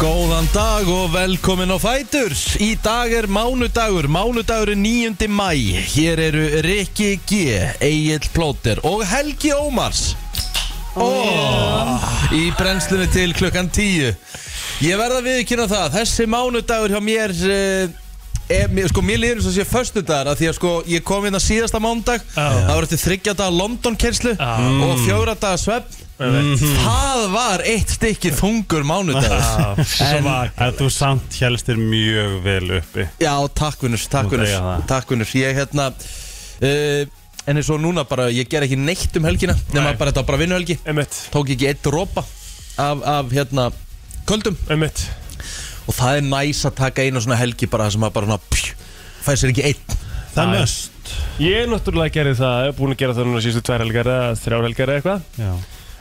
Góðan dag og velkomin á Fætur Í dag er mánudagur, mánudagur er 9. mæ Hér eru Rikki G, Egil Plóter og Helgi Ómars oh. Í brennslunni til klukkan 10 Ég verða viðkynna það, þessi mánudagur hjá mér eh, er, mér- Sko, mér líður eins og sé föstudagur af Því að sko, ég kom hérna síðasta mánudag Það var eftir þryggja daga London-kerslu Og fjóra daga svefn Það var eitt stykki þungur mánudagur En- En þú samt helstir mjög vel uppi Já, takk vinnur, takk Þú vinnur, degja það. takk vinnur Ég hérna uh, En eins og núna bara, ég ger ekki neitt um helgina Nefna Nei. bara þetta var bara vinnuhelgi Emmett, Tók ekki eitt dropa af, af hérna Köldum Emmett Og það er næs að taka eina svona helgi bara þar sem að bara svona pjú, Fæði sér ekki einn Það Já, er já. möst Ég náttúrulega gerði það, ég er búin að gera það núna síðustu tvær helgar eða þrjár helgar eða eitthvað Já.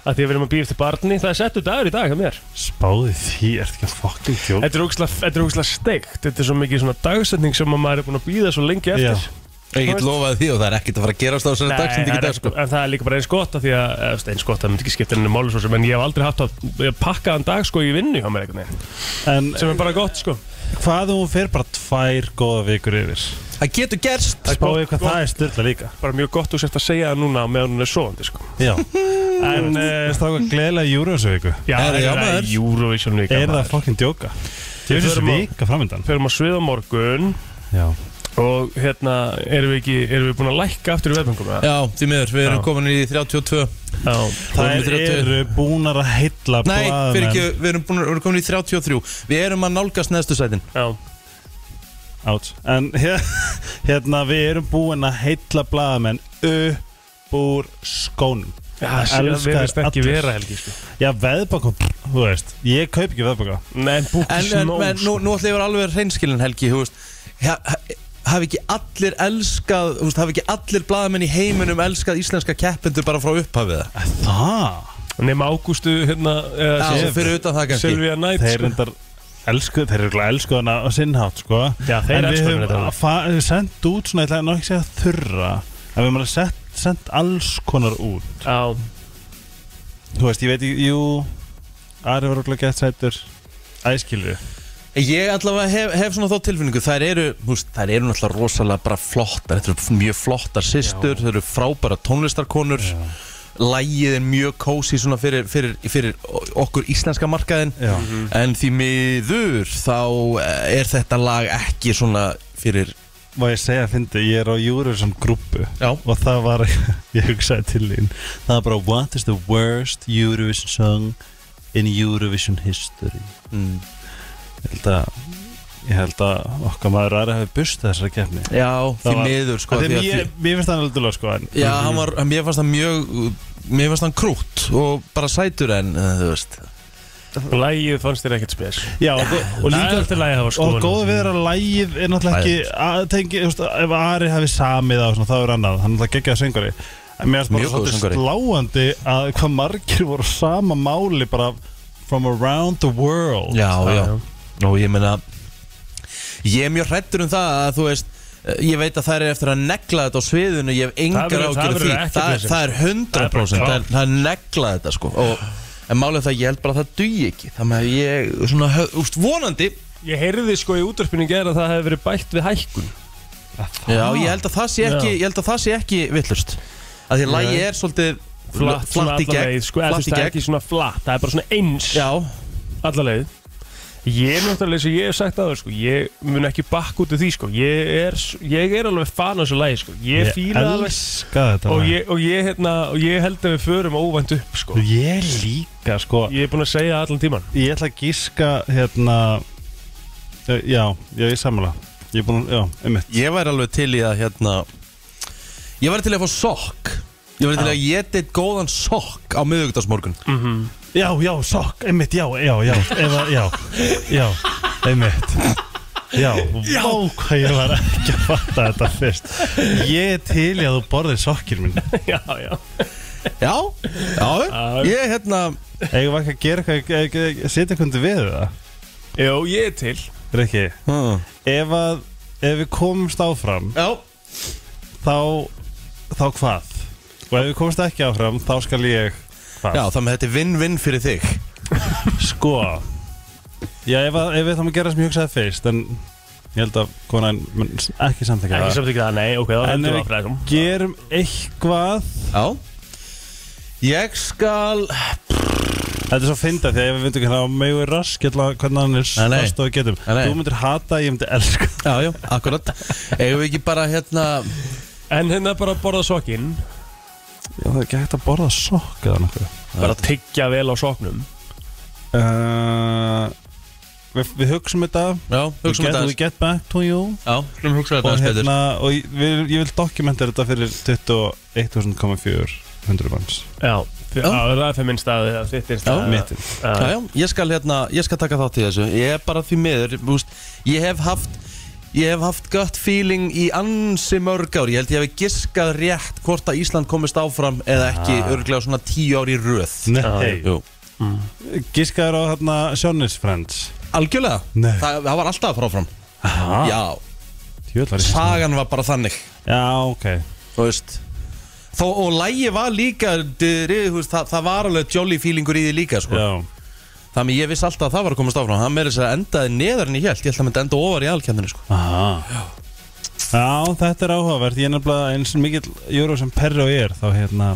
að því að við erum að býja eftir barni, það er settu dagur í dag hjá mér Spáði því, ert ekki að fucking þjóð Þetta er ógislega- þetta er ógislega steikt, þetta er svo mikið svona dagsetning sem að maður er búin að býða svo lengi eftir Já. Ég get veist- lofaði því og það er ekkert að fara að gerast á þessari dagsindi en, ekki dag sko en það er líka bara eins gott að því að eða, þú veist, eins gott að það myndi ekki skipta henni máli svo sem en ég hef aldrei haft að ég pakka þann dag sko í vinnu hjá mér einhvern veginn En sem er bara gott sko hvað ef hún fer bara tvær góða vikur yfir Það getur gerst Spáði hvað það er styrla líka bara mjög gott þú sért að segja það núna á meðan hún er sovandi sko Já en uh, Stáka Eh, gleðilega júrósviku já, Herra, já, það maður. er Eurovision líka Er það maður. fucking djóka? Þið Við finnst förum á- vika framöndan förum á svið á morgun Já og hérna erum við ekki erum við búin að lækka aftur í veðböngum eða? Já, því miður, við erum Já. komin í 32 Já, Vorum við Það 30? eru búnar að heilla Nei, fyrir ekki, blaðamenn- við erum, búin, við erum komin í 33 Við erum að nálgast neðstu sætin já, Átt En hér- hérna við erum búin að heilla blaðamenn upp úr skónum já það Elskar verðist ekki allir. vera helgi sko. Já, veðbaka, þú veist Ég kaup ekki veðbaka Nei, búk sko. En, en, en nú, nú ætla ég að vera alveg reynskilin Helgi þú veist, ha, ha, Hafi ekki allir elskað þú veist, Hafi ekki allir blaðamenn í heiminum elskað íslenska keppendur bara frá upphafið það? Það? nema ágústu hérna Já, eða, og fyrir utan það kannski Silvia Knight Þeir sko. reyndar elsku, þeir eru glæð elsku hana á sinnhátt, sko Já, þeir En elsku hana við þetta höfum alveg. fa- sendt út svona, ég ætla nú ekki að segja þurra En við höfum alveg sett, sendt alls konar út Já, Þú veist, ég veit, ekki, jú Ari var okkur gett sættur Æskilju Ég allavega hef, hef svona þá tilfinningu Þær eru, þú veist, þær eru náttúrulega rosalega bara flottar Þetta eru mjög flottar systur Þær eru frábæra tónlistarkonur Lægið er mjög kósi svona fyrir, fyrir, fyrir okkur íslenska markaðin Já. En því miður þá eh, er þetta lag ekki svona fyrir Má ég segja að fyndi, ég er á Eurovision grúpu Já, og það var, ég hugsaði til þín það var bara, what is the worst Eurovision song in Eurovision history mm. ég held að ég held að okkar maður aðra hefði bust þessari keppni já því Það var- miður sko, Af því því að mér, mér finnst það alveg sko en Já, hann var, mér fannst hann mjög Mér fannst hann krútt og bara sætur en eh, þú veist lægið fannst þér ekkert spes já, og, og Og líka líka alltaf lægið hafa og skoðun góða við er að lægið er náttúrulega ekki að tengi, þú veist, ef Ari hefði samið á svona, það er annað, hann er náttúrulega geggjað söngari en mér finnst bara Mjög góður svolítið söngvari. sláandi að hvað margir voru á sama máli bara from around the world Já, já, já. og ég meina Ég er mjög hrættur um það að þú veist eh, Ég veit að það er eftir að negla þetta á sviðinu Ég hef engar verður- það ágjörð því verður ekkert það, vesen. það er Það er 100% bara Það er, það er negla þetta sko og, En málið er það að ég held bara að það dugi ekki Þannig að ég, svona, hö- úst, vonandi Ég heyrði sko í útdörpunni gera að það hefði verið bætt við hækkun Já, ég held að það sé ekki, Ah. Já. ég held að það sé ekki villust að Því að lagi er svolítið Flatt, flatt í svona alla gegn leið, sko, eða þú flatt veist, í það er gegn ekki svona flatt Það er bara svona eins Já, alla leið Ég er náttúrulega eins og ég hef sagt aður sko Ég mun ekki bakk út af því sko Ég er, ég er alveg fan á þessu lagi sko Ég, Ég ég fíla það alveg elska þetta og lag. ég, og, ég, hérna, og ég held að við förum óvænt upp sko Ég líka sko Ég er búin að segja það allan tíman Ég ætla að gíska hérna eh, Já, ég er sammála Ég er búin að, já, einmitt ég væri alveg til í að hérna Ég væri til í að fá sokk Ég væri til í að ég deitt góðan sokk á miðvikudagsmorgun Mm. Já, já, sokk, einmitt, já, já, já Eða, já, já, einmitt Já, já. Vá, hvað ég var ekki að fatta þetta fyrst Ég er til í að þú borðir sokkir minn Já, já Já, já, ég hérna Eigum við ekki að gera eitthvað, eh, eh, setja eitthvað undir við það Jó, ég er til Rikki, hmm. ef að, ef við komumst áfram Já, þá þá hvað? Og ef við komumst ekki áfram, þá skal ég hvað? já þannig að þetta er vinn-vinn fyrir þig Sko Já, ef, að- ef við þá maður gera sem ég hugsaði fyrst En ég held að konan mun ekki samþekka Ekki samþykja það, nei, ok, þá En hendur ef við að fræðum við gerum eitthvað Já Ég skal Þetta er svo fynda því að ef við myndum hérna á megu rask hérna hvernig hann er Nei, nei. svast og við getum Nei, um. nei. Þú myndir hata, ég myndi elska Já, já, akkurat Eigum við ekki bara hérna En hérna bara að borða sokkinn Já, það er ekki hægt að borða sokk eða nokkuð Bara að tyggja vel á sokknum uh, við, við hugsum þetta Já, hugsa um We þetta get- aðeins. We get back to you Já, hlum hugsa Og, þetta aðeins betur hérna, og ég, vil, ég vil dokumenta þetta fyrir 21.400 manns Já, því- já, Já. það er fyrir minn staði eða þitt er staði Mittinn. Já, já, ég skal hérna, ég skal taka þátt í þessu Ég er bara því miður, þú veist Ég hef haft, ég hef haft gött feeling í ansi mörg ár Ég held ég hef giskað rétt hvort að Ísland komist áfram Eða ekki ah. örglega svona tíu ár í röð Nei, Jú gískaður á hérna Sjónis Friends Algjörlega, Nei. það, það var alltaf að fara áfram Hæ? Já, Jölar, sagan var bara þannig hérna. Já, ok Þú veist Þó, og lægi var líka dyrir, veist, það, það var alveg jolly feelingur í því líka sko. Já, Þannig að ég vissi alltaf að það var að komast áfram Það meira þess að endaði neðar en ég held Ég held að myndi enda ofar í alkjöndinu sko. Aha. Já, þetta er áhugavert Ég er nefnilega eins og mikill júru sem perri og ég er þá hérna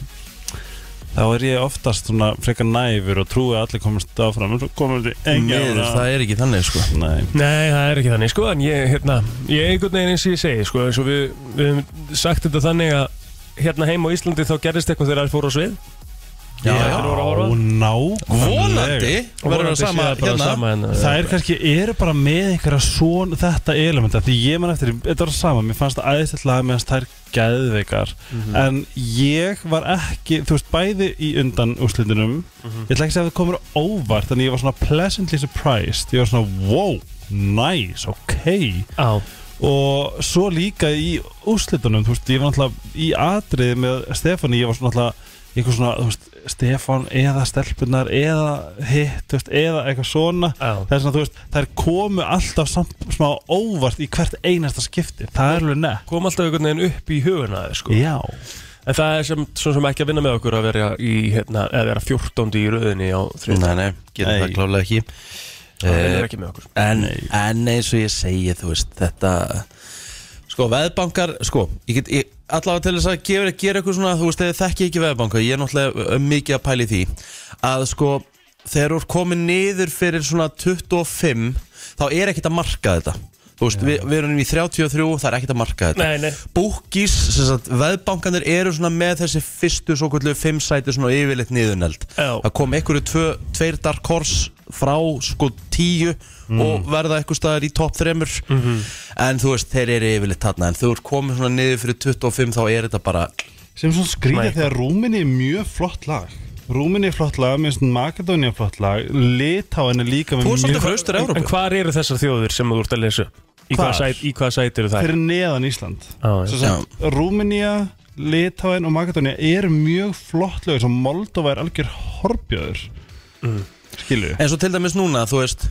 þá er ég oftast svona frekar næfur og trúi að allir komast áfram en svo komum við engi Miður, það er ekki þannig sko. Nei, Nei, það er ekki þannig, sko, en ég, hérna, ég einhvern veginn eins og ég segi, sko, eins og við, við hefum sagt þetta þannig að hérna heim á Íslandi þá gerðist eitthvað þegar þær fóru á svið. Já, já. Þeir voru að horfa. nákvæmlega Vonandi verður Vonandi það sé sama það bara hérna sama hérna. Það er kannski, eru bara með einhverja svona þetta elementa, því ég man eftir þetta var það sama, mér fannst það aðeinslega lag meðan það er gæðveikar, en ég var ekki, þú veist, bæði í undan úrslindunum, ég ætla ekki að segja að það komur óvart, en ég var svona pleasantly surprised, ég var svona, wow nice, ok Á, og svo líka í úrslindunum, þú veist, ég var náttúrulega í atriði með Stefani, ég var svona náttúrulega eitthvað svona, þú veist, Stefan eða stelpunar, eða hitt, þú veist, eða eitthvað svona á, það er svona, þú veist, þær komu alltaf samt smá óvart í hvert einasta skipti það er alveg nett kom alltaf einhvern veginn upp í huguna, þér, sko. já, En það er sem, svona sem ekki að vinna með okkur að vera í, hérna, eða vera 14. í röðinni á þriðinu. Nei, nei, getur Nei. það klálega ekki Það Eh, vinnur ekki með okkur. en, en eins og ég segi, þú veist, þetta Sko, veðbankar, sko, ég get ég, allavega til þess að gefa, gera eitthvað svona, þú veist, þegar þekki ekki veðbanka, ég er náttúrulega uh, mikið að pæli því að sko, þegar þú ert komin niður fyrir svona 25 þá er ekkert að marka þetta þú veist, við, við erum í 33 það er ekkert að marka þetta Nei, nei. Búkis, sem sagt, veðbankanir eru svona með þessi fyrstu svo kvöldu fimm sæti svona yfirleitt niðurneld Já. það kom einhverju tvö, tveir dark horse frá sko tíu og verða eitthvað staðar í topp þremur en þú veist, þeir eru yfirleitt þarna en þú ert komið svona niður fyrir 25 þá er þetta bara sem svona skrýða Nei. þegar Rúminni er mjög flott lag Rúminni er flott lag, minnst Makedóni er flott lag Litáin er líka með Þú er svolítið mjög hraustur Evrópu En hvar eru þessar þjóðir sem þú ert að lesa? upp? Í Hvar? hvaða sæt, í hvaða sæt eru það? fyrir neðan Ísland Á, já. Svo sagt, Rúminía, Litáin og Makedóni er mjög flott lög sem Moldova er algjör horfjöður mm. skilju En svo til dæmis núna, þú veist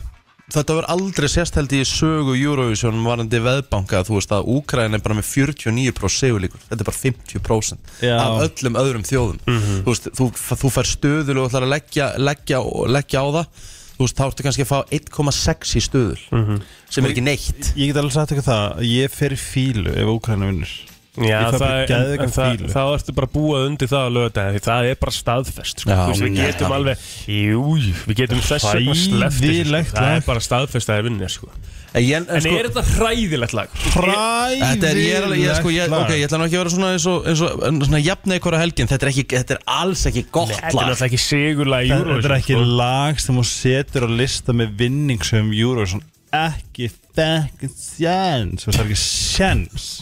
Þetta verður aldrei sérst held í sögu Eurovision varandi veðbanka þú veist að Úkraine er bara með 49% segulíkur, þetta er bara 50% Já. af öllum öðrum þjóðum Mhm. þú veist, þú, þú fær stöðul og ætlar að leggja, leggja, leggja á það þú veist, þá ertu kannski að fá 1,6 í stöðul Mhm. sem er ekki neitt ég get alveg sagt eitthvað það, ég fer í fílu ef Úkræna vinnur Já, Ég fæ það, bara en- geðveikan en það, fílu. þá ertu bara búað undir það að lögða því það er bara staðfest sko. Já, Þú veist, við nei. getum alveg, jú, jú, við getum þess vegna sleppt þessu, Hræðilegt sko. það lag. er bara staðfest að það er vinnir sko. En, ég, en, En sko, er þetta hræðilegt lag? Þetta er, ég, er, alveg- ég, Hræðilegt sko, ég, lag. okay, ég ætla nú ekki að vera svona eins og, eins og en svona jafn eitthvað helgin, þetta er, ekki, þetta er alls ekki gott Þetta er lag náttúrulega ekki sigurlag í Þetta þetta er Eurovision ekki sko. lag sem hún setur á lista með vinning sem Eurovision ekki fucking sjans það er ekki sjans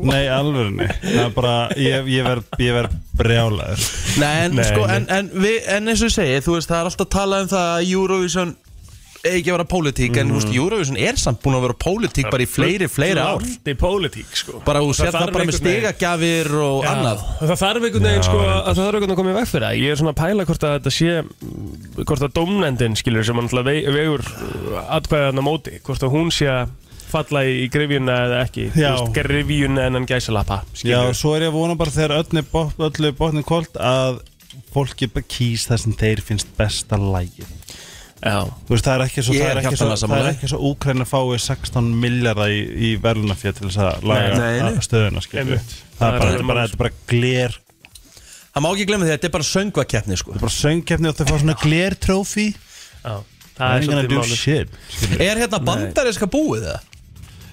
Nei, alvörni Það er bara, ég, ég verð ver brjálaður Nei, en, Nei, sko, nei. En, en, við, en eins og ég segi, þú veist, það er alltaf talað um það að Eurovision eigi ekki að vera pólitík, en þú veist, Eurovision er samt búin að vera pólitík bara í fleiri, fleiri ár Þetta er pólitík sko. bara þú sér þarf það bara einhvern með veginn- stigagjafir og Já, annað Það þarf einhvern veginn sko að það þarf einhvern veginn að koma í veg fyrir það Ég er svona að pæla hvort að þetta sé hvort að dómnendin skilur sem hann alltaf vei- vegur atkvæðan á móti hvort að hún sé að falla í grifjuna eða ekki Þú Já. veist, grifjuna en hann gæsa lappa Já, svo er ég að vona bara þegar öllu, bot, öllu botni kolt að fólki bara kýs það sem þeir finnst besta lægi sko. Já, Þú veist, það er ekki svo, Ég það er er ekki svo, hjartanlega það er sammála. ekki svo Úkræna fái 16 miljardar í, í verðlunafjö til þess að laga Nei, nei. að- stöðuna, skilur við. Einmitt. Það Það er bara, er alveg þetta er bara, málið. þetta er bara gler, þetta Það má ekki glemja því að þetta er bara söngvakeppni sko. er bara söngkefni og þau fá svona gler trófi. já Það er ekki að svolítið do málið. shit. skilur við. Er hérna bandarinska búið það?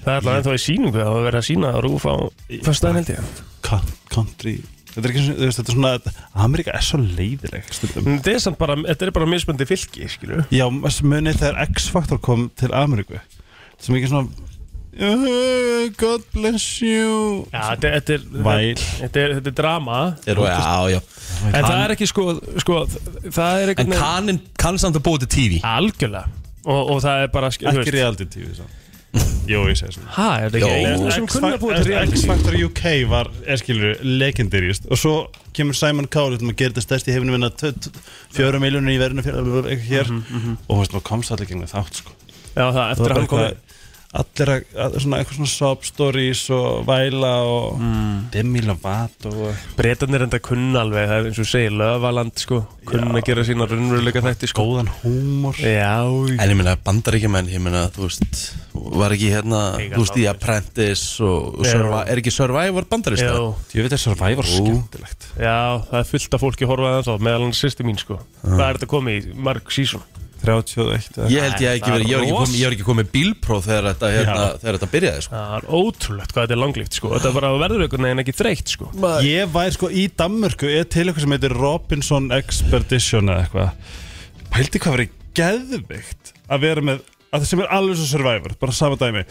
Það er alltaf ennþá í síningu Það var verið að sína að rúfa á Föstaðan held ég Con- Country, þetta er ekki svona, þú veist, þetta er svona, Amerika er svo leiðileg stundum. En þetta er samt bara, þetta er bara mismöndi fylki, skilur Já, munið þegar X-Factor kom til Ameríku, sem ekki svona, "Uh, God bless you. Já, þetta er, þetta er, Væl. þetta er, þetta er drama Er, já, já En það er ekki sko, sko Það er En einhvern kanin kann samt að búið til TV Algjörlega og, og það er bara skil- þú Ekki veist- reality tv, svo. Jó, ég segi svona. Ha, er þetta ekki Jó. einhver sem kunna búið til reality X-Factor UK var, er skilur, legendirist og svo kemur Simon Cowell sem að gera þetta stærst í hérna, hefnum vinna fjóra miljónir í verðinu fyrir hér Mhm, og þú veist, maður komst allir gengum þátt sko. Já, það, Það eftir að var hann kom bara inn. eitthvað- allir að, að svona eitthvað svona sob stories og væla og Mm. Demi Lovato og Bretarnir enda kunna alveg, það er eins og segir Löfaland, sko, kunna að gera sína runnveruleika þætti, sko góðan húmor Já, En ég meina bandaríkjumenn, ég meina, þú veist, var ekki hérna, Eiga þú veist, í þátt. Apprentice og, og Já. survi, er ekki Survivor bandaríska? já, Ég veit að Survivor Ú. skemmtilegt já, það er fullt af fólki horfaði ennþá, meðal hann sýsti mín, sko Hvað er þetta komið í marg sísón? 31 eða- Ég held ég hafi ekki Það er verið, ég var ekki ros- komið, ég var ekki komið bílpróf þegar þetta, hérna, þegar þetta byrjaði, sko. Það er ótrúlegt hvað þetta er langlíft, sko Þetta er bara verður einhvern veginn ekki þreytt, sko Ég væri sko í Danmörku er til eitthvað sem heitir Robinson Expedition eða eitthvað Pældi hvað verið geðvikt að vera með að það sem er alveg svo Survivor, bara sama dæmi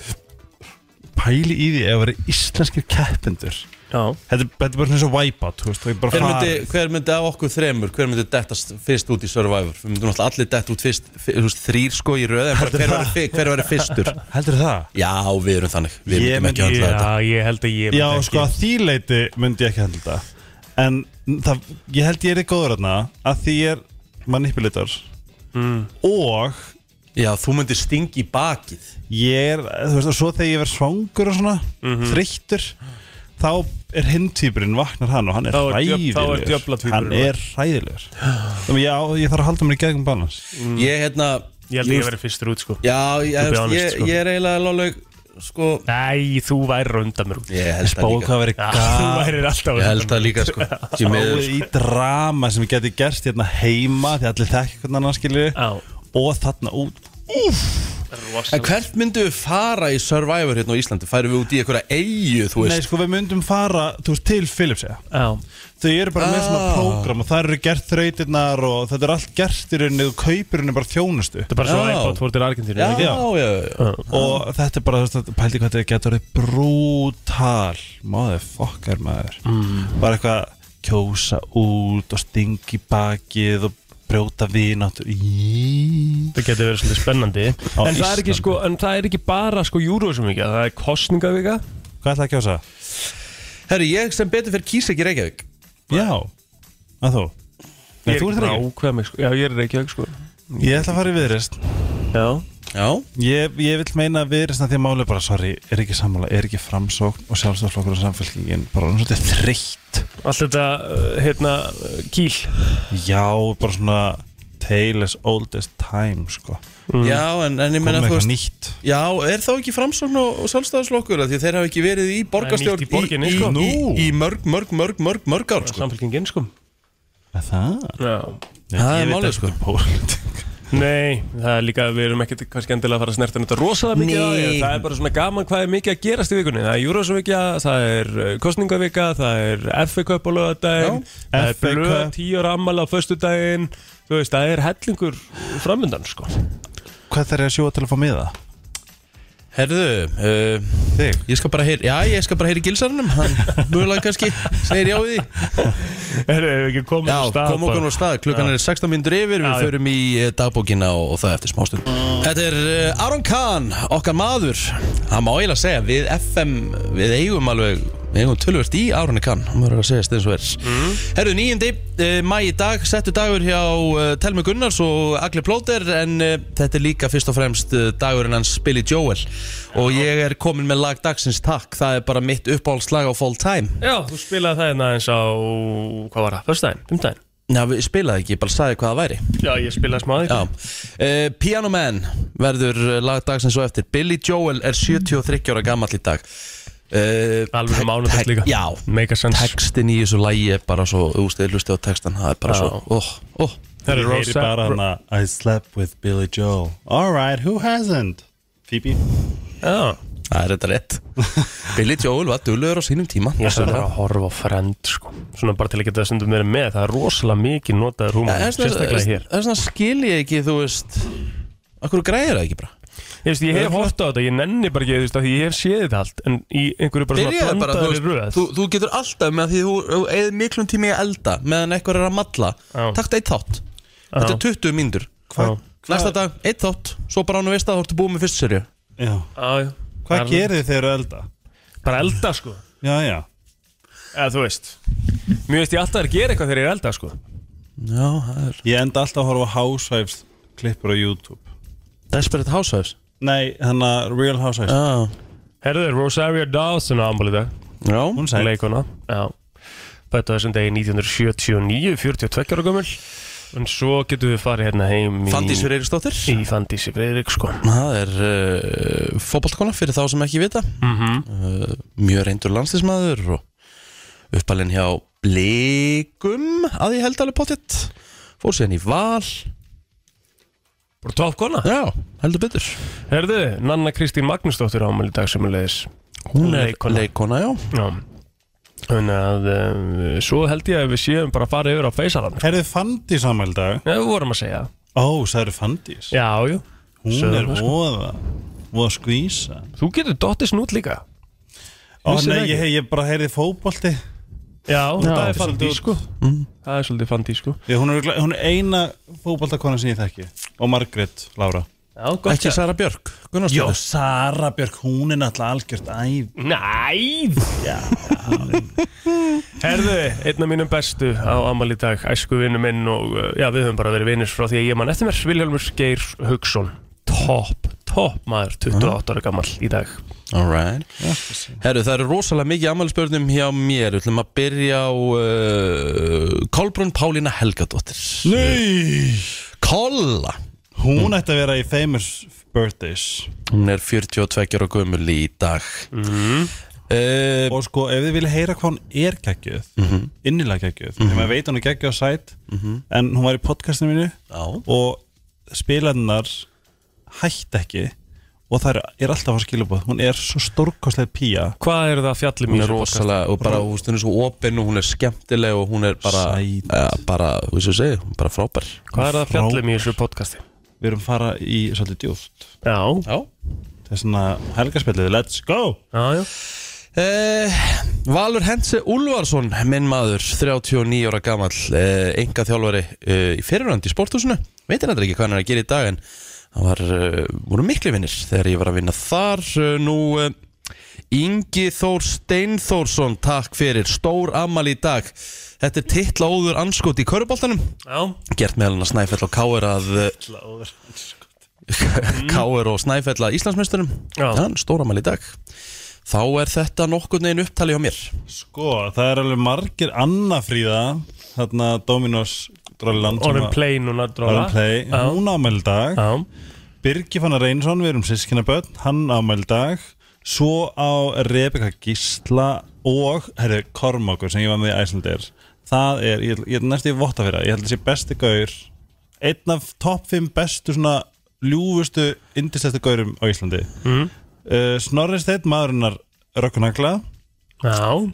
Pæli í því að vera íslenskir keppendur Já, Þetta, þetta er bara svona eins og wipeout, þú veist, það er bara Hver myndi, farið hver myndi af okkur þremur, hver myndi detta s- fyrst út í Survivor? Við myndum alltaf allir detta út fyrst, fyr, þú veist, þrýr sko í röð, en bara hver væri fi- hver væri fyrstur? Heldur það? Já, við erum þannig, við Ég myndum ekki myndi- höndla þetta. já ég held að ég myndi Já, ekki- sko að því leiti myndi ég ekki handla þetta En það, ég held ég er góður þarna að því ég er manipulator Mm. og Já, þú myndir stingi í bakið. ég er, þú veist, og svo þegar ég verð svangur og svona, Mhm. þreyttur þá er hinn týpurinn, vaknar hann og hann er Þá er hræðilegur djöf- þá er djöfla tvíburinn, hann er hræðilegur þannig að ég, á- ég þarf að halda mér í gegnum balans Ég, hérna, Ég held að ég verið fyrstur út, sko Já, ég, To be honest, ég, sko. ég er eiginlega lálög, sko, Nei, þú værir á undan mér út ég held það spáðu líka. um hvað verið Já, þú værir alltaf á Ég undan held það líka sko Því miður spáðu í drama sem geti gerst hérna heima því allir þekki hvernig annan skilur Já, og þarna út En hvert myndum við fara í Survivor hérna á Íslandi? Færum við út í einhverja eigu, þú Nei, veist? sko, við myndum fara, þú veist, til Philips eða já Þau eru bara með svona Ah. prógram og það eru gert þrautirnar og þetta er allt gert í rauninni og kaupir henni bara þjónustu Þetta er bara svo Já. iPod fór til Argentínu Já, ekki? já, já, já. og þetta er bara, þú veist, þetta- pældi hvað þetta getur orðið brútal maður, fokkar maður Mm. bara eitthvað kjósa út og stingi bakið og brjóta vináttur Í. Það getur verið svolítið spennandi En það, er ekki, Íslandi. sko, en það er ekki bara sko Eurovision vika Það er kostningavika hvað ætlaði að kjósa? Herru, ég sem betur fyrir kýs ekki Reykjavík já, að þú Nei, þú ert ekki reyngi. nákvæm sko. Já, ég er ekki sko. Ég ætla að fara í viðrist Já, Já Ég, ég vil meina viðrist að því að máli bara Sorry, er ekki sammála, er ekki framsókn Og sjálfstoflokkur og samfélkingin Bara hann svolítið þreytt allt þetta uh, hérna uh, kýl Já, bara svona Tale as old as time sko. Já, en, en ég Komum menna, þú eitthvað veist nýtt Já, er þá ekki framsókn og, og sjálfstæðarslokkur Því þeir hafa ekki verið í borgarstjórn nýtt í borginni, í, sko. í, Nú. í mörg, mörg, mörg, mörg, mörg ár sko. Samfélkingin sko Er Það? Já Það Ég er veit málið, ekki sko. um pólitík. Nei, það er líka, við erum ekkert kannski endilega að fara að snerta um þetta rosalega mikið á því, Nei. Það er bara svona gaman hvað er mikið að gerast í vikunni Það er Eurovision vika, það er uh, kostningavika, það er FA Cup á lögadaginn Það er FA blöð Cup. tíu ára ammala á föstudaginn Þú veist, það er hellingur framöndan sko Hvað þarf ég að sjóa til að fá miða? Herðu, uh, Þig? ég skal bara heyri Já, ég skal bara heyri gilsarnum Hann mjögulega kannski segir já við því Erum við ekki komið Já, á stað komum okkur á stað, klukkan er 16 mínútur yfir, Já, við já. förum í eh, dagbókina og, og það eftir smástund Þetta er eh, Aron Kahn, okkar maður, það má eiginlega segja, við FM, við eigum alveg, við eigum tölvört í Aron Kahn, hann verður að segja eins og er Mm. Herðu, nýjandi, uh, mæ í dag, settu dagur hjá uh, Telmi Gunnars og Agli Plóter En uh, þetta er líka fyrst og fremst uh, dagurinn hans Billy Joel Og ég er komin með lag dagsins takk, það er bara mitt uppáhaldslag á full time Já, þú spilaði það hérna eins á, hvað var það, föstudaginn, fymtudaginn Já, við spilaði ekki, ég bara sagði hvað það væri Já, ég spilaði smá aðeins Já, uh, Piano Man verður eh, lagdag sem svo eftir Billy Joel er 73 ára gammal í dag uh, Alveg sem mánudag líka Já, Make a sense textin í þessu lægi er bara svo ústið hlusti á textan, það er bara Já. svo óh, óh Það er Rosa- heyri bara hann að I slept with Billy Joel Alright, who hasn't? Phoebe Já Það er þetta rétt Billy Joel var dölur á sínum tíma Ég sem bara að horfa á frend sko Svona bara til að geta stundum verið með Það er rosalega mikið notað Ja, rúma það er svona- Sérstaklega hér það er svona skil ég ekki, þú veist Akkur græðir það ekki bara Ég, veist, ég hef hort á þetta, ég nenni bara ekki þú veist, af Því ég hef séð þetta allt En í einhverju bara svona Byrjaði bara, þú, blandaðri veist, röð þú, þú getur alltaf með því þú, þú eða miklum tími í að elda meðan eitthvað er að matla Já. Takta eitt þátt Þetta er 20 mínútur Hvað? Næsta dag, eitt þátt Svo bara ánum veist að þú ertu búið með fyrst serju Já, hvað gerir þið þegar þú elda? Bara elda sko Já, já Eða þú veist Mér veist ég alltaf að gera eitthvað þegar ég er elda sko Já, það er Ég enda alltaf að horfa á Housewives klippur á YouTube Desperate Housewives Nei, hann að Real Housewives Já, Herðu, Rosario Dawson á ámból í dag já Hún sæl Leikona Já Þetta þessum degi 1979, 42 ára gömul En svo getum við farið hérna heim í Fandís fyrir Eiristóttir Í Fandísi Freyrík sko Það er uh, fótballtkona fyrir þá sem ekki vita mm uh, mjög reyndur landslísmaður og uppalinn hjá Blikum að ég held alveg pottitt fór síðan í val Bara topp kona já, heldur betur Herðu, Nanna Kristín Magnúsdóttir á ámból í dag sem er leiðis hún er Leikkona. leikona, já Já Þannig að um, svo held ég að við séum bara að fara yfir á feysalann sko. Herðu Fandís ámæli dag Já, við vorum að segja Ó, sagði Fandís Já, jú Hún Sögðu er það, sko. voða Voða skvísa Þú getur dottist nút líka Ó, Vissir það nei, ekki? ég, ég bara heyrði fótbolti Já, það er þetta er fandi svolítið sko Það er svolítið fandi sko Ég, hún, er, örugglega- hún er eina fótboltakona sem ég þekki Og Margrét Lára Já, gott ekki Sara Björk Jó, Gunnarsdóttir Sara Björk, hún er náttúrulega algjört æf Næð Herðu, einn af mínum bestu á amal í dag Æsku vinnu minn og uh, já, við höfum bara verið vinnir frá því að ég man eftir mér Vilhelmur Geir Haugsson Topp, topp maður, 28 ára gammal í dag alright herru, það eru rosalega mikið ammælisbörnum hjá mér við ætlum að byrja á uh, Kolbrún Pálína Helgadóttir Nei Kolla Hún ætti að vera í Famous Birthdays hún er 42 ára gömul í dag Uh, mm. Og sko, ef þið vilja heyra hvað hún er geggjöð Innilega geggjöð Þegar maður veit hún er geggjöð á sæt En hún var í podcastinu mínu já Og spilarnar hætt ekki Og það er alltaf að skilabóð Hún er svo stórkostlega pía Hvað er það um fjallum hún er rosalega og bara hún er svo opinn og hún er skemmtileg og hún er bara Sæt. ja, bara, þú veist að segja, hún er bara frábær Hvað er það Frá- fjallum í þessu podcasti? Við erum að fara í svolítið djúft Já, já Það er svona helgarspillið, let's go já, já eh, Valur Hense Úlfarsson minn maður, 39 ára gamall eh, enga þjálfari eh, í fyrirrandi í sporthúsinu, veitir þetta ekki hvað hann er að gera í dag en það var, eh, voru miklu vinnir þegar ég var að vinna þar eh, nú eh, Ingi Þór Steinþórsson takk fyrir, stór ammal í dag þetta er titla óður anskot í köruboltanum Já, gert meðal hann að Snæfell og Káir að Káir og Snæfell að Íslandsmeisturum Já. hann stóramæl í dag þá er þetta nokkurn veginn upptalið á mér Sko, það er alveg margir annafríða Þarna Dominos Drolland orðin play núna dróða. Orðin play Hún ámæli dag Já, Birgi Fannar Reynsson, við erum sískinaböld, hann ámæli dag, svo á Rebeka Gísla og, herru, Kormákur sem ég var með í Æslandir. Það er, ég, ég er næstu í votta fyrir það, ég held að sé besti gaur, einn af topp 5 bestu svona ljúfustu, indisleftu gaurum á Íslandi. Mhm. Mm. Uh, Snorri Steinn, maðurinnar Rökkunagla já, og,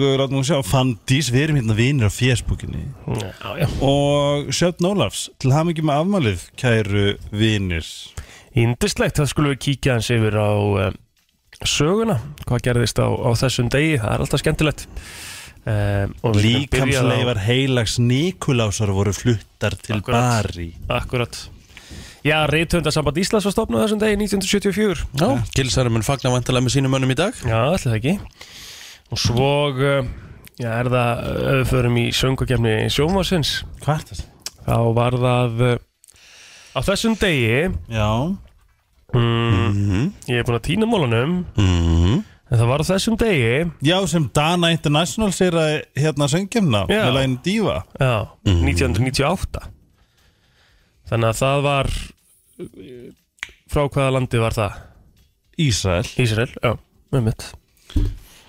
uh, látum við sjá, Fandís, við erum hérna vinir á Facebookinni já, já og Sjöfn Ólafs, til hamingi með afmælið, kæru vinir. Indislegt, það skulum við kíkja hans yfir á uh, söguna, hvað gerðist á, á þessum degi, það er alltaf skemmtilegt um, og við skulum byrja á- Líkamsleifar heilags Nikulásar voru fluttar til Akkurat. Bari Akkurat Já, reytöndasamband Íslands var stopnað á þessum degi 1974 Já, Gilsærum Eh, mun fagna vantilega með sínum mönnum í dag Já, allir það ekki og svo uh, já, er það, ef við förum í söngakefni sjómasins, Hvað er þetta? þá var það uh, á þessum degi Já mm, ég er búin að týna mólunum mm -hmm. En það var á þessum degi Já, sem Dana International sér að hérna söngjumna Já. með læginu Diva Já, 1998 Þannig að það var Frá hvaða landi var það? Ísrael Ísrael, já, með mitt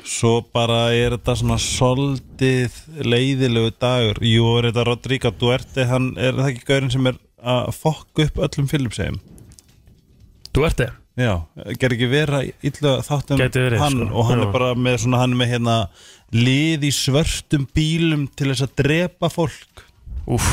Svo bara er þetta svona soldið leiðilegu dagur Jú, er þetta Rodrigo Duerte hann er það ekki gaurinn sem er að fokk upp öllum filmsegum Þú ert þið? Já, ger ekki vera illa þáttum Gæti verið, hann sko. og hann Já. er bara með svona hann er með hérna lið í svörtum bílum til þess að drepa fólk Úf,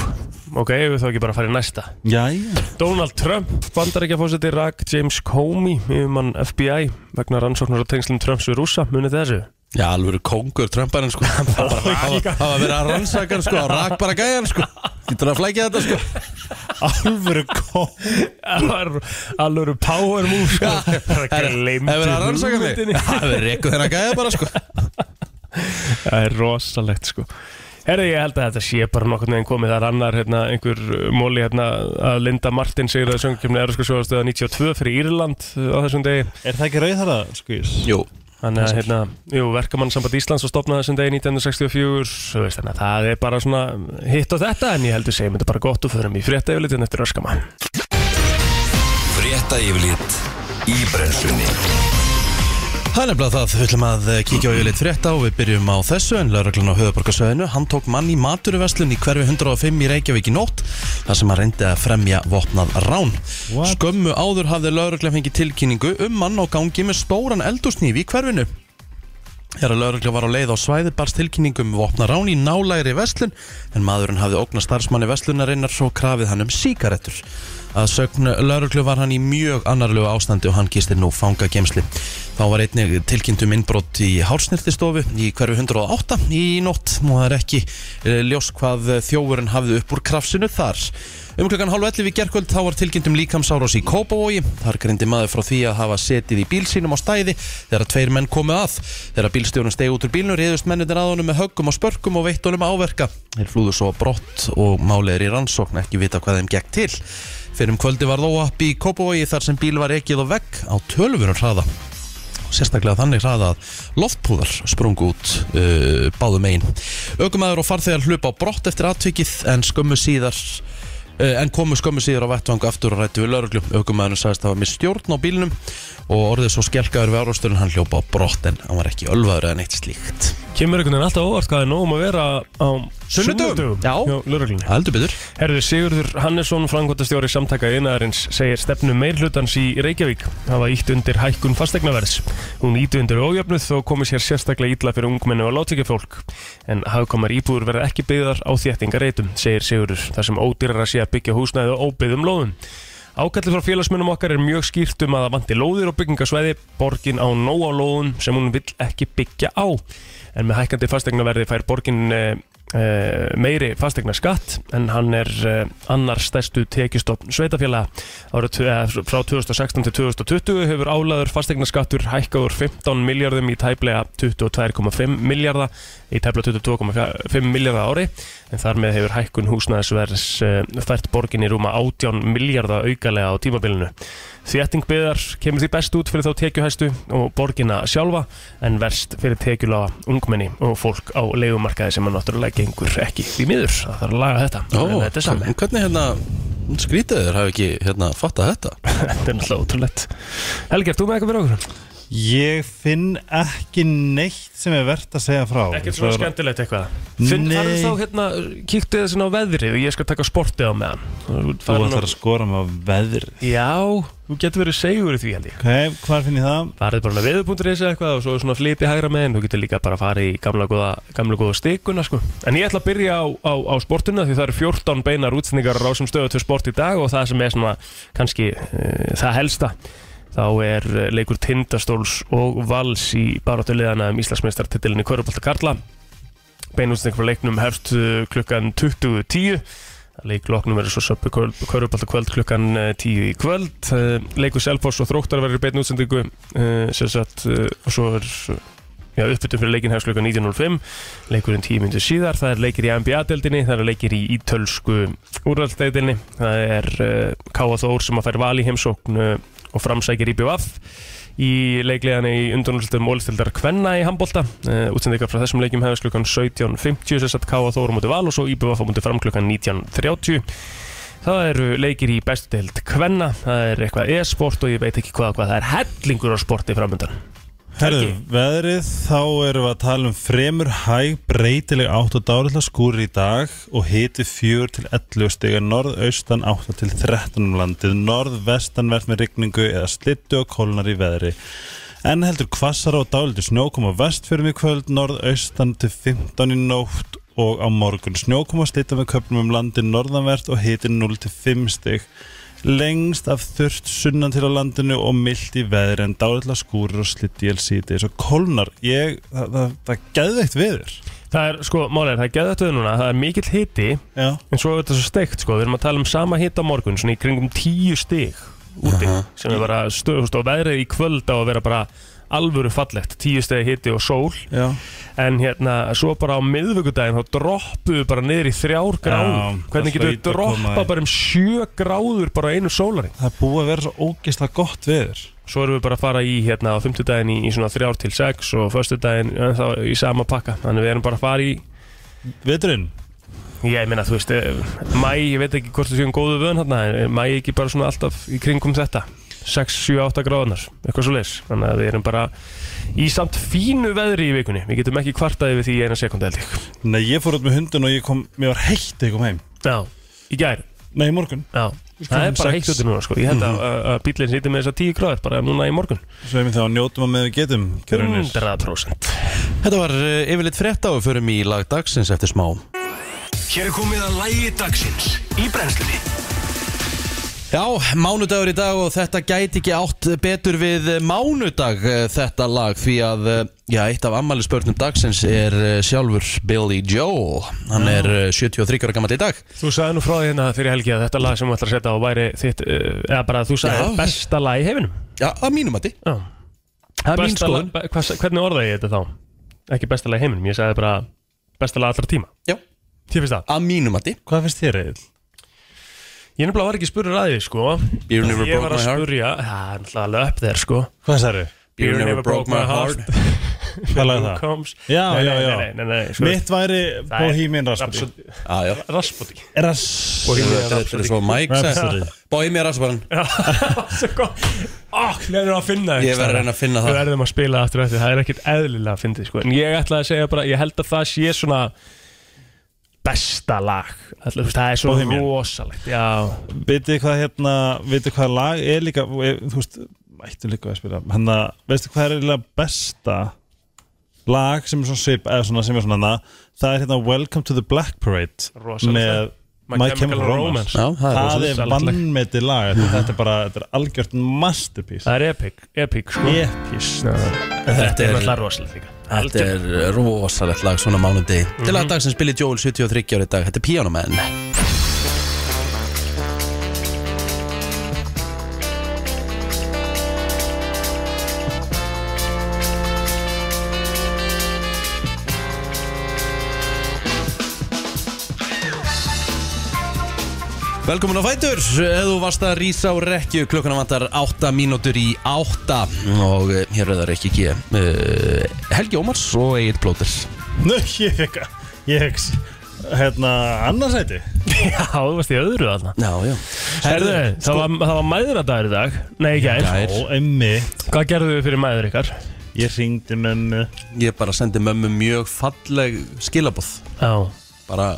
ok, eigum við þá ekki bara að fara í næsta Jæja Donald Trump, bandarækjafósiti Rak James Comey, um yfirmann FBI vegna rannsóknar og tengslum Trumps við rúsa munið þið þessu? Já, alveg kongur trömbarinn sko Hann bara rak- Hann var að vera að rannsaka hann sko hann Rak bara gæjan sko Getur að flækja þetta sko Alvöru kom Það var alveg power move sko. Það Það er er gleymdi verið að rannsaka mig hugmyndinni. Það er reykuð þennan gæja bara sko Það er rosalegt sko Herri, ég held að þetta sé bara nokkur neginn komið Það er annar, hérna, einhver uh, móli hérna að Linda Martin segir að söngjumni er sko 92 fyrir Írland uh, á þessum degi Er það ekki rauð þar að skvís? Jú, Þannig að, hérna, jú, verkamann samband Íslands og stopnaði þessum degi 1964 þú veist, Þannig að það er bara svona hitt á þetta En ég heldur segjum þetta bara gott og förum í frétta yfirlitin eftir öskamann Frétta yfirlit í brenslunni Það er nefnilega það, við ætlum að eh, kíkja á yfirleitt frétta og við byrjum á þessu en lauraglan á höfuborgarsöðinu, hann tók mann í maturuverslun í hverfi 105 í Reykjavík í nótt þar sem hann reyndi að fremja vopnað rán. What? Skömmu áður hafði lauraglan fengið tilkynningu um mann á gangi með stóran eldusnýf í hverfinu. Þegar lauraglan var á leið á svæði barst tilkynningum vopnað rán í nálægri verslun en maðurinn hafði ógnað starfsmanni verslunarinnar svo krafið hann um síkaretur. Að sögn lauruglu var hann í mjög annarlegu ástandi og hann gistir nú fangagemsli. Þá var einnig tilkynntum innbrott í hársnirtistofu í hverju 108 í nótt og það er ekki eh, ljós hvað þjófurinn hafði upp úr krafsinu þar. Um klokkan halv 11 í gerkvöld þá var tilkynntum líkamsárás í Kópavogi. Þar greindi maður frá því að hafa setið í bíl sínum á stæði þegar tveir menn komu að. Þegar bílstjórun steg út úr bílnum reyðust mennindir að honum með höggum og spörkum og veitt honum áverka. Þeir flúðu svo á brott og málið er í rannsókn ekki vita hvað þeim gekk til. Fyrir um kvöldi var þóapp í Kópavogi þar sem bíl var ekið og vegg á tölvunum hraða sérstaklega þannig hraða að loftpúðar sprungu út uh, báðum einn. Ögumæður og farþegar hlupa á brott eftir atvikið en skömmu síðar uh, en komu skömmu síðar á vettvangu aftur og rættu við lauruglum. Ögumæðurinn sagðist að hafa með stjórn á bílnum og orðið svo skelkaður við árásturinn hann hljópa á brott en hann var ekki ölvaður eða neitt slíkt. Kemur einhvern veginn alltaf óvart hvað er nóg um að vera á Sunnudögum? Já. Já, lögreglunni Heldur betur. Herði Sigurður Hannesson, frangotastjóri samtaka innarins, segir stefnu meirhlutans í Reykjavík hafa ítt undir hækkun fastegnaverðs. Hún ítti undir ójöfnuð og komið sér sérstaklega ítla fyrir ungmennu og látíkjafólk. En hafkomar íbúður verða ekki byggðar á þéttingareitum, segir Sigurður, þar sem ódýrar að sé að byggja húsnæði á óbyggðum lóðum. Ákallið frá félagsmennum okkar er mjög skýrt um að það vanti lóðir og byggingasvæði, borgin á nóg á lóðum sem hún vill ekki byggja á. En með hækkandi fastegnaverði fær borgin eh, eh, meiri fastegna skatt en hann er eh, annar stærstu tekistofn sveitafélaga. Árið tv- eh, frá 2016 til 2020 hefur álaður fastegna skattur hækkaður 15 miljardum í tæplega 22,5 miljardar í tæpla 22,5 miljardar ári en þar með hefur hækkun húsnæðisverðs eh, fært borginni rúma 18 miljardar aukalega á tímabilinu. Þétting byðar kemur því best út fyrir þá tekjuhæstu og borginna sjálfa en verst fyrir tekjulága ungmenni og fólk á leigumarkaði sem að náttúrulega gengur ekki því miður. Það þarf að laga þetta. en þetta er sami. Hvernig hérna skrítið þér hafi ekki hérna fattað þetta? Þetta er náttúrulega ótrúlegt. Helgi, ert þú með eitthvað fyrir okkur? Ég finn ekki neitt sem er verðt að segja frá Ekkert Svo svona er- skemmtilegt eitthvað. Finn, Finn- Nei. farðu farðu þá þá hérna, kíktu þessin á veðrið og ég skal taka sportið á meðan. Þú ætlar að skora með veðri Já, þú getur verið segur í því held ég. Ok, hvar finn ég það? farið bara með veðu.is eða eitthvað og svo svona flipi hægra með en þú getur líka bara farið í gamla góða, gamla góða stikuna sko. En ég ætla að byrja á, á, á sportuna því það eru 14 beinar útsendingar á rásum stöðu til sport í dag og það sem er svona kannski uh, það helsta þá er eh, leikur Tindastóls og Vals í baráttulegana um Íslandsmeistartitilin í Körubolta Karla beinútsending frá leiknum hefst eh, klukkan 20.10 Leikloknum verður svo söppu Körubolta kvöld klukkan eh, 10 í kvöld Eh, Leikur Selfoss og Þróttar verður í beinni útsendingu eh, sem sagt eh, og svo er eh, já, uppbyttum fyrir leikin hefst klukkan 19.05 leikurinn 10 minnir síðar, það er leikir í NBA-deldinni það er leikir í ítölsku úrvalsdeldinni, eh, það er uh, Káa Þór sem að fær val í heimsókn uh, og framsækir í BVF í leiklegan í undurnúrslutum ólistildar Kvenna í handbólta uh, útsendingar frá þessum leikjum hefðast klukkan 17.50 sem satt K.A. Þórum mútið val og svo IBVF mútið fram klukkan 19.30 Það eru leikir í bestu deild Kvenna, það er eitthvað e-sport og ég veit ekki hvað og hvað, það er hellingur á sporti framöndan Herðu, Helgi. veðrið, þá erum við að tala um fremur hæg, breytileg átt og dálitla skúrir í dag og hiti 4 til 11 stiga norðaustan 8 til 13 um landið, norðvestanvert með rigningu eða slittu og kólnar í veðri. En heldur hvassara og dálitlu snjókoma vestfjörum í kvöld, norðaustan til 15 í nótt og á morgun snjókoma slittu með köpnum um landið norðanvert og hiti 0 til 5 stig lengst af þurft sunnan til á landinu og mildt í veðri en dálitla skúrir og slitti elsíti og kólnar, ég, það, það, það er geðveikt veður Það er, sko, málega, það er geðvægt við núna, það er mikill hiti já, en svo er þetta svo steikt, sko, við erum að tala um sama hita á morgun, svona í kringum 10 stig úti, sem er bara stöðust og veðrið í kvöld á að vera bara alvöru fallegt, 10 stegi hiti og sól já. en hérna, svo bara á miðvíkudaginn þá droppuðu við bara niður í þrjár gráður það hvernig getur við hlaut að koma droppa í- bara um sjö gráður bara á einu sólari það er búið að vera svo ógeðslega gott veður svo erum við bara að fara í hérna á fymtudaginn í, í svona þrjár til sex og föstudaginn en þá í sama pakka, þannig við erum bara að fara í veturinn, ég meina, þú veist, eh, mæ, ég veit ekki hvort þú séum góðu vöðan hérna, en mæ ekki bara svona alltaf í kringum þetta 6, 7, 8 gráðunar, eitthvað svo leis þannig að við erum bara í samt fínu veðri í vikunni, við getum ekki kvartaði við því í eina sekundi held ég nei, ég fór út með hundun og ég kom, mér var heitt þegar ég kom heim Já, í gær nei, í morgun, Já, það er bara heitt út núna sko Ég held að, að, að bílinn sýtti með þess að 10 gráður bara núna í morgun svo hefum við þá njótum að með við getum gerðunir, 100% Þetta var uh, yfirleitt frétta og við förum í lag dagsins eftir smá Hér er komið að lægi dagsins í brennslunni Já, mánudagur í dag og þetta gæti ekki átt betur við eh, mánudag eh, þetta lag því að eh, já, eitt af ammælisbörnum dagsins er eh, sjálfur Billy Joel Hann er eh, 73 ára gammal í dag Þú sagði nú frá því hérna fyrir helgi að þetta lag sem við ætlar að setja á væri þitt uh, eða bara þú sagði Já. besta lag í heiminum Já, að mínum að því Já Það er mín Besta skoðun lag- be- hvað- Hvernig orðaði ég þetta þá? Ekki besta lag í heiminum, ég sagði bara besta lag allra tíma Já, Ég finnst það að mínum að því hvað finnst þér eða? Ég nefnilega var ekki spurður að því sko You never Ég broke var að my heart spurja Það er náttúrulega alveg upp þér sko hvað sagði þér? You never broke my heart hvað lagði Who það? comes Já, Nei, já, nei, já. nei, nei, nei, nei, sko, mitt væri það er Bohemian Rhapsody Rhapsody. Já, já Rhapsody Rass- Bohemian Þetta er svo Mike Rhapsody. sagði Bói mér aðsvaran Svo gott Ó, nefnir að finna Ég verður að reyna að finna Við það verðum að spila aftur eftir, það er ekkert eðlilega að finna sko. En ég ætla að segja bara, ég held að það sé svona besta lag Ætla, þú veist, Það er svo Bohemian. rosalegt Já, Vitið hvað hérna, vitið hvað lag er líka, e- þú veist, mættu líka að spila, hann að, veistu hvað er líka besta lag sem er svona svip, eða svona sem er svona það, það er hérna Welcome to the Black Parade Rosalegt með My Chemical Romance. Já, það er Það rosalegt. er vannmeti lag, þetta- þetta er bara, þetta er algjört masterpiece. Það er epic, epic sko Epist. Þetta Það er er alltaf rosalegt líka Þetta er rosalegt lag svona mánuði Til að dagsins Billy Joel 73 ára í dag Þetta er Piano Man Velkomin á Fætur, ef þú varst að rísa á rekju klukkuna vantar 8 mínútur í 8 og eh, hér er það rekki ekki uh, Helgi Ómars og Egil Blóter Nú, ég fekk, ég fekk, hérna, annarsæti. Já, þú varst í öðru þarna Já, já Herðu, það var, það var mæðuradagur í dag Nei, í gær sko- Gær. Ó, einmitt. Hvað gerðu við fyrir mæður ykkar? Ég ringdi mömmu. Ég bara sendi mömmu mjög falleg skilabóð Já Bara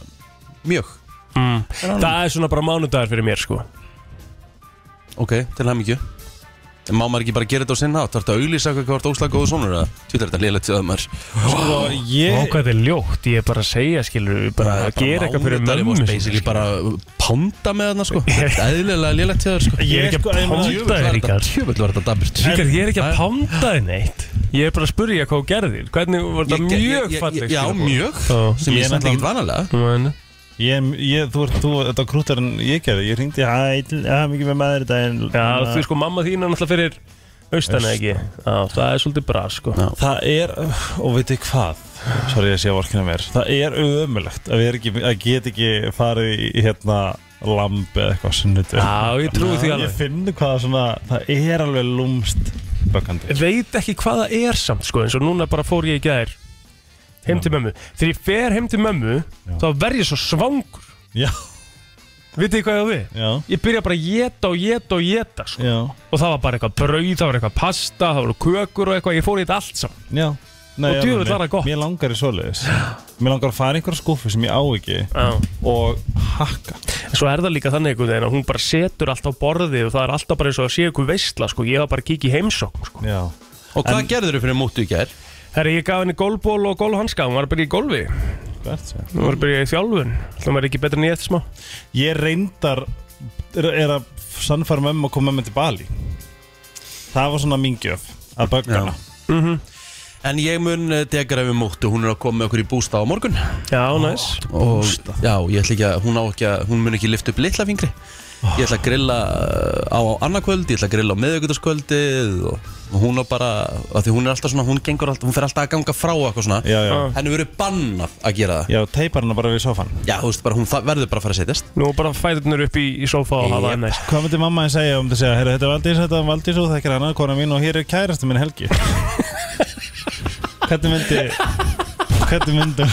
mjög mm. Það er svona bara mánudagur fyrir mér sko Ok, til hann ekki Má maður ekki bara gera þetta á sinna átt? Þarf þetta að auglýsa hvað hvað þú ert óslag góðu sonur eða? Tvítar þetta lélega til öðumar Sko, ég... Ó, hvað þetta er ljótt, ég er bara að segja, skilur við, bara að gera eitthvað fyrir mömmu Það er sinni, basically skilur. bara pánda með hana sko Æðilega lélega til öður sko Ég er ekki Sko, að en- Djöfull pánda var þér, þetta- Ríkard Djöfull var þetta daburt Ríkard, ég er ekki að pánda þér neitt Ég er bara að spurja hvað þú gerðir Hvernig var þetta mjög falleg Já, mjög Ég Sem ég er sendi ekkert náttúrulega- vanalega mjög Ég, ég, þú ert, þú, þetta var krútar en ég gerði Ég ringdi, hæ, hæ, mikið með maður í Hérna, daginn Já, þú sko, mamma þín er náttúrulega fyrir austan eða ekki Já, það er svolítið bra, sko Já. Það er, og veit ég hvað Sorry, ég sé að vorkina mér Það er ömulegt að, við erum ekki, að get ekki farið í hérna lamb eða eitthvað sunnutu Já, ég trúi því alveg Ég finn hvað svona, það er alveg lúmst bökkandi veit ekki hvað það er samt sko eins og núna bara fór ég í gær heim til mömmu þegar ég fer heim til mömmu þá verð ég svo svangur Já, vitið þið hvað ég á við? já, ég byrja bara að geta og geta og geta sko. já, og það var bara eitthvað brauð, það var eitthvað pasta það voru kökur og eitthvað, ég fór í þetta allt saman já Nei, Og alveg, djöfull mér- var það gott. Mér langar í svoleiðis Mér langar að fara í einhverja skúfu sem ég á ekki Já. Og hakka svo er það líka þannig einhvern veginn að hún bara setur allt á borði og það er alltaf bara eins og að sé eitthvað veistla sko. ég var bara að kíkja í heimsókn sko. Já Og hvað en... gerður þú fyrir mútu í gær? Herri, ég gaf henni gólból og gólhanska, hún var að byrja í gólfi hún Hvert sem var að byrja í þjálfun það var ekki betur en ég eftir smá Ég reyndar er, er að sannfæra mömmu að koma mömmu til Bali Það var svona mín gjöf að böggana En ég mun eh, degra við mútu, hún er að koma með okkur í bústa á morgun já, næs og, Já, ég ætla ekki að, hún á ekki að, hún mun ekki lifta upp litla fingri Ég ætla að grilla eh, á annarkvöld, ég ætla að grilla á miðugutaskvöldið og, og hún á bara, að því hún er alltaf svona, hún gengur alltaf, hún fer alltaf að ganga frá og eitthvað svona Já, já, Ah. Henni verið bannað að gera það já, teipar hana bara við sofan Já, þú veist bara, hún þa- verður bara að fara að setjast Nú bara fæðurnir upp í, í sofa og hafa Jep. það næst Hvað myndi mamma henni segja um þetta að segja Herra, þetta er Valdís, þetta er Valdís og þekkir hana Kona mín og hér er kærasta minn Helgi Hvernig myndi Hvernig myndi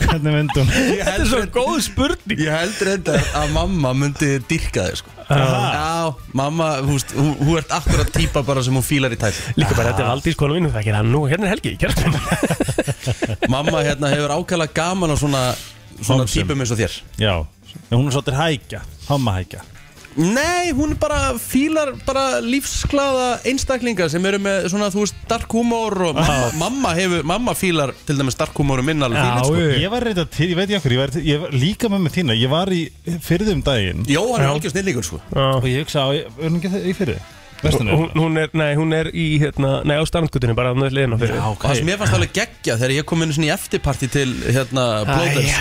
Hvernig myndi hún Þetta er svo góð spurning Ég heldur þetta að mamma myndi dyrka þig sko. Já, mamma, þú veist, hún, hún ert akkurat típa bara sem hún fílar í tæti Líka bara þetta er Aldís konu mínu, það er hann nú, hérna er Helgi, kjærtum Mamma hérna hefur ákveðlega gaman á svona, svona Homsum. típum eins og þér Já, en hún er svolítið hækja Háma hækja Nei, hún bara fílar bara lífsklaða einstaklingar sem eru með svona, þú veist, dark humor og mamma, mamma hefur, mamma fílar til dæmis dark humor og minna alveg Já, fílar sko. Jú. Ég var reynda til, ég veit ég okkur, ég var, ég var líka með með þína Ég var í fyrðum daginn Jó, hann er algjör snillíkur sko Og ég hugsa á, er hún ekki í fyrri? Vestunni hún, hún er, nei, hún er í, hérna, nei, á strandgutinu, bara á nöðliðina fyrir Og það sem mér fannst alveg geggja þegar ég kom inn svona í eftirparti til hérna Blóðers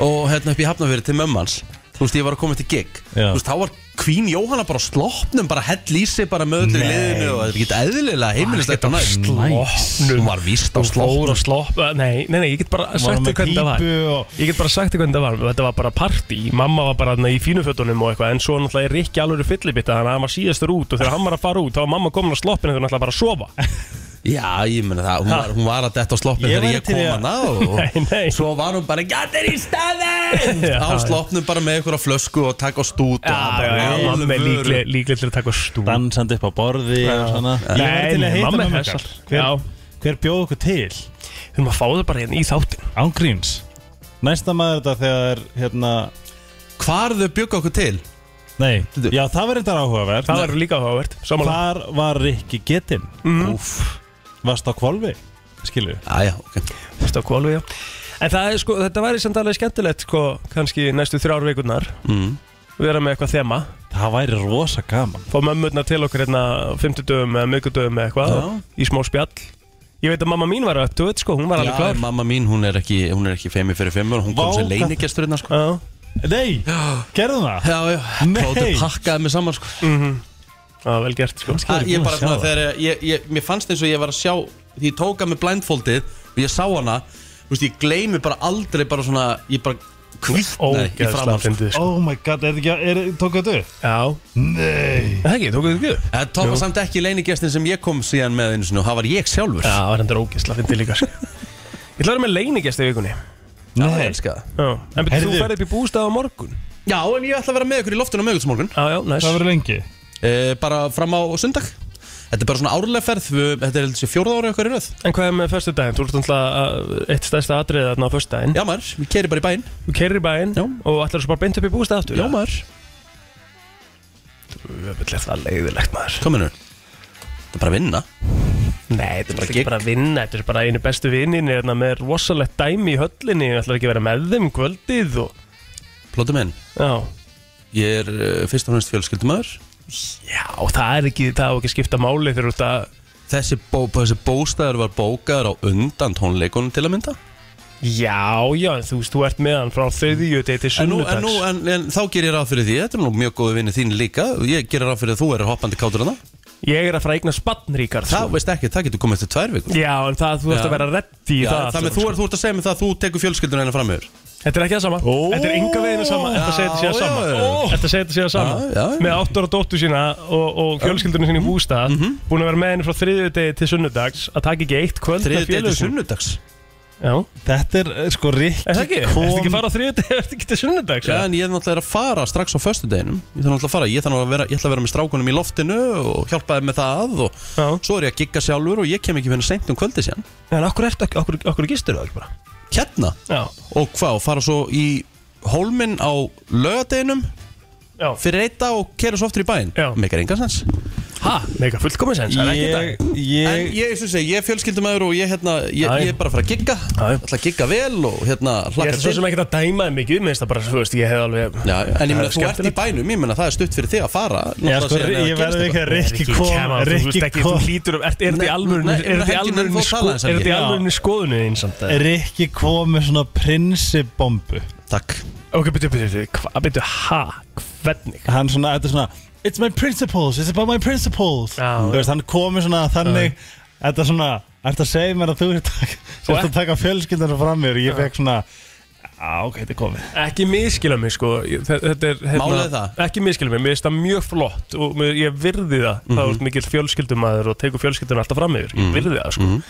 og hérna upp í Hafnafjörði til mömmans Þú veist, ég var að koma til gig Já. Þú veist, þá var Queen Jóhanna bara á sloppnum bara hell í sig bara með öllu í liðinu og þetta getur eðlilega heimilislegt og næst Sloppnum. Hún var víst á Hún fór sloppnum að sloppa, eh, nei, nei, nei, ég get bara sagt Var þér með hvernig það var pípu og Ég get bara sagt þér hvernig það var, þetta var bara partí Mamma var bara þarna í fínufötunum og eitthvað En svo náttúrulega er Rikki alveg fyllibitta Þannig að hann var síðastur út og þegar hann var að fara út Þá var mamma komin á sloppinu þegar hann ætlaði bara að sofa Já, ég meina það, hún var, hún var að detta á sloppnum Ég þegar væri ég til kom í að- hana og, og Nei, nei. svo var hún bara Gattir í staðin Já. á sloppnum bara með einhverja flösku og takk á stút Já, og já, bara já, alvöru. mamma er líkleg- líkleg til að taka stút dansandi upp á borði og svona Ég Nei, væri til nei, að heita mamma er mömmu hressar. ykkar hver, Já. hver bjóð okkur til? Við erum að fá það bara hérna í þáttin Án gríns Næsta maður þetta þegar hérna Hvar þau bjögg okkur til? Nei, já það var þetta áhugaverð Það er líka áhugavert Samanlega Hvar var Rikki getinn? Mhm. Úff, Varst á kvolfi? Skilju aðja, ok Fyrst á kvalvi, já En það er sko, þetta væri samt alveg skemmtilegt sko, kannski næstu þrjár vikurnar Mm. vera með eitthvað þema, Það væri rosa gaman fá mömmurna til okkur hérna 50 dögum eða miðgudögum eða eitthvað Já. í smá spjall Ég veit að mamma mín var upp to it sko, hún var alveg Já, klár mamma mín, hún er ekki, hún er ekki femi fyrir femi Hún kom Vá, sem hvað- leinigestur hérna, sko Já, Nei, gerðum það? Já, já, Nei. plótur pakkaði mig saman, sko já, vel gert sko Æ, Ég búin bara að sjá svona, það? þegar ég, ég, ég, mér fannst eins og ég var að sjá Því ég tóka mig blindfoldið og ég sá hana Þú veist, ég gleymi bara aldrei bara svona Ég bara kvítnaði í Ógeðslega framann, sko fyndið sko Oh my god, er, er, er, tók þetta upp? Já, Nei það ekki, tókuðu þið ekki Það tóka samt ekki leinigestin sem ég kom síðan með einu sinni Og það var ég sjálfur Já, það var hendur ógeðslega fyndið líka sko Ég ætla að vera með leinigest í vikunni Það Nei, elska það. Já, en betur þú Heyrðu. ferð upp í bústað á morgun Já, en ég ætla að vera með ykkur í loftinu með ykkur morgun Já, já, næs það verður lengi e, Bara fram á sundag Þetta er bara svona árlega ferð við- Þetta er þessi fjórða ára ykkur í röð En hvað er með förstu daginn? Þú ert alltaf eitt stærsta atriðið þarna á förstu daginn Já maður, við keri bara í bæinn Þú keirir í bæinn Já. og ætlar svo bara beint upp í bústað aftur Já maður Öfull er það leiðilegt maður Kominu Það er bara að vinna Nei, þetta er bara bara ekki gig. bara að vinna Þetta er bara einu bestu vinninni hérna, með rosalegt dæmi í höllinni Þú ætlar ekki að vera með þeim kvöldið og... Plóta minn Já Ég er uh, fyrst og fremst fjölskyldumöður Já, það er ekki, það er ekki að skipta máli þegar þú ert að Þessi, bó, þessi bóstæður var bókaður á undan tónleikunum til að mynda Já, já, en þú veist, þú ert með hann frá þriðju til en, nú, en, nú, sunnudags en, en þá ger ég ráð fyrir því Þetta er nú mjög góði vinni þín líka Ég ger ráð fyrir að þú er hoppandi kátur hana Ég er að fara að eigna spannríkar Það veist ekki, það getur komið til tvær vikur sko. Já, en það, þú ert Já. að vera reddi í Já, það sko. það með allt þú, saman, er, þú ert að segja mig það að þú tekur fjölskylduna hérna hennar framöver Þetta er ekki það sama Ó. Þetta er enga veginn sama Þetta segir þetta sé að Já, sama já, já. Þetta segir þetta sé að sama Já, já, já. Með áttur og dóttu sína og, og fjölskyldunum sína í bústað Búin að vera með henni frá þriðjudegi til sunnudags Að taka ekki eitt kvöld með Þriðið til félögum sínum. sunnudags Já, Þetta er eh, sko er Rikki það ekki? Ertu ekki að fara á þriðjudegi Ertu ekki til sunnudags? Já, en ég er náttúrulega að fara strax á föstudeginum Ég þarf náttúrulega að fara Ég, þarf að vera, ég ætla að vera með strákunum í loftinu og hjálpa þeim með það og Já. svo er ég að gigga sjálfur og ég kem ekki fyrir seint um kvöldi síðan En okkur, ertu, ekki- okkur, okkur gistur það ekki bara? Hérna Já, Og hvað, og fara svo í hólminn á lögadeginum já fyrir einn dag og kera svo aftur í bæinn Já. Megar engan sens Ha, mega fullkomins eins Það er ekki Ég, þetta En ég, ég, eins og segi, ég er fjölskyldumæður og ég, hérna, ég, Já, já. ég er bara að fara að gigga Já, já. Það ætla að gigga vel og hérna Ég hlakka er svo til. sem ekki að dæma þig mikið Minnst það bara, þú veist, ég hef alveg Já, en ég Það er meina, þú ert í skemmtilegt. bænum, ég meina, það er stutt fyrir þig að fara Já, náttúrulega sko, síðan eða ég verði ekki að Rikki gerist kom þú veist Rikki ekki, þú kom hlýtur um, er þetta í Nei, alvörinu, nei, er þetta í helgi, alvörinu, menn fór að sko, tala er þess að þetta í ég- alvörinu skoðunni þín samt að? Rikki kom með svona prinsibombu Takk Ok, byrju, byrju, byrju, hvað, byrju, ha, hvernig? Hann svona, þetta er svona It's my principles, it's about my principles Já. Þú veist, hann kom með svona þannig Þetta er svona, ertu að segja mér að þú ert að- Og- sért að taka fjölskyldunum fram mér Ég fekk svona, á, ok, þetta er komið Ekki miskila mig, sko, ég- þe- þetta er, Málið það. ekki miskila mig, mér finnst það mjög flott og mér, ég virði það, Mhm. það er mikill fjölskyldumæður og tegur fjölskyldun alltaf fram yfir, ég virði það, sko.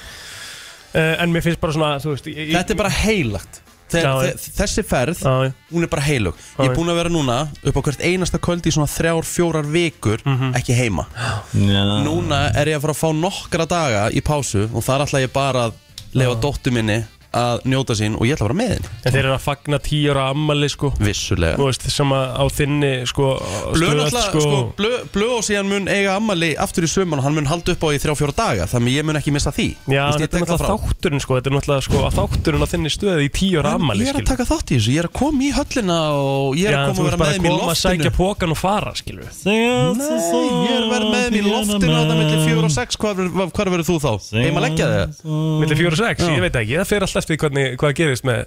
Eh, En mér finnst bara svona, þú veist, ég... Mhm. Þetta er bara heilagt Þe, Já, þe, já. Þessi ferð, Já, já. hún er bara heilug Ég já. er búin að vera núna upp á hvert einasta kvöld í svona þrjár, fjórar vikur Mhm. ekki heima Já. Núna er ég að fara að fá nokkra daga í pásu og þar ætla ég bara að lefa dóttu minni að njóta sín og ég ætla að vera með henni En þeir eru að fagna tíu ára ammali, sko, Vissulega þú veist, sem að á þinni, sko, Blöð stöð, náttúrulega, sko, blöð blö og síðan mun eiga ammali aftur í söman og hann mun halda upp á í þrjá, fjóra daga þannig ég mun ekki missa því Já, en Vist, ég þetta er tek það náttúrulega frá. þátturinn sko, þetta er náttúrulega sko, að þátturinn á þinni stöði í tíu ára En ammali Ég er að taka þátt í þessu, ég er að koma í höllina og ég er að koma að vera með þeim í koma að sækja loftinu pókan og fara skilur Nei, ég er að vera með þeim í loftinu á það millir fjóra og sex, hvar, ver- hvar verður þú þá? Heima að leggja þig? Millir fjóra og sex, Já. ég veit ekki, það fer alltaf eftir því hvernig, hvað gerist með,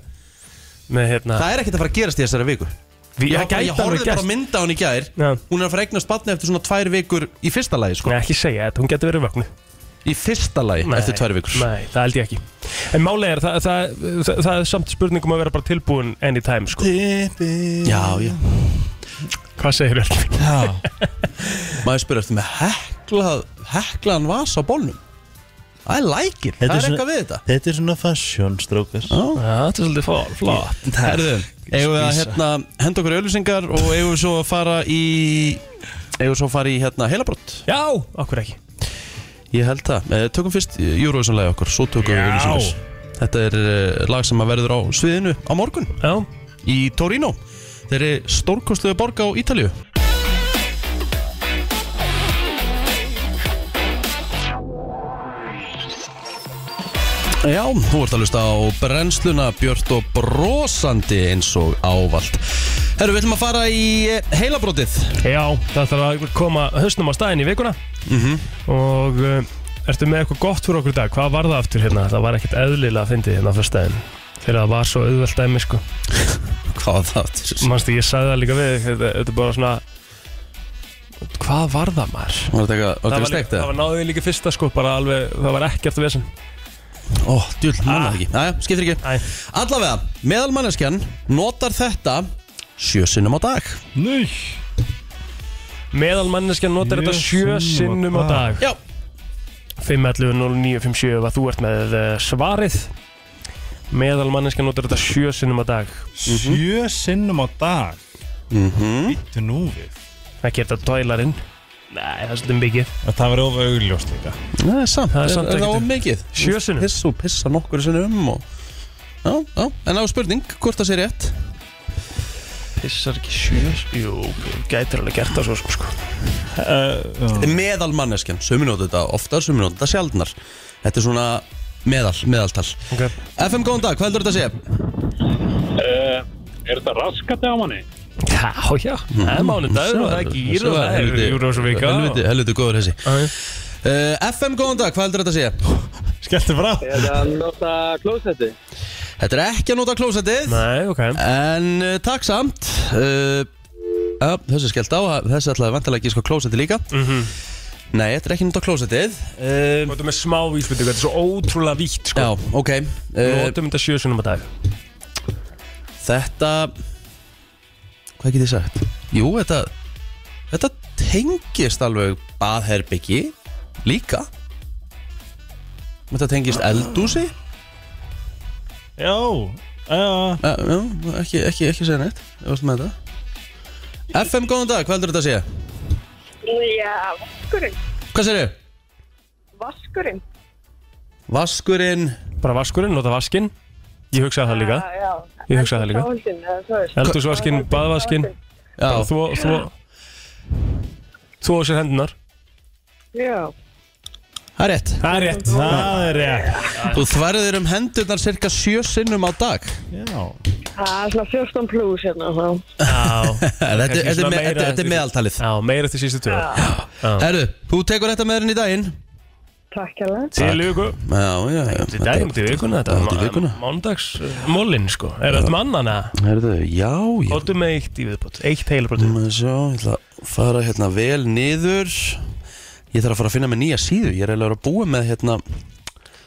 með hérna Það er ekkert að fara að gerast í þessari viku Við- Ég, það gæti ég, ég alveg horfði bara gerst. að mynda hún í gær Já. Hún er að fara að eignast batni eftir svona tvær vikur í fyrsta lagi sko Nei, ekki segja þetta, hún getur verið vögnu Í fyrsta lagi eftir tvær vikur Nei, það held ég ekki En máli er, það, það, það, það er samt spurningum að vera bara tilbúin anytime sko Já, já Hvað segir þér? Maður spyrir eftir með heklað, heklaðan vas á bólnum I like it, Þetta það er er svona- eitthvað við þetta Þetta er svona fashion, strókar Já. Það er svolítið fó- flott Herðu, eigum við að hérna, henda okkur í auðlýsingar og eigum við svo að fara í eigum við svo að fara í hérna, heilabrótt Já, okkur ekki Ég held það, eh, tökum fyrst Eurovision-lagi okkur, svo tökum við Já. auðlýsingar Þetta er eh, lag sem að verður á sviðinu á morgun Já, í Torino Þeir eru stórkostluðu borg á Ítalju Já, þú ert að lusta á brennsluna Björt og brosandi eins og ávalt Herru, við ætlum að fara í eh, heilabrótið Já, það þarf að koma höstnum á staðin í vikuna Mhm. -hmm. Og uh, ertu með eitthvað gott fyrir okkur í dag? Hvað var það aftur hérna? Það var ekkert eðlilega að fyndi hérna á fyrstæðin Þegar það var svo auðvelt dæmi sko Hvað var það? aftur? Manstu, ég sagði það líka við þig, Þetta, þetta er bara svona Hvað var það maður? Var þetta eitthvað- var þetta Það eitthvað var, steikt líka, það eða? var náðið líka fyrsta sko bara alveg, það var ekkert vesen Ó, djúl, manna Ah. það ekki Næja, skiptir ekki Æ, Allavega, meðalmanneskjan notar þetta sjö sinnum á dag Nei meðalmanneskjan notar þetta Sjö sjö sinnum sinnum á á dag Já, 5.11.09.57 að þú ert með eh, svarið meðalmanneskjan notar þetta sjö sinnum á dag Sjö sinnum á dag Mhm. Býttu nú við ekki er þetta dælarinn Nei, það er svolítið mikið Það var of augljóst líka það er samt, Það er er, samt er það ekkert- of mikið Sjö sinnum. Piss og pissa nokkur sinnum um og... Já, já, en það var spurning, hvort það sé rétt Pissar ekki sjö Jú, gætir alveg gert það svo sko, sko. Meðalmanneskjan, sömu notar þetta oftar, sömu notar þetta sjaldnar Þetta er svona meðal, meðaltal Okay. FM, góðan dag, hvað heldur þetta að sé? Er þetta raskati á manni? Já, já, það er mánudagur og það er gýr og það er Mm. Helviti- júrósvika Helviti, helviti góður þessi uh, FM, góðan dag, hvað heldur þetta að sé? Skelltu frá Er þetta að nota klósetti? Þetta er ekki að nota klósettið Nei, ok En uh, takk samt uh, uh, Þessi er skellt á Þessi ætlaði vantilega ekki sko klósetti líka Nei, þetta er ekki nút á klósettið uh, Notum með smá vísbyttu, Eh, þetta er svo ótrúlega vítt sko. Já, ok uh, Notum þetta sjö sinnum á dag Þetta Hvað get ég sagt? Jú, þetta Þetta tengist alveg baðherbyggi Líka Þetta tengist eldúsi Já, já, uh, Já, ekki, ekki, ekki segja neitt Ég varst með þetta FM, góðan dag, hvað heldur þetta að segja? Já, vaskurinn. Hvað segir þau? Vaskurinn. Vaskurinn Bara vaskurinn, nota vaskinn Ég hugsaði það líka Já, já. Ég hugsaði það líka. Sáhaldin, eða þú veist. Eldúsvaskinn, baðvaskinn Já, Þvó, þvó Þvó sér hendunar Já. það er rétt Það er rétt það er rétt Þú þverðir um hendurnar cirka sjö sinnum á dag Já, Það er svona 14 pluss hérna þá. Já, Þetta kannski þetta er svona me- meira þetta- þetta er eftir- meðaltalið já meira eftir sístu tjóð Herru, þú tekur þetta með henni í daginn Takk hérlega. Til viku Já, já, já Til dagum til vikuna þetta Já, til vikuna. Mándags Mólin sko Er þetta mannana? Herðu, já, já Óttu með eitt í viðbót Eitt heilabrótu Má ég sjá, ég ætla að fara hérna vel niður Ég þarf að fara að finna mig nýja síðu Ég er eiginlega að vera að búa með hérna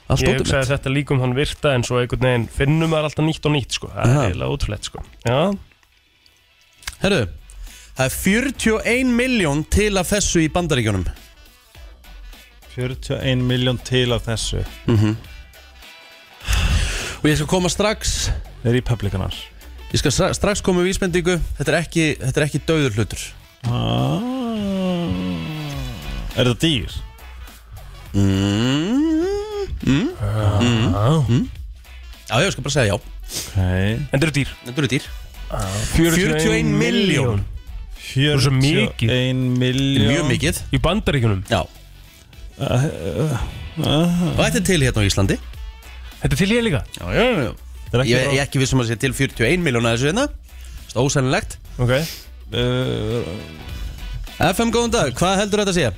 Allt Ég óttum hugsaði að þetta líkum hann virta en svo einhvern veginn finnum maður alltaf nýtt og nýtt sko Það Aha. er eiginlega ótrúlegt sko Já, Herru, það er 41 miljón til af þessu í bandaríkjunum 41 miljón til af þessu Og ég skal koma strax er í publikanar Ég skal stra- strax koma með vísbendingu Þetta er ekki, þetta er ekki döður hlutur Er það dýr? mm, mm. mm. Já, ég skal bara segja já Nei en þetta eru dýr Þetta eru dýr 41 milljón. miljón er svo mikið. 41 miljón Mjög mikið Í bandaríkunum Já Uh, Og þetta er til hérna á Íslandi Þetta er til ég líka Já, já, já Það er ekki Ég ég er ekki vissum að sé til 41 miljón að þessu hérna Ósennilegt Ok uh, FM, góðan dag, hvað heldur þetta að segja?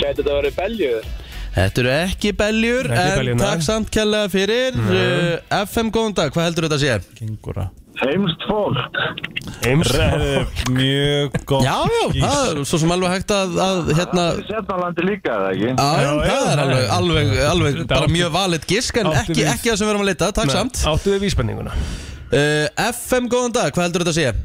Gæti þetta verið beljuður? Þetta eru ekki beljur, Ekki en beljurnar. takk samt kjærlega fyrir uh, FM, góðan dag, hvað heldur þetta að segja? Kengúra Heimst fólk. Eims Re- Mjög gott Já, já, gís. það er svo sem alveg hægt að, að hérna Setnalandi líka, eða ekki? Já, já, Já, það já, er það alveg, er- alveg, alveg Þetta bara átti- mjög valið gisk en átti ekki, við. ekki það sem við erum að leita, takk samt Áttu við vísbendinguna uh, FM, góðan dag, hvað heldur þetta að segja?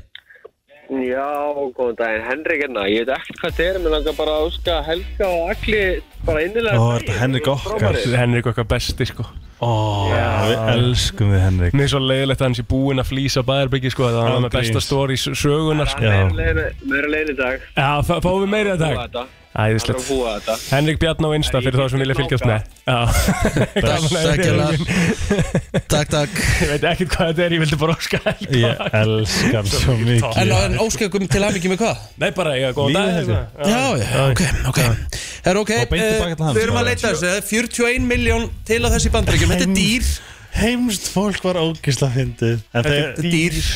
Já, góðan daginn, Henrik hérna, ég veit ekkert hvað þetta er, mér langar bara að óska Helga og Agli bara innilega Ó, er þetta Henrik okkar? Henrik okkar besti sko Ó, við elskum þið Henrik Mér er svo leiðilegt að hans er búinn að flýsa bæðarbyggi sko Það var Án með besta gríns. stóri sögunar sko Já. Mér er leiðin í dag, Já, fá- fáum við meira í dag þetta, það er að Æðislegt búa þetta. Henrik Bjarn á Insta fyrir þá sem vilja fylgjast með Já Gaman að heyra Takk þér. kjærlega Takk, takk Ég veit ekkert hvað þetta er, ég vildi bara óska sko. Helga Ég elska hann svo En, mikið en óskakum til hamingi með hvað? Nei, bara ég að góða Lífið dag heldur. eitthvað. Já, já, ok, ok Er ok, Og beint tilbaka til uh, hans, við erum að bara. leita þessu, það er 41 miljón til að þessi bandaríkjum, þetta er dýr Heimst fólk var ógisla fyndið En Þetta þegar Þetta er dýr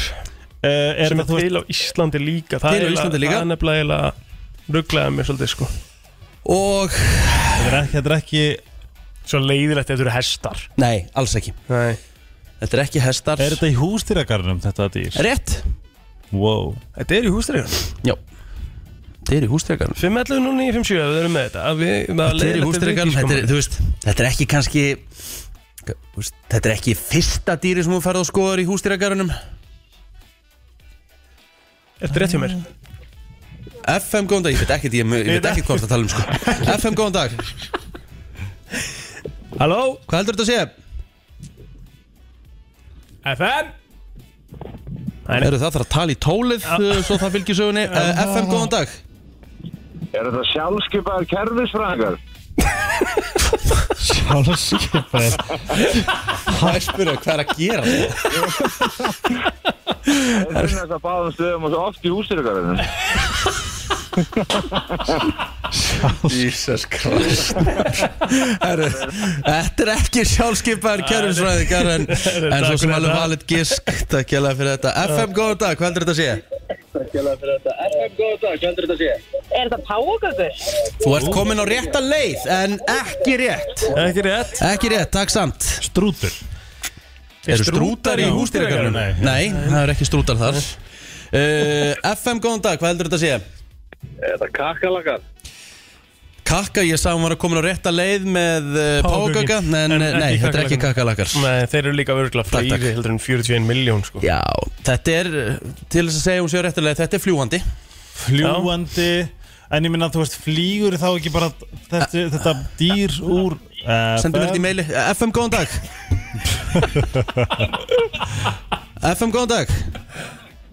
Uh, er sem það er þú veist til á Íslandi líka Það Til á er eiginlega- Íslandi líka. Það er nefnilega eiginlega rugglaði mér svolítið sko Og, Þetta er ekki- þetta er ekki Svo leiðilegt ef þú eru hestar nei, alls ekki Nei Þetta er ekki hestar Er þetta í hústýragarnum þetta dýr? Rétt Wow Þetta er í hústregjum Já Þetta er í hústregarnum 511 og 957 ef við erum með þetta að við, sko, Þetta er sko, í hústregarnum Þetta er, þú veist, þetta er ekki kannski þú veist, Þetta er ekki fyrsta dýri sem hún ferði á skoðar í hústregarnum Þetta er rétt hjá mér FM góðan dag, ég veit ekkert, ég, ég veit ekkert hvað það tala um sko FM góðan dag, Halló hvað heldur þetta að segja? FM Nei, nei. Eru það þarf að tala í tólið uh, svo það fylgir sögunni uh, FM góðan dag Er þetta sjálfskeipaðar kerfisfræðingar? Sjálfskeipaðir Það er spyrjað, hvað er að gera þetta? Þeir finna þess að báðum stöðum og svo oft í húsirgarðinum. Jesus Christ Herru, Þetta er ekki sjálfskeipaðar kjörfisfræðingar en, en svo sem alveg valið gisk Takk hjá fyrir þetta FM góðan dag, hvað heldur þetta að segja? Er þetta págökur? Þú ert komin á rétta leið en ekki rétt Ekki rétt Ekki rétt, takk samt Strútur Eru strútar í í hústýragarðinum? húsdýragarðinum? Nei, það eru ekki strútar þar Eh, uh, FM, góðan dag, hvað heldur þetta að segja? Er þetta kakalakar? Kakka, ég sagði hún var að koma á rétta leið með uh, Páfagaukin. págöka En, En en nei, ekki þetta er ekki kakalakkar Nei, þeir eru líka örgulega Takk, takk. fleiri heldur en 41 miljón sko. Já, þetta er, uh, til þess að segja hún séu á rétta leið, þetta er fljúandi fljúandi En ég minna, þú veist, flýgur þá ekki bara þetta, þetta dýr úr uh, Sendum þetta í meili FM, góðan dag FM, góðan dag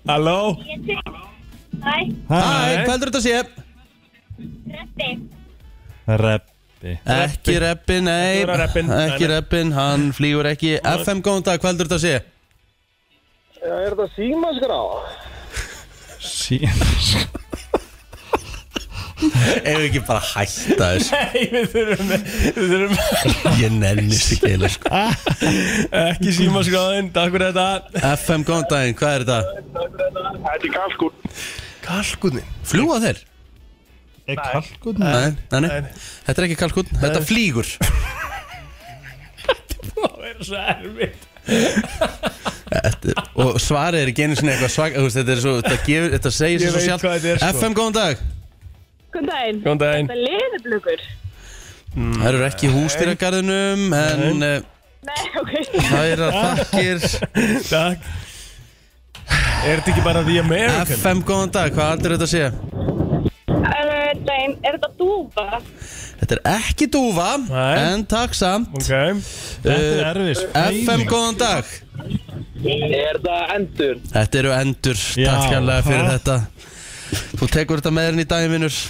Halló? Hæ, hvað heldur þetta að sé? Reppi Ekki reppi, nei Ekki reppin. Ekki reppin, hann flýgur ekki FM, góðan dag, hvað heldur þetta að sé? Er þetta símaskrá? Síðan Ef ekki bara hætta þess Nei, við þurfum, við þurfum Ég nennist ekki eða sko ekki símaskráðin, takk fyrir þetta FM, góðan daginn, hvað er þetta? Þetta er kalkun. Kalkunin Fljúa þeir? Er kalkun? Nei, nei, nei, þetta er ekki kalkun, þetta flýgur Það er svo erfitt Þetta- Og svarið er ekki einu sinni eitthvað svag þú veist, Þetta er svo, þetta gefur, þetta segir Ég sér svo veit hvað þetta er, sjálf sko. FM, góðan dag Góðan daginn. Góðan daginn Þetta er leðublugur. Það eru ekki hústýragarðinum En eh, Nei, ok. það er að þakkir Takk Er þetta ekki bara The American? FM, góðan dag, hvað heldur þetta að sé? Uh, daginn, er þetta dúfa? Þetta er ekki dúfa, Nei. en takk samt Ok Þetta Eh, er erfis FM, góðan dag Er þetta endur? Þetta eru endur, Já, takk hérlega fyrir ha? þetta Þú tekur þetta með henni í daginn, vinnur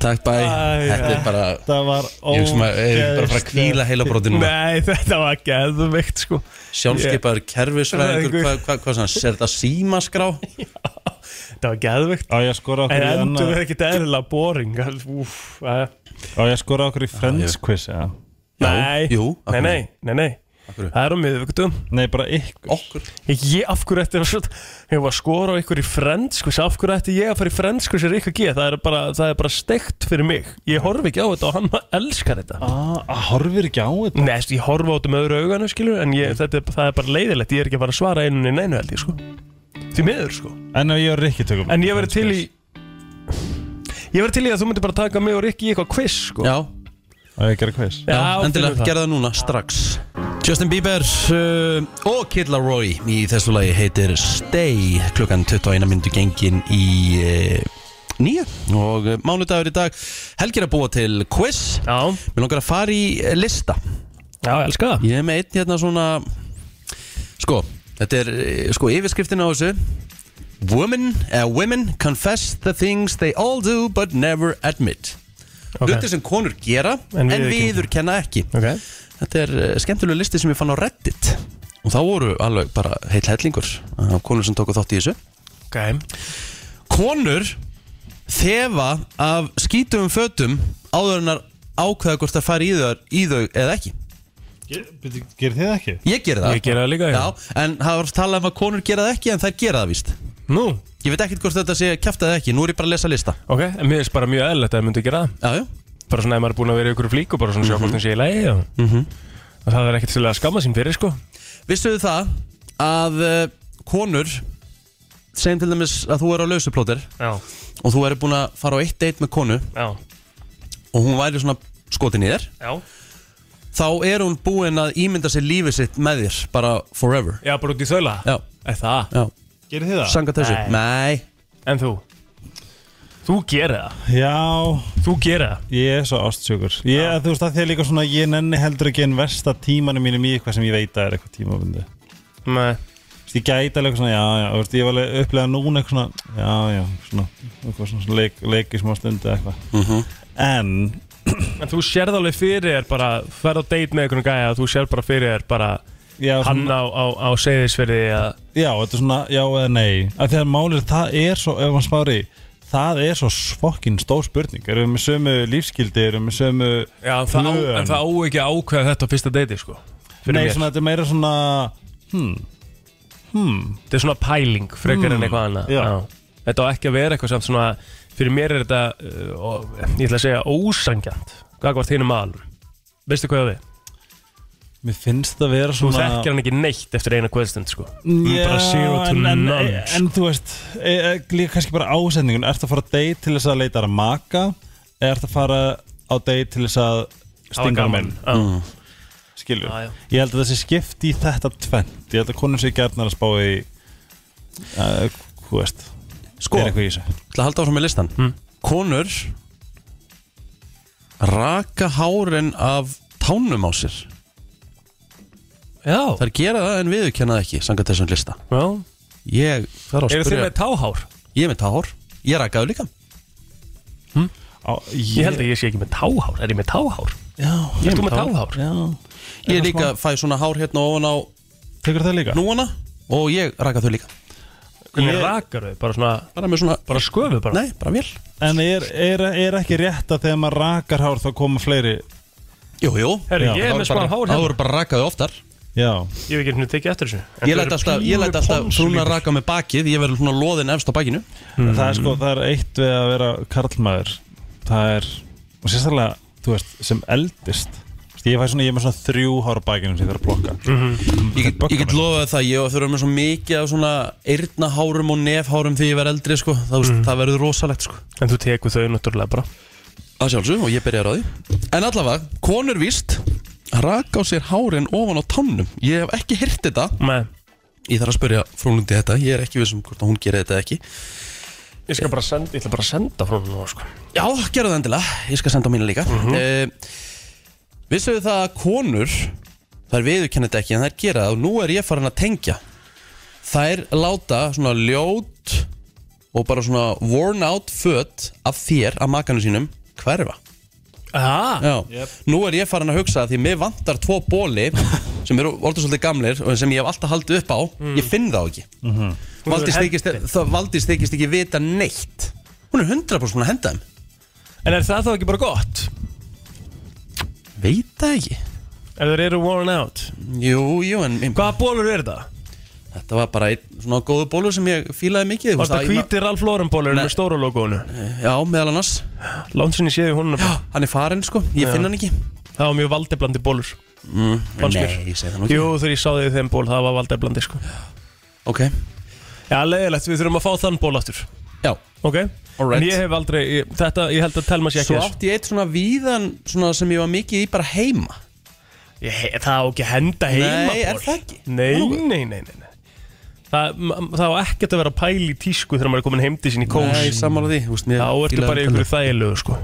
Takk, bæ Æ, Þetta er bara Þetta var Ég hugsa maður, ég er bara að fara að kvíla heila brotinu Nei, þetta var geðveikt sko Sjálfskeipaður kerfisfræðingur, Fræðingur. hvað, hvað, hvað sann, er þetta símaskrá? Þetta var geðveikt Á ég að skora En okkur í endur annað er ekkit eðlilega boring Úf, að Á ég að skora okkur í Friends quiz eða? Nei, jú, af nei, hverju? nei, nei, nei. hverju? Það er á miðvöktum Nei, bara ykkur Okkur Ég, af hverju ætti að svona Ég var að skora á ykkur í frendskvís Af hverju ætti ég að fara í sko, frendskvís er ykkur að gera Það er bara, það er bara steikt fyrir mig Ég horf ekki á þetta og hann elskar þetta ah, Horfir ekki á þetta Nei, veist, ég horfa á þetta með öðru auganu skilur En ég, Mm. þetta, er- það er bara leiðilegt Ég er ekki að fara að svara einu en einu held ég sko Því miður sko En ef ég og Rikki tökum En ég verði Friends til í quiz? Ég verði til í að þú myndir bara taka mig og Rikki í eitthvað quiz sko Já, Á ég að gera quiz Já, endilega, finnum það. gerða það núna, strax Justin Bieber uh, og Kid Laroi í þessu lagi heitir Stay klukkan 21 myndu gengin í uh, nýja og uh, mánudagur í dag Helgi er að búa til quiz Já, Mér langar að fara í eh, lista já, ég elska það Ég er með einn hérna svona Sko, þetta er eh, sko yfirskriftin á þessu Women, uh, women confess the things they all do but never admit Ok. Hlutir sem konur gera En en, viðurkenna. viður kenna ekki Ok. Þetta er eh, skemmtileg listi sem ég fann á Reddit Og þá voru alveg bara heil hellingur af konur sem tóku þátt í þessu okay. Konur þefa af skítum fötum áður en að ákveða hvort það fari í þau, í þau eða ekki Gerir þið ekki? Ég ger það Ég gera það líka, já. já En það var talað um að konur gera það ekki en þær gera það víst Nú, Ég veit ekkert hvort þetta sé kjæftað eða ekki Nú er ég bara að lesa lista ok, en mér finnst bara mjög eðlilegt að þið myndir gera það Já, já bara svona ef maður er búin að vera í ykkur flíku bara svona sjá hvort hún sé í lægi og, og það er ekkert til að skamma sín fyrir sko Vissuðu það að uh, konur segjum til dæmis að þú er á lausuplótir já, og þú er búin að fara á eitt date með konu já, og hún væri svona skotin í þér já þá er hún búin að ímynda sér lífið sitt með þér bara forever já, bara út í þaula Já, er það, já, Gerir þið það? sanga þessu Nei, en þú þú gerir það, Já, þú gerir það ég er svo ástsjökur Ég, þú veist, að því er líka svona Ég nenni heldur ekki en versta tímanum mínum í eitthvað sem ég veit að er eitthvað tímabundi Nei. Þú veist, ég gæti alveg eitthvað svona, já, já, þú veist, ég var alveg að upplega núna eitthvað svona, já, já, svona, eitthvað svona, svona leik, leik í smá stundu eitthvað. En, en þú sérð alveg fyrir þér bara ferð á date með einhvern gæja og þú sér bara fyrir þér bara já, hann svona, á, á, á segðisverði að já, þetta er svona, já eða nei, af því að málið, er, það er svo, ef maður spári, það er svo svokkin stór spurning, erum við með sömu lífskildi, erum við með sömu já, en það, á, plön? en það á ekki að ákveða þetta á fyrsta date sko fyrir Nei, mér. svona, þetta er meira svona, þetta er svona pæling frekar en eitthvað annað já. þetta á ekki að vera eitthvað samt svona fyrir mér er þetta uh, og, ég ætla að segja ósangjant gagvart hinum aðalum veistu hvað ég á við? mér finnst það vera þú svona... þekkir hann ekki neitt eftir eina kvöldstund sko. Já, bara zero to en, en, none, en, þú veist, e, e, líka kannski bara ásetningun Ertu að fara að date til þess að leita að maka eða ertu að fara á date til þess að stinga á gaman, menn já. mm. skilur Já, já. ég held að þessi skipt í þetta tvent ég held að konum sé gærnar að spá í uh, hú veist Sko, er ég eitthvað í þessu ætla að halda áfram með listan Hmm. Konur Raka hárin af tánum á sér Já, Það er gera það en viðurkenna það ekki Sangat þessum lista já Ég þarf að Eru þið spyrja með táhár? Ég er með tár Ég rakaði líka Á, Ég held að ég sé ekki með táhár Er ég með táhár? já, Ert þú með táhár? já. Ég líka fæ svona hár hérna ofan á tekur það líka núana Og ég raka þau líka Hvernig Ég- rakar þau? Bara svona Bara með svona Bara sköfu bara Nei, bara vel en er, er, er ekki rétt að þegar maður rakar hár þá koma fleiri Jú, jú Herru, Já, ég er Það með voru smá bara- hár Það hérna voru bara rakaði oftar já, Ég hef ekki henni tekið eftir þessu En Ég þau læt eru alltaf, ég pínu læt alltaf pons frúna líka. raka með bakið Ég verður svona loðin efst á bakinu það er sko, það er eitt við að vera karlmaður það er, og sérstaklega þú veist, sem eldist Þú veist, ég fæ svona, ég er með svona þrjú hára bækinum sem ég þarf að plokka Mhm. Ég get, ég get lofað það, ég á að þurfa með svo mikið af svona eyrnahárum og nefhárum þegar ég verð eldri sko, það, veist, það verður rosalegt sko. En þú tekur þau náttúrulega bara Það sjálfsög og ég byrjar á því. En allavega, konur víst raka á sér hárin ofan á tannum. Ég hef ekki hirt þetta. Nei Ég þarf að spyrja frúlundi þetta, ég er ekki vissum hvort að hún gerir þetta eða ekki. Ég skal bara senda Ég ætla bara að senda frá hún sko. Já, gerðu það endilega, ég skal senda á mínu líka. Mm -hmm. Vissuðu það að konur, þær viðurkenna þetta ekki en þær gera það og nú er ég farin að tengja. Þær láta svona ljót og bara svona worn out föt af þér, af makanum sínum, hverfa. ah, Já, nú er ég farin að hugsa að því mér vantar tvo bóli sem eru orðið svolítið gamlir og sem ég hef alltaf haldið upp á, ég finn þá ekki. Mm Hún er -hmm. Valdís þykist ekki vita neitt. Hún er 100% búin að henda þeim. En er það þá ekki bara gott? Veit það ekki. Ef þeir eru worn out Jú, jú, en Hva? Hvaða bólur er það? þetta var bara einn svona góðu bólur sem ég fílaði mikið þú Var veist, það að ég- hvíti Ralf Lauren bólur Nei. með stóra logónu? Já, meðal annars Lánt sinni séu hún Hann er farinn sko, ég finn hann ekki Það var mjög valdeblandi bólur Fannst mér. Nei, ég segi það nú ekki Jú, þegar ég sá þig í þeim ból, það var valdeblandi sko. Ok, Já, leiðilegt, við þurfum að fá þann ból aftur já Ok, Alright. en ég hef aldrei ég, Þetta, ég held að telma sér ekki Svo þess átti ég eitt svona víðan svona sem ég var mikið í bara heima ég, Það á ekki að henda heima Nei, er ból. það ekki? Nei, Nú. nei, nei, nei, nei. Það, m- það á ekkert að vera pæl í tísku þegar maður er komin heimdi sín í Nei, kós sammála því þú veist, mér Þá ertu fílaði bara í þetta. ykkur þægilegu sko.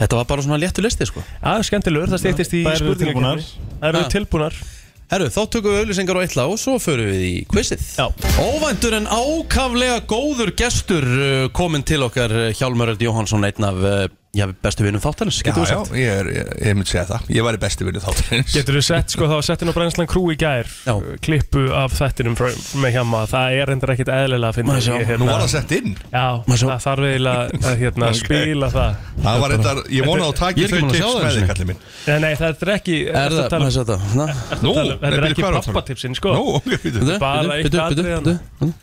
Þetta var bara svona léttu listi sko Já, skemmtilegur, það stýttist í Þær eru spurningakeppni. Þær eru tilbúnar Herru, þá tökum við auðlýsingar á eitt lag og svo förum við í quizið Já. Óvæntur en ákaflega góður gestur uh, kominn til okkar uh, Hjálmar Örd Jóhansson, einn af uh, já, bestu vinum þáttarins, Já, getur við já, sagt ég, er, ég, ég myndi segja það Ég var í besti vinnu þáttarins Getur þú sett, sko, þá settin á brennslan krú í gær uh, Já. Klippu af þettinum frá, með hjama Það er reyndar ekkit eðlilega að finna hérna. Maður sjá. Nú var það sett inn Já, Maður sjá. það þarf eiginlega að hérna, Ok. spila það Það var þetta, ég vona að Ég taki er þau ekki búin að sjá tips með það einu þig, sinni. kallið minn Nei, nei, þetta er ekki Er ertu að það, Hérna, tala um- maður sér þetta svona. Nú, tala- þetta er byrju, ekki hvað var það? pappatipsin, sko. Nú, ok, býtu Bitu, Bara eitt bitu, bitu, atriði hérna? bitu, bitu. Hérna.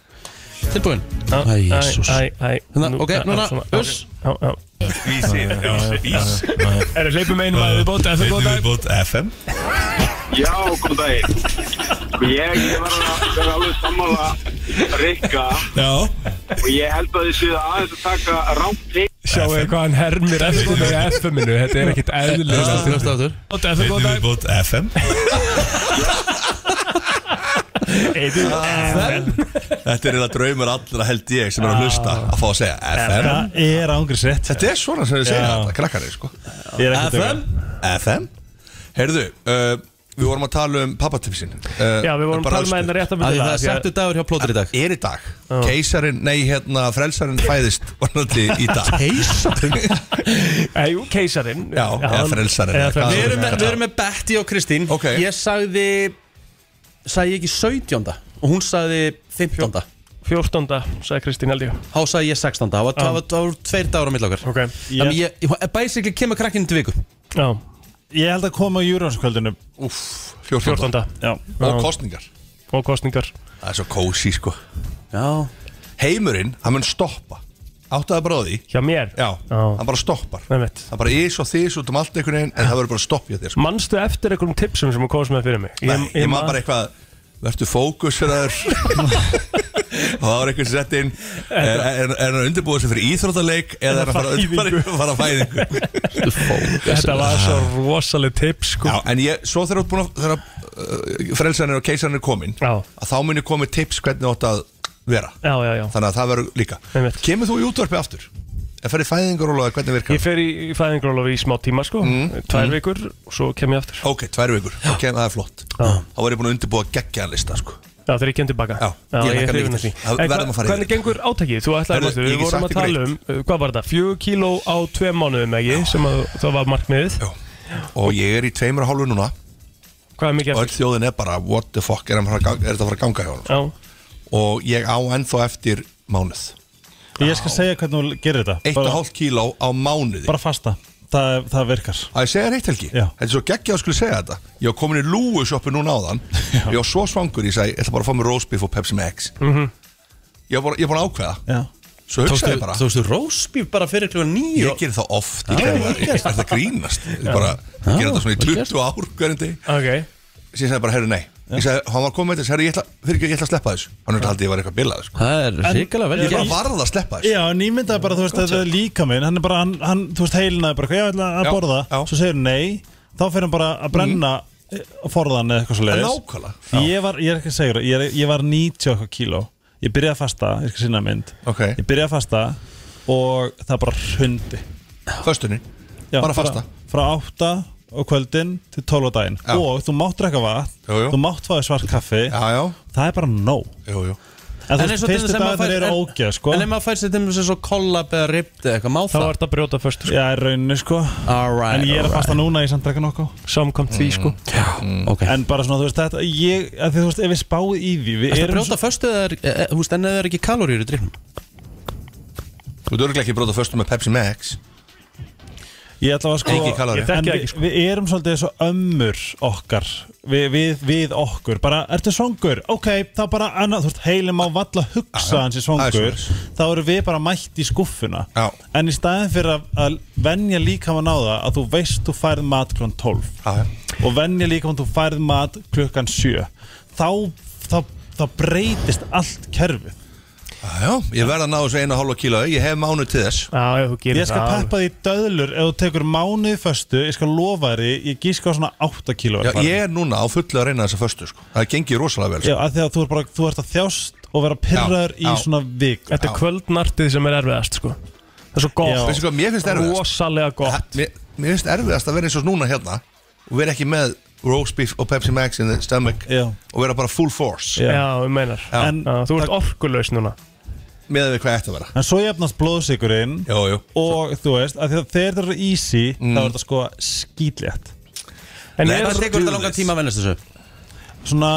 Tilbúin Æ, jésús Æ, æ, æ Hérna, ok, já, núna, svona, uss. já, já. Vísi, vísi Er það hleypum einum að við bóta Við bóta Viðbót FM Já, góð daginn. Ég, ég var að vera alveg sammála Rikka Já, og ég held að þið séu aðeins að taka rámt til. Sjáu þið hvað hann hermir eftir með FM-inu Þetta er ekkit eðlilega Hlusta, hlusta aftur. Bóta FM, bóta viðbót FM Þetta er eða draumur allra held ég sem er að hlusta Ah. að fá að segja FM það er ángriðs rétt Þetta er svona sem þið segja Já. þetta, krakkarnir sko ég er ekki að FM djóka. FM Heyrðu, uh, við vorum að tala um pappatipsin uh, Já, við vorum að tala með hennar rétt að Að mynda Það er settu dagur hjá plótur í dag er í dag Keisarin, nei hérna, frelsarinn fæðist vonandi í dag Keisarin? Jú, keisarin um- Já, eða frelsarinn eða eða hvað Við það erum er. með, við erum með Betty og Kristín Ok. Ég sagði Sagði ég ekki 17. Og hún sagði 15. 14. sagði Kristín held ég Há sagði ég 16. Það var, það var, það var tveir dagur á milli okkar Ok Þannig að ég, ég- basically kemur krakkinn til viku Já, ég held að koma á júrjónskvöldinu Úff, 14. 14. já, Og kostningar Og kostningar Það er svo kósi sko Já, Heimurinn, hann mun stoppa Áttaði bara á því Hjá mér Já, Já hann bara stoppar Nei mitt Það bara ís og þís út um allt einhvern veginn En það verður bara að stoppja þér sko Manstu eftir einhverjum tipsum sem hún komst með fyrir mig? Nei, ég maður bara eitthvað Vertu fókus fyrir þér og það var eitthvað sem sett inn er, er, er hann undirbúið sér fyrir íþróttaleik eða er hann að fara- bara að fara að fæðingu Þetta var svo rosaleg tips sko Já, en ég, svo þegar þú ert búin að þegar uh, frelsarnir og keisarnir er komin Já. að þá munir komið tips hvernig þú átt að vera Já, já, já þannig að það verður líka Einmitt. Kemur þú í útvarpi aftur? En ferði fæðingur og hvernig virkar? Ég fer í, í fæðingarólof í smá tíma sko Mm. Tvær vikur og svo kem ég aftur Ok, tvær vikur, ok, það er flott Þá var ég búin að undirbúa geggjaðan lista sko. Já, þegar ég kem tilbaka Já, ég ég er lakka hrifin mikið af því til. Það En verðum að hva- fara yfir Hvernig gengur átakið? Þú ætlaði Herðu, ég að Við get vorum sagt að ykkur tala eitt. um uh, Hvað var þetta? Fjögur kíló á tveim mánuðum ekki Sem að það var markmiðið Og ég er í tveimur og hálfu núna Hvað er mikið Og öll eftir? þjóðin er bara, what the fuck er, hann að fara að ganga- er þetta að fara að ganga hjá honum? Já, Og ég á ennþá eftir mánuð Ég skal segja hvernig þú gerir þetta Eitt og bara, hálft kíló á mánuði bara fasta, það, það virkar að ég segja reitt helgi Já. þetta er svo geggjað að skulle segja þetta ég var komin í lúusjoppu núna áðan ég var svo svangur, ég sagði, ég ætla bara að fá mér roastbeef og Pepsi Max ég var bara- ég var búin að ákveða Já, svo hugsaði Tókstu, ég bara, tókstu rósbíf bara fyrir kljóðan nýju ég gerir það oft ég gerir það, ég er það grínast ég bara, ég gerir það svona í 20 ár hverjum deg ok síðan sagði ég bara, herru nei ég sagði, hann var komin með þess, herru, ég ætla, fyrir ekki, ég ætla að sleppa þessu hann er haldið ég var eitthvað bilaður sko. Það er hrikalega vel ég bara gert varð að sleppa þessu já en ég myndaði bara, þú veist, þetta er líka minn Hann er bara, hann, hann þú veist, heilinaði bara, já, ég ætla að Já, borða já. Svo segir hann nei, þá fer hann bara að brenna mm. Forðan eða eitthvað svo Mhm. En leiðis nákvæmlega Ég var, ég er ekki að segja, þér, ég, er- ég var 90 og eitthvað kíló Ég byrjaði að fasta, ég skal sína mynd Ok. Ég byrjaði að fasta og það bara hundi föstunni, Já, bara fasta Frá 8 á kvöldin til 12 á daginn Já. Og þú mátt drekka vatn, Jú, jú. þú mátt fáið svart kaffi já, já, Það er bara nóg jú, jú En þú veist, eins og til fyrstu þess að maður dagarnir fær- eru en- ógeð, sko En ef maður fær sér til þess að svo kollab eða ripti eða eitthvað, má Það það? var þetta að brjóta först sko Já, í rauninni, sko All right, En ég er all að right. fasta núna, ég samt drekka nokkuð Samkvæmt því Mm. sko Ok. En bara svona, þú veist, þetta Ég, að því, þú veist, ef við spáði í því Við Ertu að erum brjóta föstu eða, er- e- e- þú veist, en eða er ekki kalóriur í drifnum? Þú ert örugglega ekki að brjóta föstu með Pepsi Max Ég ætla að sko Ekki kaloríu. Ég þekki þekki það ekki ekki, sko Við erum svolítið svo ömmur okkar Við, við, við okkur Bara, ertu svangur? Ok, þá bara annað Þú veist, heilin má valla hugsa hans Það í er svangur svoleiðis. Þá eru við bara mætt í skuffuna Já. En í staðin fyrir að, að venja líka á það Að þú veist þú færð mat klón 12 Já, já. Og venja líka um þú færð mat klukkan 7 Þá, þá, þá breytist allt kerfið Já, já, ég verð að ná þessu einu og hálfa kílói, ég hef mánu til þess Já, ef þú gerir Ég skal það peppa því döðlur ef þú tekur mánuði föstu, ég skal lofa því, ég gíska á svona 8 kíló Já, ég er núna á fullu að reyna þessa föstu sko. Það gengir rosalega vel Já, sko. af því að þú ert bara, þú ert að þjást og vera pyrraður já. í svona vik Þetta er kvöldnartið sem er erfiðast sko Það er svo Já. gott Veistu hvað, mér finnst erfiðast Rosalega Ha, gott Mér, mér finnst erfiðast að vera eins og núna hérna og vera ekki með roast beef og Pepsi Max in the stomach Já. og vera bara full force Já. Já, við meinar Já. En, Já, Þú ert orkulaus núna með við hvað ætti að vera en svo jafnast blóðsikurinn Jú, jú, og þú veist, af því að þegar það eru easy Mm. þá er þetta sko skýtlétt En Nei, það ég er, tekur- Tekur þetta do langan this. tíma að vennast þessu? Svona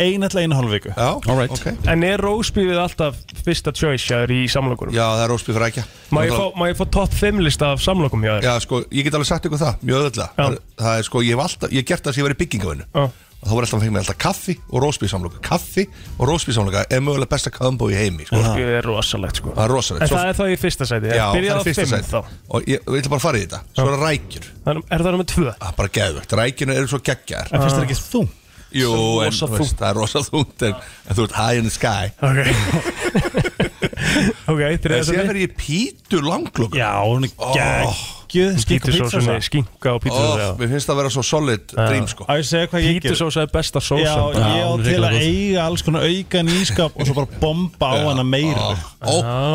eina til einu hálf viku já, All right. ok en er rósbífið alltaf fyrsta choice hjá þér í samlokunum? Já, það er roast beef rækja Má ég, fá, má ég fá topp 5 lista af samlokum hjá þér? Já, sko, ég get alveg sagt ykkur það, mjög öðvöldlega Já. það, er- það er sko, ég hef alltaf, ég hef gert það sem ég var í byggingavinu Já. og þá var alltaf að fengja mig alltaf kaffi og roast beef samloka Kaffi og roast beef samloka er mögulega besta combo í heimi sko. Rósbífið er rosalegt sko Það er rosalegt En Svo- það er þá í fyrsta sæti Já, það Byrjað er á fyrsta 5 sæti þá Og ég, ég ætla bara að fara í þetta Svo er það rækjur Það Er er það nummer 2? Það er bara geðvögt Rækjurna eru svo geggjar En finnst þetta Ah. ekki þú? Jú, svo en rosa þú veist, það er rosa þungt en, en þú ert high in the sky Ok Ok, En þriða síðan sæti verður ég pítur langklokk Já, hún er geggjuð skikk og pizza Pítusósunni, svo skinka og pítusósa Mér finnst það að vera svo solid dream sko Á ég að segja hvað ég ger Pítusósa er besta Já, sósan ég á hún er til að hrikalega góð. eiga alls konar auka nýskap og svo bara bomba á hana meira Ó, Já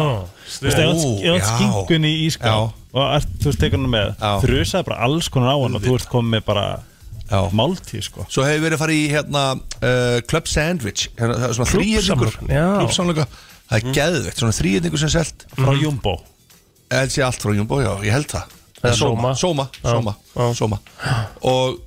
Þú veist, ef Ó, þú ert já. skinkunni í ískap og ert, þú veist, tekur hann með Já. þrjusaði bara alls konar á hann og þú ert komið með bara máltíð, sko Svo hefur verið að fara í hérna uh, Club Sandwich hérna, Það er svona þrýjöðningur Klúbbsamlokan, já. Klubsamloka Það er geðvegt, svona þrýjöðningur sem selt Mm. frá Jumbo Ég held sé allt frá Jumbo, já, ég held það Eða Sóma. Sóma, Sóma, Sóma Og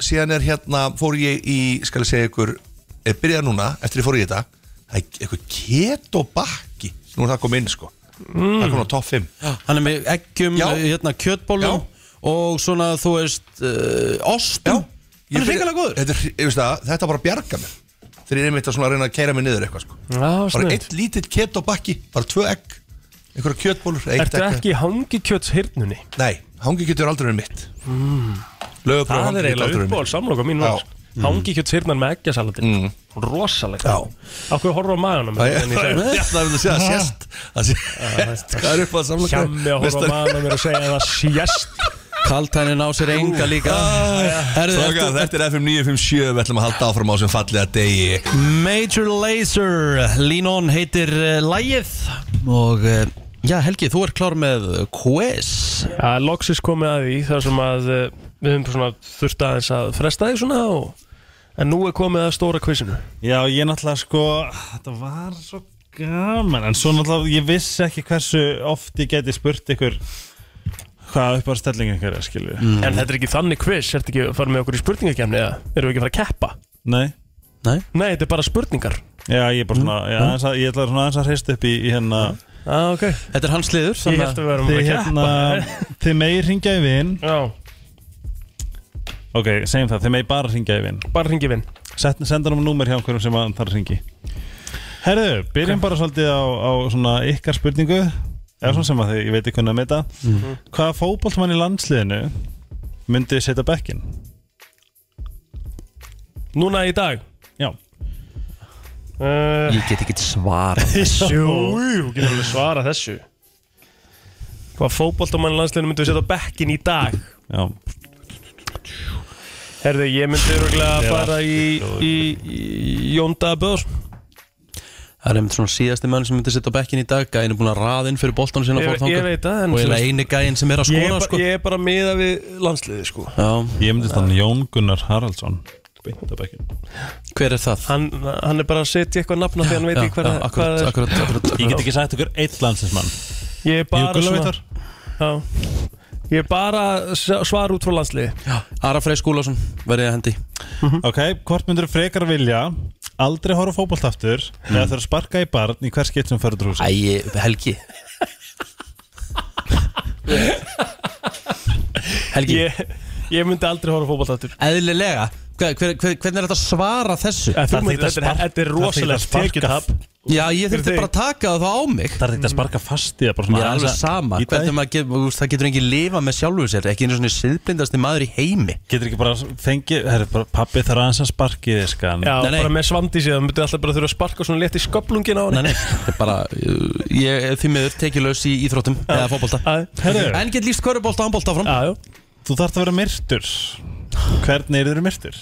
síðan er hérna fór ég í, skal ég segja ykkur eh, byrjaði núna, eftir ég fór í þetta það er eitthvað keto bakki nú er það komið inn sko það kom á topp 5 Hann er með eggjum, Já. hérna, kjötbólum og svona, þú veist, uh, ostum Hann er hrikalega góður þetta, er hri- ég veist það, þetta bara bjarga mér þegar ég er einmitt að svona reyna að keira mig niður eitthvað sko Já, bara sniðugt eitt lítill keto bakki bara tvö egg, einhverja kjötbólur eitt Ertu egg. ekki í hangikjötshyrnunni? nei, hangi getur aldrei verið mitt mm. Það er eiginlega uppból samlokum mín Já, Mm. var hangi kjött sýrnar með eggjasalatinn mm. rosaleg Já. af hverju horfa á maðanum Það er það er að segja að sést Það sést Hvað er upp að samla hjammi að horfa á maðanum er að segja að það sést Kaltænin á sér enga líka Herðu, Strákar, ertu- ah, þetta er FM 957 Við ætlum að halda áfram á sem fallega degi Major Lazer Lean On heitir uh, lægið Og uh, já Helgi, þú ert klár með quiz ja, loksis komið að því þar sem að eh, við höfum svona þurft aðeins að fresta því svona og En nú er komið að stóra quizinu Já, ég náttúrulega sko Þetta var svo gaman En svo náttúrulega, ég vissi ekki hversu oft ég geti spurt ykkur Hvað upp á stellingu ykkur er, skilju En þetta er ekki þannig quiz, ertu ekki að fara með okkur í spurningakefni eða erum við ekki að fara að keppa? Nei, Nei, þetta er bara spurningar já, ég er bara svona já, aðeins að, Ég ætla svona aðeins að hreist upp í, í hérna ah, okay. Þetta er hans liður Ég þannig held að við erum að Þið keppa hérna, þið megi ringja í vin Já, Ok, segjum það, þið megi bara ringja í vin bara ringi vinn Sett- Senda um númer hjá einhverjum sem að þar ringi Herðu, byrjum bara svolítið á, á svona ykkar spurningu eða svona sem að þið, ég veit ekki hvernig að meita Mhm. Hvaða fótboltmann í landsliðinu myndið setja bekkin? Núna í dag Já að uh, Ég get ekki svara Jú, þú getur alveg svara þessu Hvað fótboltamann í landsleginu myndum við setja á bekkin í dag? Já, Herðu, ég myndi örgulega að fara í, í, í, í Jónda Böðs Það er einmitt svona síðasti mann sem myndi setja á bekkin í dag Gæin er búin að raða inn fyrir boltan sinna Ég- fór þangað. ég veit það, en Og þú eiginlega veist- eini gæin sem er að ég, er skora bara- sko. ég er bara miða við landsliði sko Já, ég myndið þannig Jón Gunnar Haraldsson beint á bekkin hver er það? Hann, hann er bara að setja eitthvað nafna því hann veit ekki hvað já, akkurat, það er akkurat, akkurat, Ég akkurat. get ekki sagt ykkur eitt landsliðsmann Ég er bara Jú, Gulla svona veit já, Ég er bara að s- svara út frá landsliði Ara Frey Skúlásson verði að hendi Mhm. Ok, hvort myndur þú frekar vilja aldrei horfa á fótbolt aftur með Mhm. að þurfa að sparka í barn í hver skipt sem förður húsi Æ, Helgi Helgi, Ég, ég myndi aldrei horfa fótballtáttur eðlilega hver, hver, hver, Hvernig er þetta að svara þessu? Þetta þýðir að er- sparka- þetta er það þýðir að rosalegt sparka- tekjutap Já, ég þurfti þig. bara að taka það á mig Það er þetta að sparka fast í það bara svona Mér er aðeins alveg að- sama í dag. Hvernig maður getur, úst, það getur engin lifa með sjálfu sér Ekki einu svona siðblindasti maður í heimi Getur ekki bara fengið, herri, bara pappi þarf aðeins að sparki þig skan Já, Nei, nei. bara með svandi síðan, myndi alltaf bara þurfa að sparka svona létt í sköplungin á Nei, hann nei, þetta er bara uh, Ég er því miður tekjulegs í íþróttum Eða fótbolta Herru. En get líst körubólta og handbólta áfram Já, já, Þú þarft að vera myrtur Hvernig eru þeir myrtur?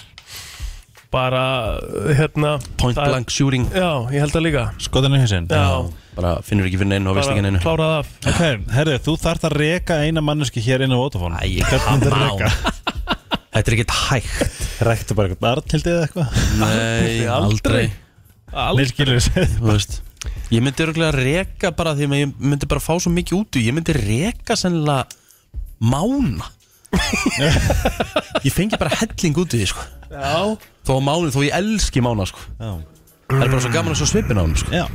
bara, hérna Point það- blank shooting Já, ég held það líka Skoðinu hausinn Já, Bara finnur ekki fyrir neinu og veist bara ekki neinu klárað af Ok, herru, þú þarft að reka eina manneski hér inn á Votafón Æ, Hvernig come þetta on. reka? Þetta er ekkert hægt Rektu bara eitthvað Arnhildi eða eitthvað Nei, aldrei Nei, skilur þessi Þú veist Ég myndi örgulega reka bara því að ég myndi bara fá svo mikið út í Ég myndi reka sennilega mána Ég fengi bara helling út í því sko Já, Þó að mánu, þó ég elski mána sko Já, Það er bara svo gaman að svo svipin á hann sko já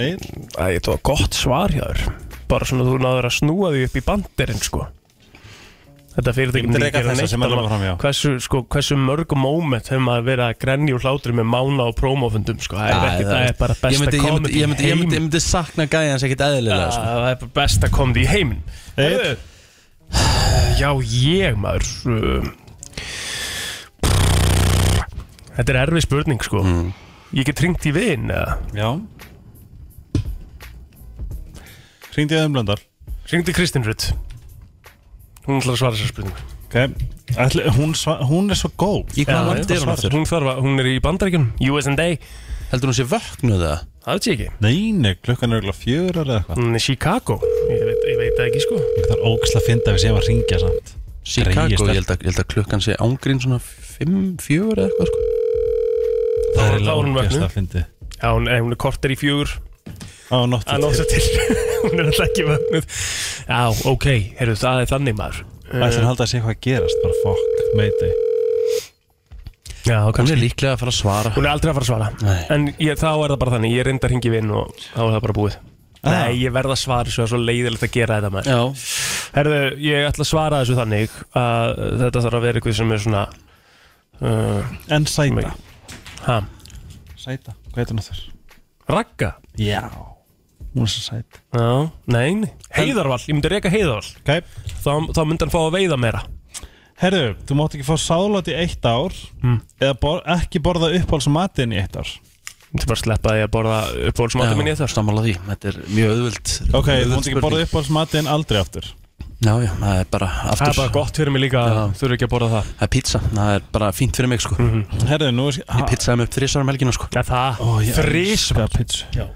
Egill? Æ, þetta var gott svar hjá þér Bara svona þú náður að snúa því upp í banderinn, sko Þetta Ég fyrirtæki myndi myndi reka ekki gera þessa neitt sem er annað. alveg fram, já. Hversu, sko, hversu mörg moment hefur maður verið að grenja úr hlátri með mána og prómófundum, sko Það er, ekki, það er bara Ég besta myndi- ég myndi- komedi í ég myndi- Ég myndi- ég heiminum. myndi sakna gæjans ekkert eðlilega Já, sko. Það er bara besta komedi í heimin Egill? Já, ég maður uh, Þetta er erfið spurning sko Mm. Ég get ringt í vin eða? Já Hringdi ég umlandar Ringdi Kristín Rutt Hún ætlar að svara sér spurningu Ok, Ætli, hún, sva- hún er svo góð Í hvað Já, landi er hún aftur? Hún, þarf að, hún er í bandaríkjum USA Heldur hún sé vöknuð það? Það veit ég ekki Nei, nei, klukkan er örugglega fjögur eða eitthvað Hún er í Chicago Ég veit, ég veit það ekki sko Það er ógæsla að finna við séum að ringja samt Chicago, Greyið ég held að, ég held að klukkan sé ángrín svona 5-4 eða eitthvað sko Það er þá er hún eiginlega ógæsla vöknuð. að finna Já, hún, eh, hún er korter í fjögur Á nóttu að nósa til Hún er alltaf ekki vögnuð Já, ok, heyrðu, það er þannig maður Það ætlum að halda að sé hvað gerast, bara fokk, meiti Já, Hún kannski er líklega að fara að svara Hún er aldrei að fara að svara Nei. En ég, þá er það bara þannig, ég reyndar hingi vinn og þá er það bara búið Nei, ég verð að svara þessu, það er svo leiðilegt að gera þetta maður Já, Herðu, ég ætla að svara þessu þannig að þetta þarf að vera eitthvað sem er svona uh, En sæta, Nei. ha, sæta, hvað heitir hún þurr? Ragga Já Hún er svo sæt Já, nei, nei. heiðarval, ég myndi reyka heiðarval Ok, þá, þá myndi hann fá að veiða meira Herðu, þú mátt ekki fá sálat í eitt ár Hmm. eða bor, ekki borða uppáhaldsmatinn í eitt ár Þetta er bara að sleppa því að borða uppbólsmatum minn í þetta Sammála því, þetta er mjög auðvöld Ok, þú mátt ekki borða uppáhaldsmatinn aldrei aftur Já, já, það er bara Það er aftur bara gott fyrir mig líka að Já. þurfa ekki að borða það Það er pizza, það er bara fínt fyrir mig sko Mhm. Herðu, nú er Ég pizzaði mig upp þrísar um helgina sko Já, það Þrísvar. Frísma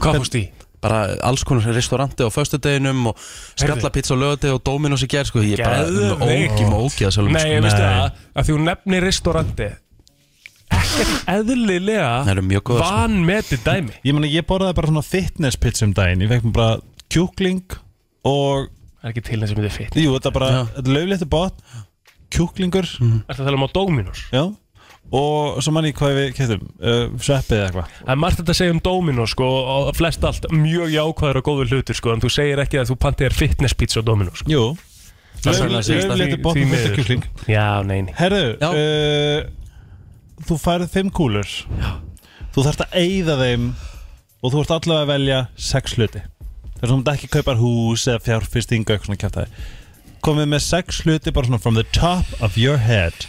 Hvað fórst í? Bara alls konar restauranti á föstudeginum og skallapizza á lögadegi og Dominos í gerð sko Ég er bara Geðveik. ógjum og ógjað sjálfum Nei, sko ég veistu það að því hún nefnir restauranti ekkert Það eðlilega eru mjög góða sko vanmeti dæmi Ég meina, ég borðaði bara svona fitness pizza um daginn Ég fekk mér bara kjúkling og Það er ekki til þess að myndi fyrir Jú, þetta er bara, Já. þetta er löfléttu bótt Kjúklingur, Er það að tala um á Dominos? já Og svo manni hvað við kæftum uh, Sveppið eða eitthvað Það er margt þetta að segja um Dominos sko, og flest allt mjög jákvæður og góður hlutir sko, en þú segir ekki að þú pantið er fitness pizza á Dominos sko. Jú, er svona að segja löfléttu það. bótt Því- því með miður. kjúkling Já, nei, nei Herðu, Já. uh, þú færið fimm kúlur Já. Þú þarft að eyða þeim og þú ert allavega að velja sex hluti Þess að þú mátt ekki kaupar hús eða fjárfyrstinga eitthvað svona kjæftæði Komið með sex hluti bara svona from the top of your head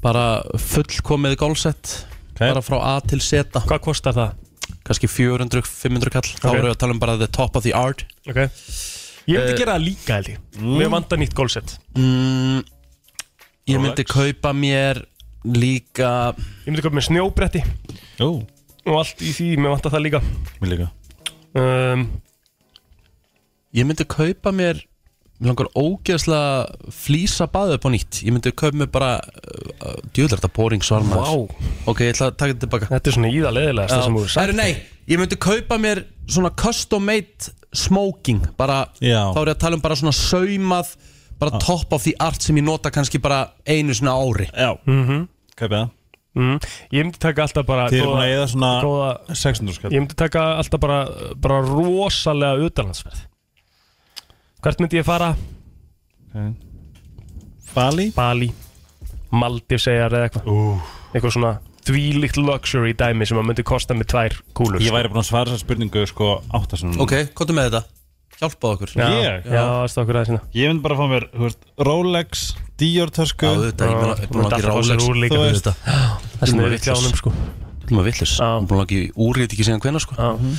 Bara fullkomið gólsett okay? Bara frá A til Z Hvað kostar það? Kanski 400-500 kall Þá Ok. erum við að tala um bara the top of the art Okay. Ég myndi Eh, gera það líka held ég mm. Mér vanda nýtt gólsett mm, Ég myndi kaupa mér líka Ég myndi köpa með snjóbretti Jú, og allt í því, mér vanda það líka mér líka um, Ég myndi kaupa mér Mér langar ógeðslega flýsa baðu upp á nýtt Ég myndi kaupa mér bara uh, Djúðlega þetta boring svar maður Ok, ég ætla að taka þetta tilbaka Þetta er svona íðarleðilegast það sem þú hefur Æru, sagt nei, ég myndi kaupa mér svona custom made smoking bara, Já. Þá er ég að tala um bara svona saumað Bara Ah. top of the art sem ég nota kannski bara einu svona ári Já, mm -hmm. kaupið það mm, Ég myndi taka alltaf bara Þið eru búin að góða, eyða svona góða, 600 skall Ég myndi taka alltaf bara, bara rosalega utanlandsferð Hvert myndi ég fara? Bali Bali, Maldiv segjar eða eitthvað uh. Eitthvað svona þvílíkt luxury dæmi sem að myndi kosta með tvær kúlur Ég væri búin að svara þessar spurningu sko áttasunum Ok, hvað er með þetta? Hjálpaðu okkur Já, Ég? já, það stókur aðeins hérna Ég myndi bara fá mér, þú veist, Rolex, Dior Já, tösku auðvitað, ég meina- ég er Þú búin að langa ert í alltaf að fá sér úr Rolex líka, Þú þú veist það. Það er sniður í klánum sko Þú ert maður villis Ég Já. er búin að langa í úrrið ekki síðan hvenær sko Já. mhm.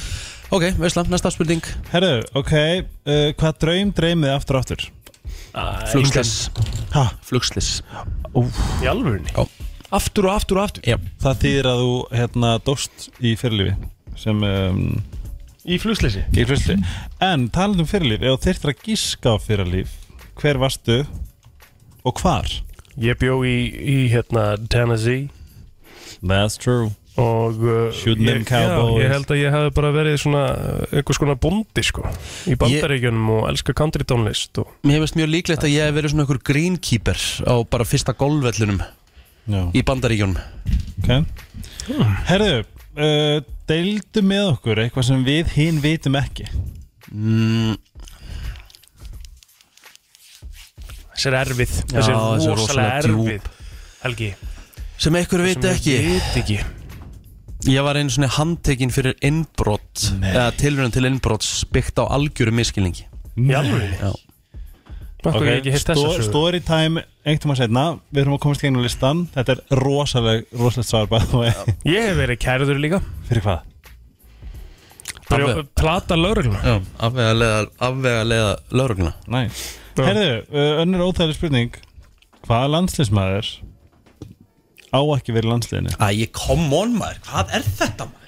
Ok, veistla, næsta spurning Herru, ok, uh, hvað draum dreymið aftur og aftur? Flugslis Ha? Flugslis Í alvörunni? Já. Aftur og aftur og aftur Já Það þýðir að þú hérna dóst í fyrirlífi sem um, Í flugsleysi í hlusti En talandi um fyrirlíf, ef þú þyrftir að gíska á fyrirlíf hver varstu og hvar? Ég bjó í, í hérna Tennessee That's true og uh, Shooting them ég, cowboys. já, ég held að ég hef bara verið svona uh, einhvers konar bondi sko í bandaríkjunum og elska country tónlist og Mér hefist mjög líklegt að ég hef verið svona einhver greenkeeper á bara fyrsta golfvellunum Já, í bandaríkjónum ok Herru, uh, deildu með okkur eitthvað sem við hinn vitum ekki mm, þessi er erfið Já, þessi er þessi er rosalega rosalega djúp. erfið Helgi Sem einhver veit ekki veit ekki Ég var einu svona handtekinn fyrir innbrot eða tilrönd til innbrot byggt á algjöru miskilningi í alveg Já. Akkur okay. ekki hitt þess að sögu story time einhverjum að setna Við erum að komast í gegnum listan Þetta er rosaleg, rosalegt svar by the way. Ég hef verið kærður líka Fyrir hvað? Brjó, Alveg. Plata lögregluna Já, afvega leiða, afvega leiða laurugluna Næs Herðu, uh, önnur óþægileg spurning Hvaða landsliðsmaður á ekki verið í landsliðinu? Æ, come on maður, hvað er þetta maður?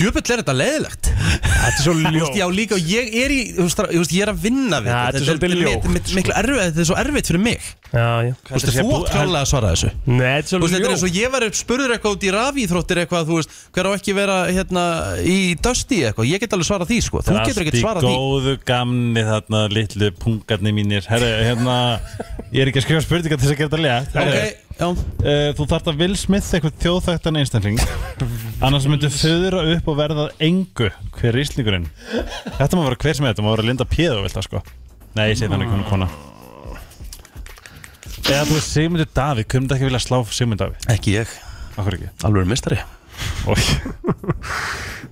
Djöfull er þetta leiðilegt Þetta er svo Þú veist, já líka, og ég er í, þú veist, þú veist, ég er að vinna við Já, þetta þetta. er svolítið mi- ljótt, mi- miklu erfið, þetta er svo erfitt fyrir mig Já, já Þú veist, þú átt klálega að svara þessu Nei, þetta er Þú svo veist, þetta er eins ljótt og ég var spurður eitthvað út í rafíþróttir eitthvað, þú veist, hver á ekki vera hérna í Dusty eitthvað, ég get alveg svarað því sko, þú getur ekkert svarað Allt því í góðu gamni þarna litlu pungarni mínir Herru, hérna, ég er ekki að skrifa spurninga til þess að gera þetta létt Herru, Ok, já, uh, Þú þarft að Will Smith eitthvað þjóðþægtan einstakling Annars myndu föðra upp og verða að engu Hver er íslingurinn? Þetta má vera hver sem er, þetta má vera Linda Péðu vilt það sko Nei, ég segi þannig hún er kona Eða þú veist Sigmundur Davíð, hvernig myndi ekki vilja slá Sigmund Davíð? ekki ég, Akkur ekki? alveg er mistari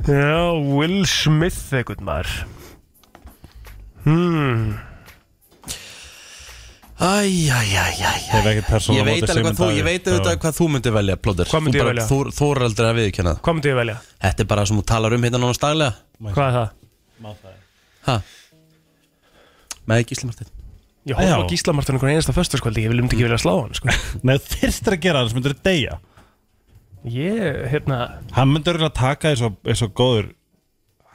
Já, Will Smith eitthvað maður Hmm Æj, æj, æj, æj Hef ekkert persónulega Ég veit alveg hvað þú, ég veit auðvitað hvað þú myndir velja, Plóður Hvað myndi ég velja? Þú þú er aldrei að viðkjöna það Hvað myndi ég velja? Þetta er bara sem þú talar um hérna nánast daglega Hvað er það? Hæ? Með Gísli Martin Ég horf á Já. Gísla Martin einhvern einasta föstaskvöldi Ég vil um ekki vilja slá hann sko. Nei, þyrst að gera það, þess myndur þú deyja Ég, hérna Hann myndur að taka því svo, er svo góður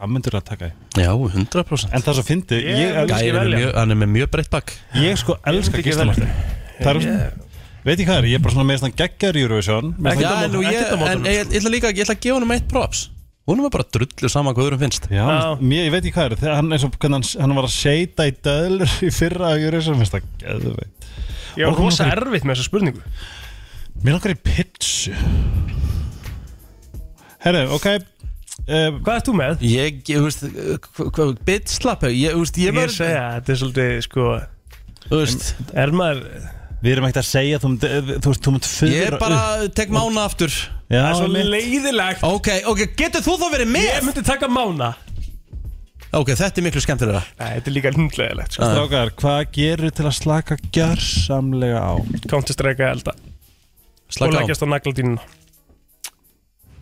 Hann myndur að taka því Já, 100% En það er svo fyndið Ég ég, myndi elska- velja. Gæinn er mjög- hann er með mjög breytt bakk Ég sko elska myndi ekki Gísla velja. Martin Það er Ég- Veit ég hvað er, ég er bara svona með svona geggar Eurovision Mér Já, finnst það- en nú ég, ekkert á móti en honum, ég, ég ætla líka, ég ætla að gefa honum eitt props Hún er bara drullu sama hvað öðrum finnst Já, mér, ég veit ekki hvað er þegar hann, er svo, hvernig hann, hann var að seita í döðlur í fyrra að gjöra þessum finnst það geðveit Ég var rosa erfitt með þessa spurningu Mér langar í pitsu Herru, ok um, Hvað ert þú með? Ég, ég, þú veist, hva- hva- bit slapp Ég, þú veist, ég Ég var er að segja, þetta er svolítið, sko Þú veist Er maður Við erum ekkert að segja þú, mynd, eh, þú veist, þú mynd fyrir Ég er bara, tek mána aftur Já, Það er svo mitt. leiðilegt Ok, ok, getur þú þá verið með? Ég myndi taka mána Ok, þetta er miklu skemmtilega Nei, þetta er líka hundlegilegt sko. Strákar, hvað gerur til að slaka gjörsamlega á? Counter-Strike að elda Og Slaka á, leggjast á nagladínuna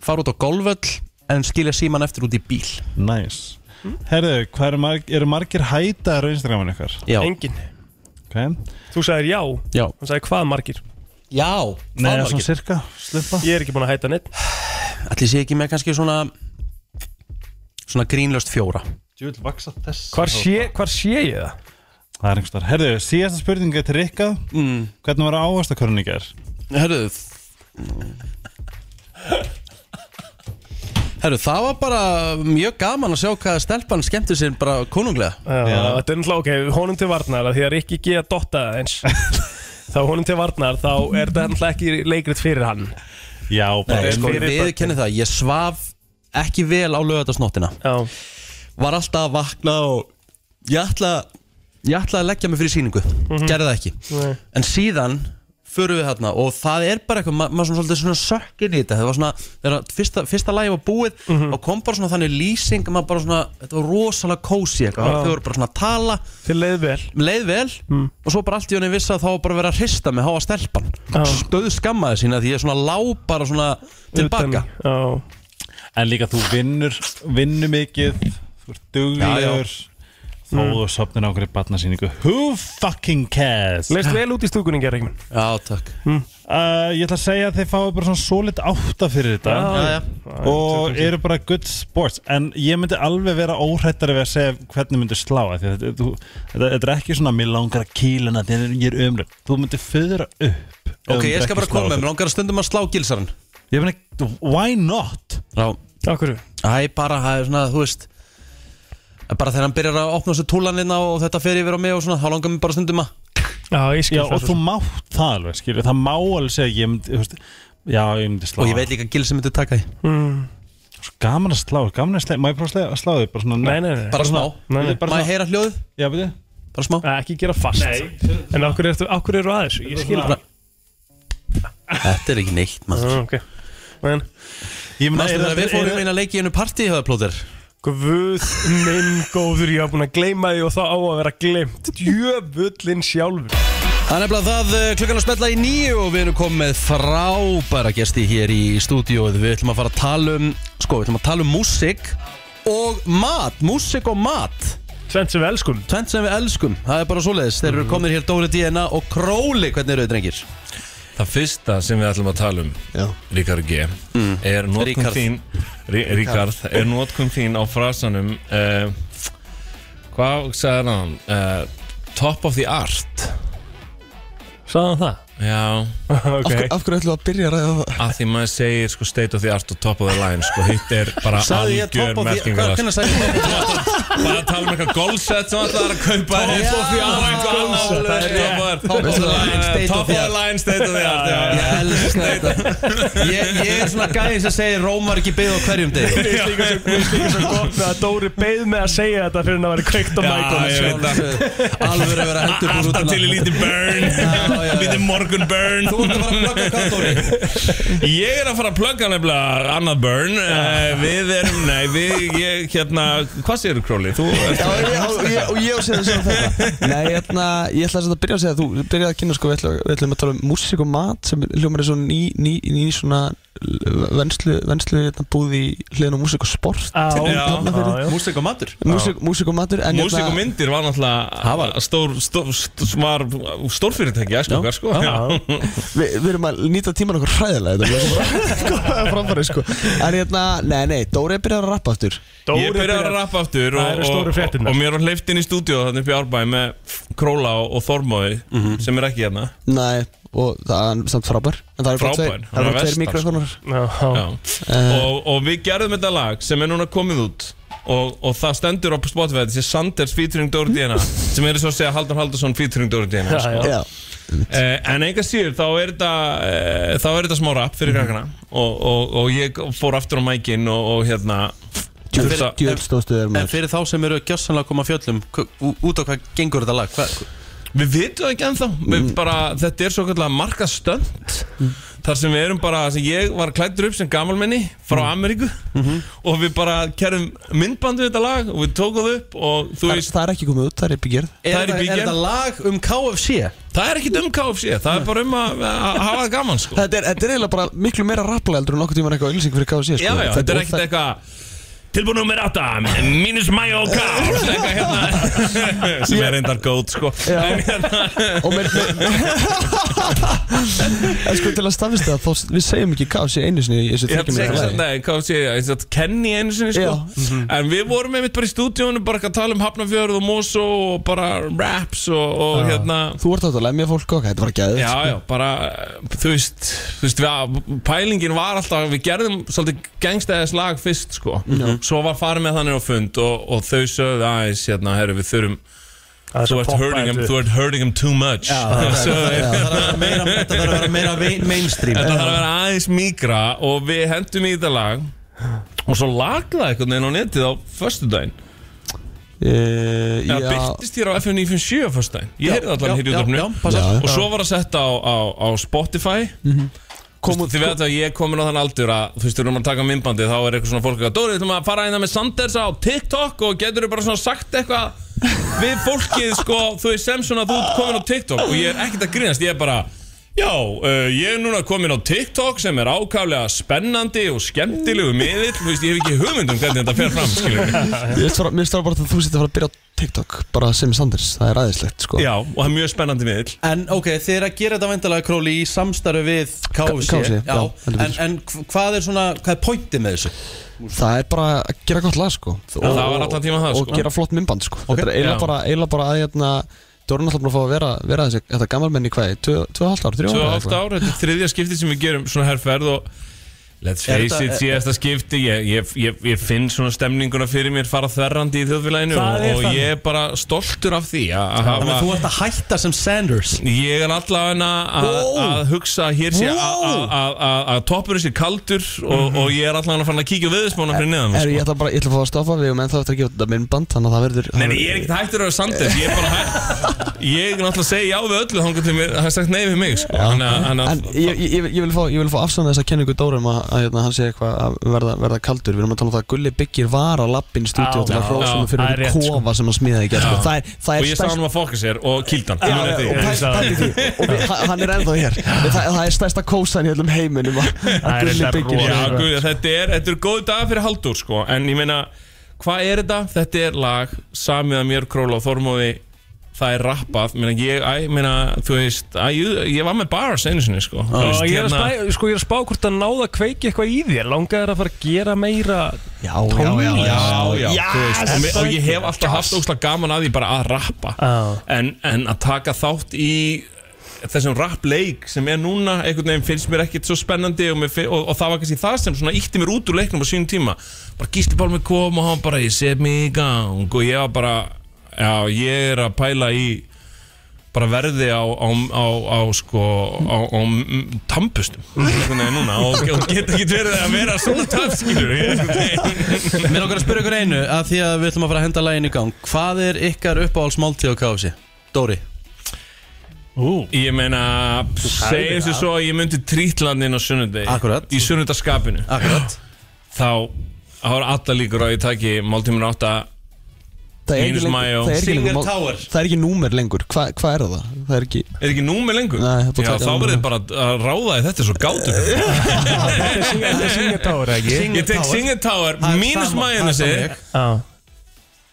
fara út á golföll En skilja síman eftir út í bíl Nice Herru, hvað eru, marg, eru margir hætaðar á Instagramin ykkar? Já, Engin Okay. Þú sagðir já já Hann sagði hvað margir Já, Nei, það svona var ekki cirka, slumpa Ég er ekki búin að hæta neitt Ætli sé ekki með kannski svona Svona grínlöst fjóra Djúl, vaksa þess Hvar sé, hvar sé ég það? Það er einhvers þar Herru, síðasta spurning er til Rikka mm. Hvernig var ávastakorun í gær? Herru Herru, það var bara mjög gaman að sjá hvað stelpan skemmti sér bara konunglega Já, þetta er náttúrulega ok, honum til varnar að því að Rikki G að dotta það eins þá honum til varnar, þá er þetta náttúrulega ekki leikrit fyrir hann Já, bara Nei, sko, fyrir við kennum það, ég svaf ekki vel á lögatarsnóttina Já, var alltaf að vakna og ég ætla, ég ætla að leggja mig fyrir síningu gerði það ekki Mhm. Nei. en síðan förum við þarna og það er bara eitthvað, ma maður svona svolítið svona sökkin í þetta það var svona, þegar að fyrsta, fyrsta lagi var búið Mhm. og kom bara svona þannig lýsing maður bara svona, þetta var rosalega kósi eitthvað, Já. Mm. þau voru bara svona að tala þið leið vel mér leið vel og svo bara allt í henni vissi að þá var bara verið að hrista mig, háa stelpan Já. stöð skammaði sína því ég svona lá bara svona tilbaka Utan- um- Já, En líka þú vinnur, vinnur mikið Þú ert duglegur Þó þú sopnir á okkur í batnasýningu Who fucking cares? leist vel út í stúkunni gerði ekki já, takk Uh, ég ætla að segja að þið fáið bara svona solid átta fyrir þetta Já, já. og eru bara good sports en ég myndi alveg vera óhrættari við að segja hvernig myndi slá af því að þetta, þú- þetta, þetta er ekki svona mér langar að kýla hana þegar ég er ömlega þú myndi föðra upp ef þú ok, myndir ég skal ekki bara slá koma með, af mér langar að stundum að slá gilsarinn því. ég myndi, why not? já, Akkur, Æ, bara, það er svona, þú veist Bara þegar hann byrjar að opna þessu túlanina og þetta fer yfir á mig og svona, þá langar mér bara stundum að já, ég skil Já, það og svo þú sem. mátt það alveg, skilur, það má alveg segja ég myndi, þú veist, já, ég myndi slá Og ég veit líka að Gilsi myndi taka því Svo gaman að slá, gaman að slá, má ég prófa að slá- að slá þig, bara svona Nei, nei, nei, Bara smá nei, nei. Bara Má ég svona, heyra hljóðið? já, veitu Bara smá Að ekki gera fast nei. En akkur eru akkur er aðeins, ég skil það Bara- Þetta er ekki neitt, maður Já, Ok, en Ég meina, Mástu er þegar við þetta- er- fórum eina leiki í einu partí í höfðaplóðir Guð minn góður, ég hafa búin að gleyma því og þá á að vera gleymt Djöfullin sjálfur Það er nefnilega það, eh, klukkan að spella í nýju og við erum komið með frábæra gesti hér í stúdíóið Við ætlum að fara að tala um, sko, við ætlum að tala um músík og mat, músík og mat Svend sem við elskum Tvent sem við elskum, það er bara svoleiðis Þeir Mhm. eru komið hér Dóri DNA og Króli, hvernig eru þau drengir? Það fyrsta sem við ætlum að tala um Ríkard G er notkun Ríkharð. þín Rí- Ríkard er notkun þín á frasanum uh, hvað sagði hann uh, top of the art Saðan það? já, Okay. Af hverju ætlum við að byrja að ræða það? að því maður segir sko, state of the art og top of the line sko, hitt er bara Sagði ég algjör topp á því Hvað merkingar hvernig sagði ég topp á bara að tala um eitthvað golfset sem ætlaði að kaupa Oh þér of the art, golfset, það er art top of the line, state of the line state of the art já, því? Ég elska þetta ég, ég er svona gæðin sem segir Rómar ekki byggð á hverjum degi Mér finnst líka svo- mér finnst líka svo gott með að Dóri beið með að segja þetta fyrir hann að vera kveikt á Já, ég mækunum veit það. Alveg að vera hendur búin út um Alltaf til í lítið burn já, já. Lítið morgun burn Þú ert að fara að plugga hvað, Dóri? Ég er að fara að plugga nefnilega annað burn Eh, Við erum, nei, við, ég, hérna Hvað séu, Óli Þú ert Já, já, og ég- og ég á að segja þess að þetta Nei, hérna, ég ætla að byrja að segja að Þú byrjaði að kynna, sko, við ætlum, við ætlum að tala um músík og mat sem hljómar er svona ný, ný, ný svona venslu, venslu hérna, búð í hliðin á músík og sport Á, Músík og matur Músík, músík og matur en Músík og hérna- myndir var náttúrulega var stór, stór, stór, var stórfyrirtæki æsku okkar sko Já. Vi, Við erum að nýta tíman okkur hræðilega Þetta er bara komaða framfæri sko En hérna, nei, nei, Dóri er byrjað að rappa aftur Ég byrjaði að rappa aftur Það og, eru og, stóru og, fréttirnar. og mér var hleyft inn í stúdíu þannig upp í Árbæ með Króla og, og Þormóði sem er ekki hérna Nei, og það er samt frábær En það er bara Frábær, tveir, hann er það er sko. bara tveir vestan, mikrofonar Já. og, og við gerðum þetta lag sem er núna komið út og, og það stendur á Spotify þessi Sanders featuring Dóri Dina hérna, sem er svo að segja Haldur Haldursson featuring Dóri Dina Já, já. Já. Eh, en enga síður þá er þetta eh, þá er þetta smá rap fyrir Mhm. krakkana og, og, og ég fór aftur á mækin og, og hérna þurfti að- Djúlstóðstu er En maður fyrir þá sem eru gjössanlega að koma af fjöllum hva- ú- Út á hvað gengur þetta lag? Hva, Við vitum það ekki ennþá mm. bara, Þetta er svo kallega markastönd Eh, Þar sem við erum bara sem Ég var klættur upp sem gamalmenni Frá Mhm. Ameríku Og við bara kerum myndband við þetta lag Og við tókum það upp Og þú það, veist, Eh. það er ekki komið út, það er í byggjörð er, Það er í þetta- bígerð. þetta lag um KFC? það er ekki um KFC Það er bara um að að hafa það gaman sko Þetta er, þetta er eiginlega bara miklu meira rapplega heldur en nokkuð tíma eitthvað ylsing fyrir KFC sko. Já, já, þetta er ekkert óþæg- eitthvað Tilbúin nummer 8, mínus mayo kars Eitthvað hérna Sem er reyndar góð sko En hérna Og mér, mér En sko til að stafista það þá- Við segjum ekki KFC einu sinni í þessu Ég hef þryggjum sex- Nei, hvað sé ég, ég kenni einu sinni sko Já. En við vorum einmitt bara í stúdíónu bara að tala um Hafnarfjörð og Mosó og bara raps og, og hérna Þú ert átt að lemja fólk og þetta var gæðið Já, já, bara, þú veist, þú veist við, pælingin var alltaf, við gerðum svolítið gangstæðis lag fyrst, sko Svo var farið með þannig á fund og, og þau sögðu aðeins, hérna, herru, við þurfum Þú ert hurting him, þú ert hurting him too much Sögðu þeir. Það þarf að vera meira, þetta þarf að vera meira vein- mainstream Þetta þarf að vera aðeins mýgra og við hendum í þetta lag Og svo laglaði einhvern veginn á netið á föstudaginn Eh, Já, já, byrtist þér á FM 957 á fyrstæðin Ég heyrði allan hér já, í já, Mhm. útöfnu passa. Og svo var að setja á, á, á Spotify Komu, Þið veit að ég er komin á þann aldur að Þú veist, við erum að taka myndbandi Þá er eitthvað svona fólk að Dóri, við ætlum að fara einna með Sanders á TikTok Og getur þau bara svona sagt eitthvað Við fólkið, sko, þú veist sem svona Þú ert komin á TikTok og ég er ekkert að grínast Ég er bara Já, uh, ég er núna komin á TikTok sem er ákaflega spennandi og skemmtilegu miðill, þú veist, ég hef ekki hugmynd um hvernig þetta fer fram, skilur Ég veist bara- Mér finnst það bara að þú sittir að fara að byrja á TikTok Bara sem Sanders, það er aðeinslegt sko Já, og það er mjög spennandi miðill En ok, þið er að gera þetta vendalega króli í samstarfi við KFC, KFC, já, heldur en, betur. en hv- hvað er svona, hvað er pointið með þessu? Það er bara að gera gott lag sko og, það var allan tímann það, og sko. gera flott myndband sko Þetta er eiginlega já. bara, eiginlega bara að hérna Dóri er náttúrulega búin að fá að vera, vera þessi, þetta gammalmenni hvað, 2,5 ár, Tvö 3 ár? og eða hálft eitthvað? ár, þetta er þriðja skipti sem við gerum svona herrferð og let's Er face þetta- it, síðasta skipti ég, ég, ég, ég finn svona stemninguna fyrir mér fara þverrandi í þjóðfélaginu Það og, er og þannig. ég er bara stoltur af því að að Þannig að þú hafa ert að hætta sem Sanders Ég er allavega að, að hugsa að hér sé að- að- að- að að toppurinn sé kaldur og, og ég er allavega að fara að kíkja viðspána fyrir neðan mig, Er, sko. ég ætla bara, ég ætla að fá að stoppa við um en það eftir að gefa þetta myndband Þannig að það verður Nei, nei, ég er ekkert hættur að vera Sanders Ég er bara hættur Ég er náttúrulega að segja já við öllu Þannig til mér, það er sagt nei við mig sko. Þannig að- þannig En að- ég, ég, ég, vil- ég vil fá, ég vil fá afsanna þessa kenningu Dóra um að, að hérna, hann sé eitthvað að verða, verða kaldur Við erum að tala um það að Gulli Byggir var á lappin stúdíu Já, til að já, hrósum já, fyrir það er einhver rétt, sko. kofa sem að smíða ekki sko. Það er, Og það ég er sagði stærst hann að fokka sér og kýldan Já, já, og Ég pæ- pæl- sagði pældi því. Og við- hann- hann er ennþá hér það, það er stærsta kósan í öllum heiminum að- að er Gulli enda byggir Já, rosa. guð, þetta er, þetta er góð dag fyrir Haldur sko. En ég meina, hvað er þetta? Þetta er lag, samið að mér Króla og Þormóði Það er rappað meina, ég, æ, meina, Þú veist, æ, ég, ég var með bars einu sinni sko. Þú Og veist, ég er að hérna- spá, sko, ég er að spá hvort að náða að kveiki eitthvað í þér Langaði þér að fara að gera meira Já, já, já, já. Já, já, þú veist, og, mér- og ég hef alltaf haft óslag gaman að því bara að rappa Já. en, en að taka þátt í þessum rappleik sem er núna einhvern veginn finnst mér ekkert svo spennandi og, mér fin- og, og það var kannski það sem svona ítti mér út úr leiknum á sínum tíma bara Gísli Pálmi kom og hann bara ég set mig í gang og ég var bara já, ég er að pæla í bara verði á, á, á, á sko, á, á m- tampustum einhvern veginn núna og, og geta ekki verið að vera svona töfskilur Mér okkar að spyrja ykkur einu, að því að við ætlum að fara að henda lægin í gang Hvað er ykkar uppáhaldsmáltíð á KFC? Dóri Ú, Ég meina, segjum þessu svo að ég myndi trítlandin á sunnudegi Akkurat. Í sunnudaskapinu Akkurat Þá þá er alla líkur á að ég taki máltímur átta Það er ekki Venus Mayo. lengur- það er ekki Singer lengur Tower. mál- það er ekki númer lengur Hva- Hvað er það? Það er ekki Er ekki númi lengur? Nei, það Já, er búið að taka þá það verður bara að ráða í þetta er svo gátur Þetta er Singer Tower, ekki? Ég tek Singer Tower, Það er mínus sama- majónesi það er sama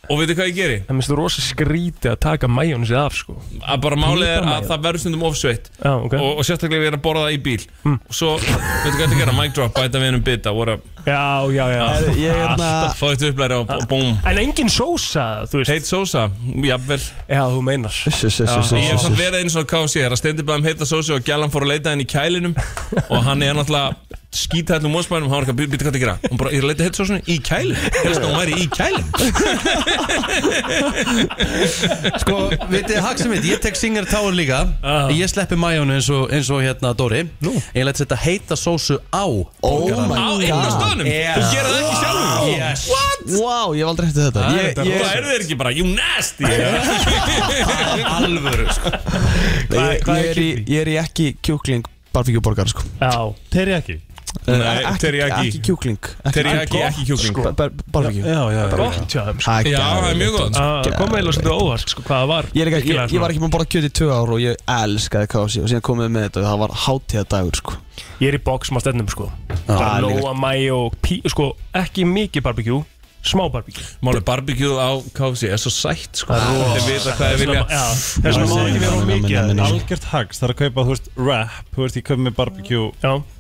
Og veitu hvað ég geri? Það minnst þú rosa skríti að taka majónisi af sko Að bara málið er að Pípa mayo. það verður stundum ofsveitt Já, ok. og, og sérstaklega við erum að borða það í bíl Og svo, veitu hvað þetta gera? Mic drop, bæta við einum bita, what up Já, já, já Ég er hérna- Fá eitt upplæri og og búm En engin sósa, þú veist Heit sósa, jafnvel Já, þú meinar Sjöss, Já, ég hef samt verið eins og KC er að stendi bara um heita sósi og gælan fór að leita henni í kælinum og hann er náttúrulega skítællum mósbænum og hann var ekki að býta hvað það gera hún bara, ég er að leita heita sósunni í kælin helst að hún væri í kælin Sko, vitið þið haksum mitt, ég tek Singer Tower líka Ah. Ég sleppi majónu eins og, eins og hérna Dóri Ég læt setja heita sósu á Oh my á inn á stöðnum þú gerir það ekki sjálfur Yes. what? Wow, ég hef aldrei hætti þetta Það Ég- er ég- það ekki bara, you nasty Alvöru sko. Ég ég er í- ég er í ekki kjúkling barfíkjuborgar sko Já Teriyaki Eh, ekki- Ekki kjúkling Sko, Teriyaki, ekki kjúkling. Barfíkjú Já, já, já. Gott hjá þeim, sko. Já, það er mjög gott. Það Ah, kom eiginlega svolítið á óvart sko, hvað það var Ég, er ekki, Virkilega ég, ég svona. var ekki búin að borða kjöt í tvö ár og ég elskaði kási og síðan komum við með þetta og það var hátíða dagur sko Ég er í box maður stendum sko Bara líka. Lóa, mæ og pí Sko, ekki mikið barbekjú Smá barbekjú Máli barbekjúð á KFC er svo sætt sko. Það er rosa. Þeir vita hvað þeir vilja Já, Þess vegna má ekki vera of mikið af Nei, nei, því. nei. Algjört hags, það er að kaupa, þú veist, wrap Þú veist, ég kaup með barbecue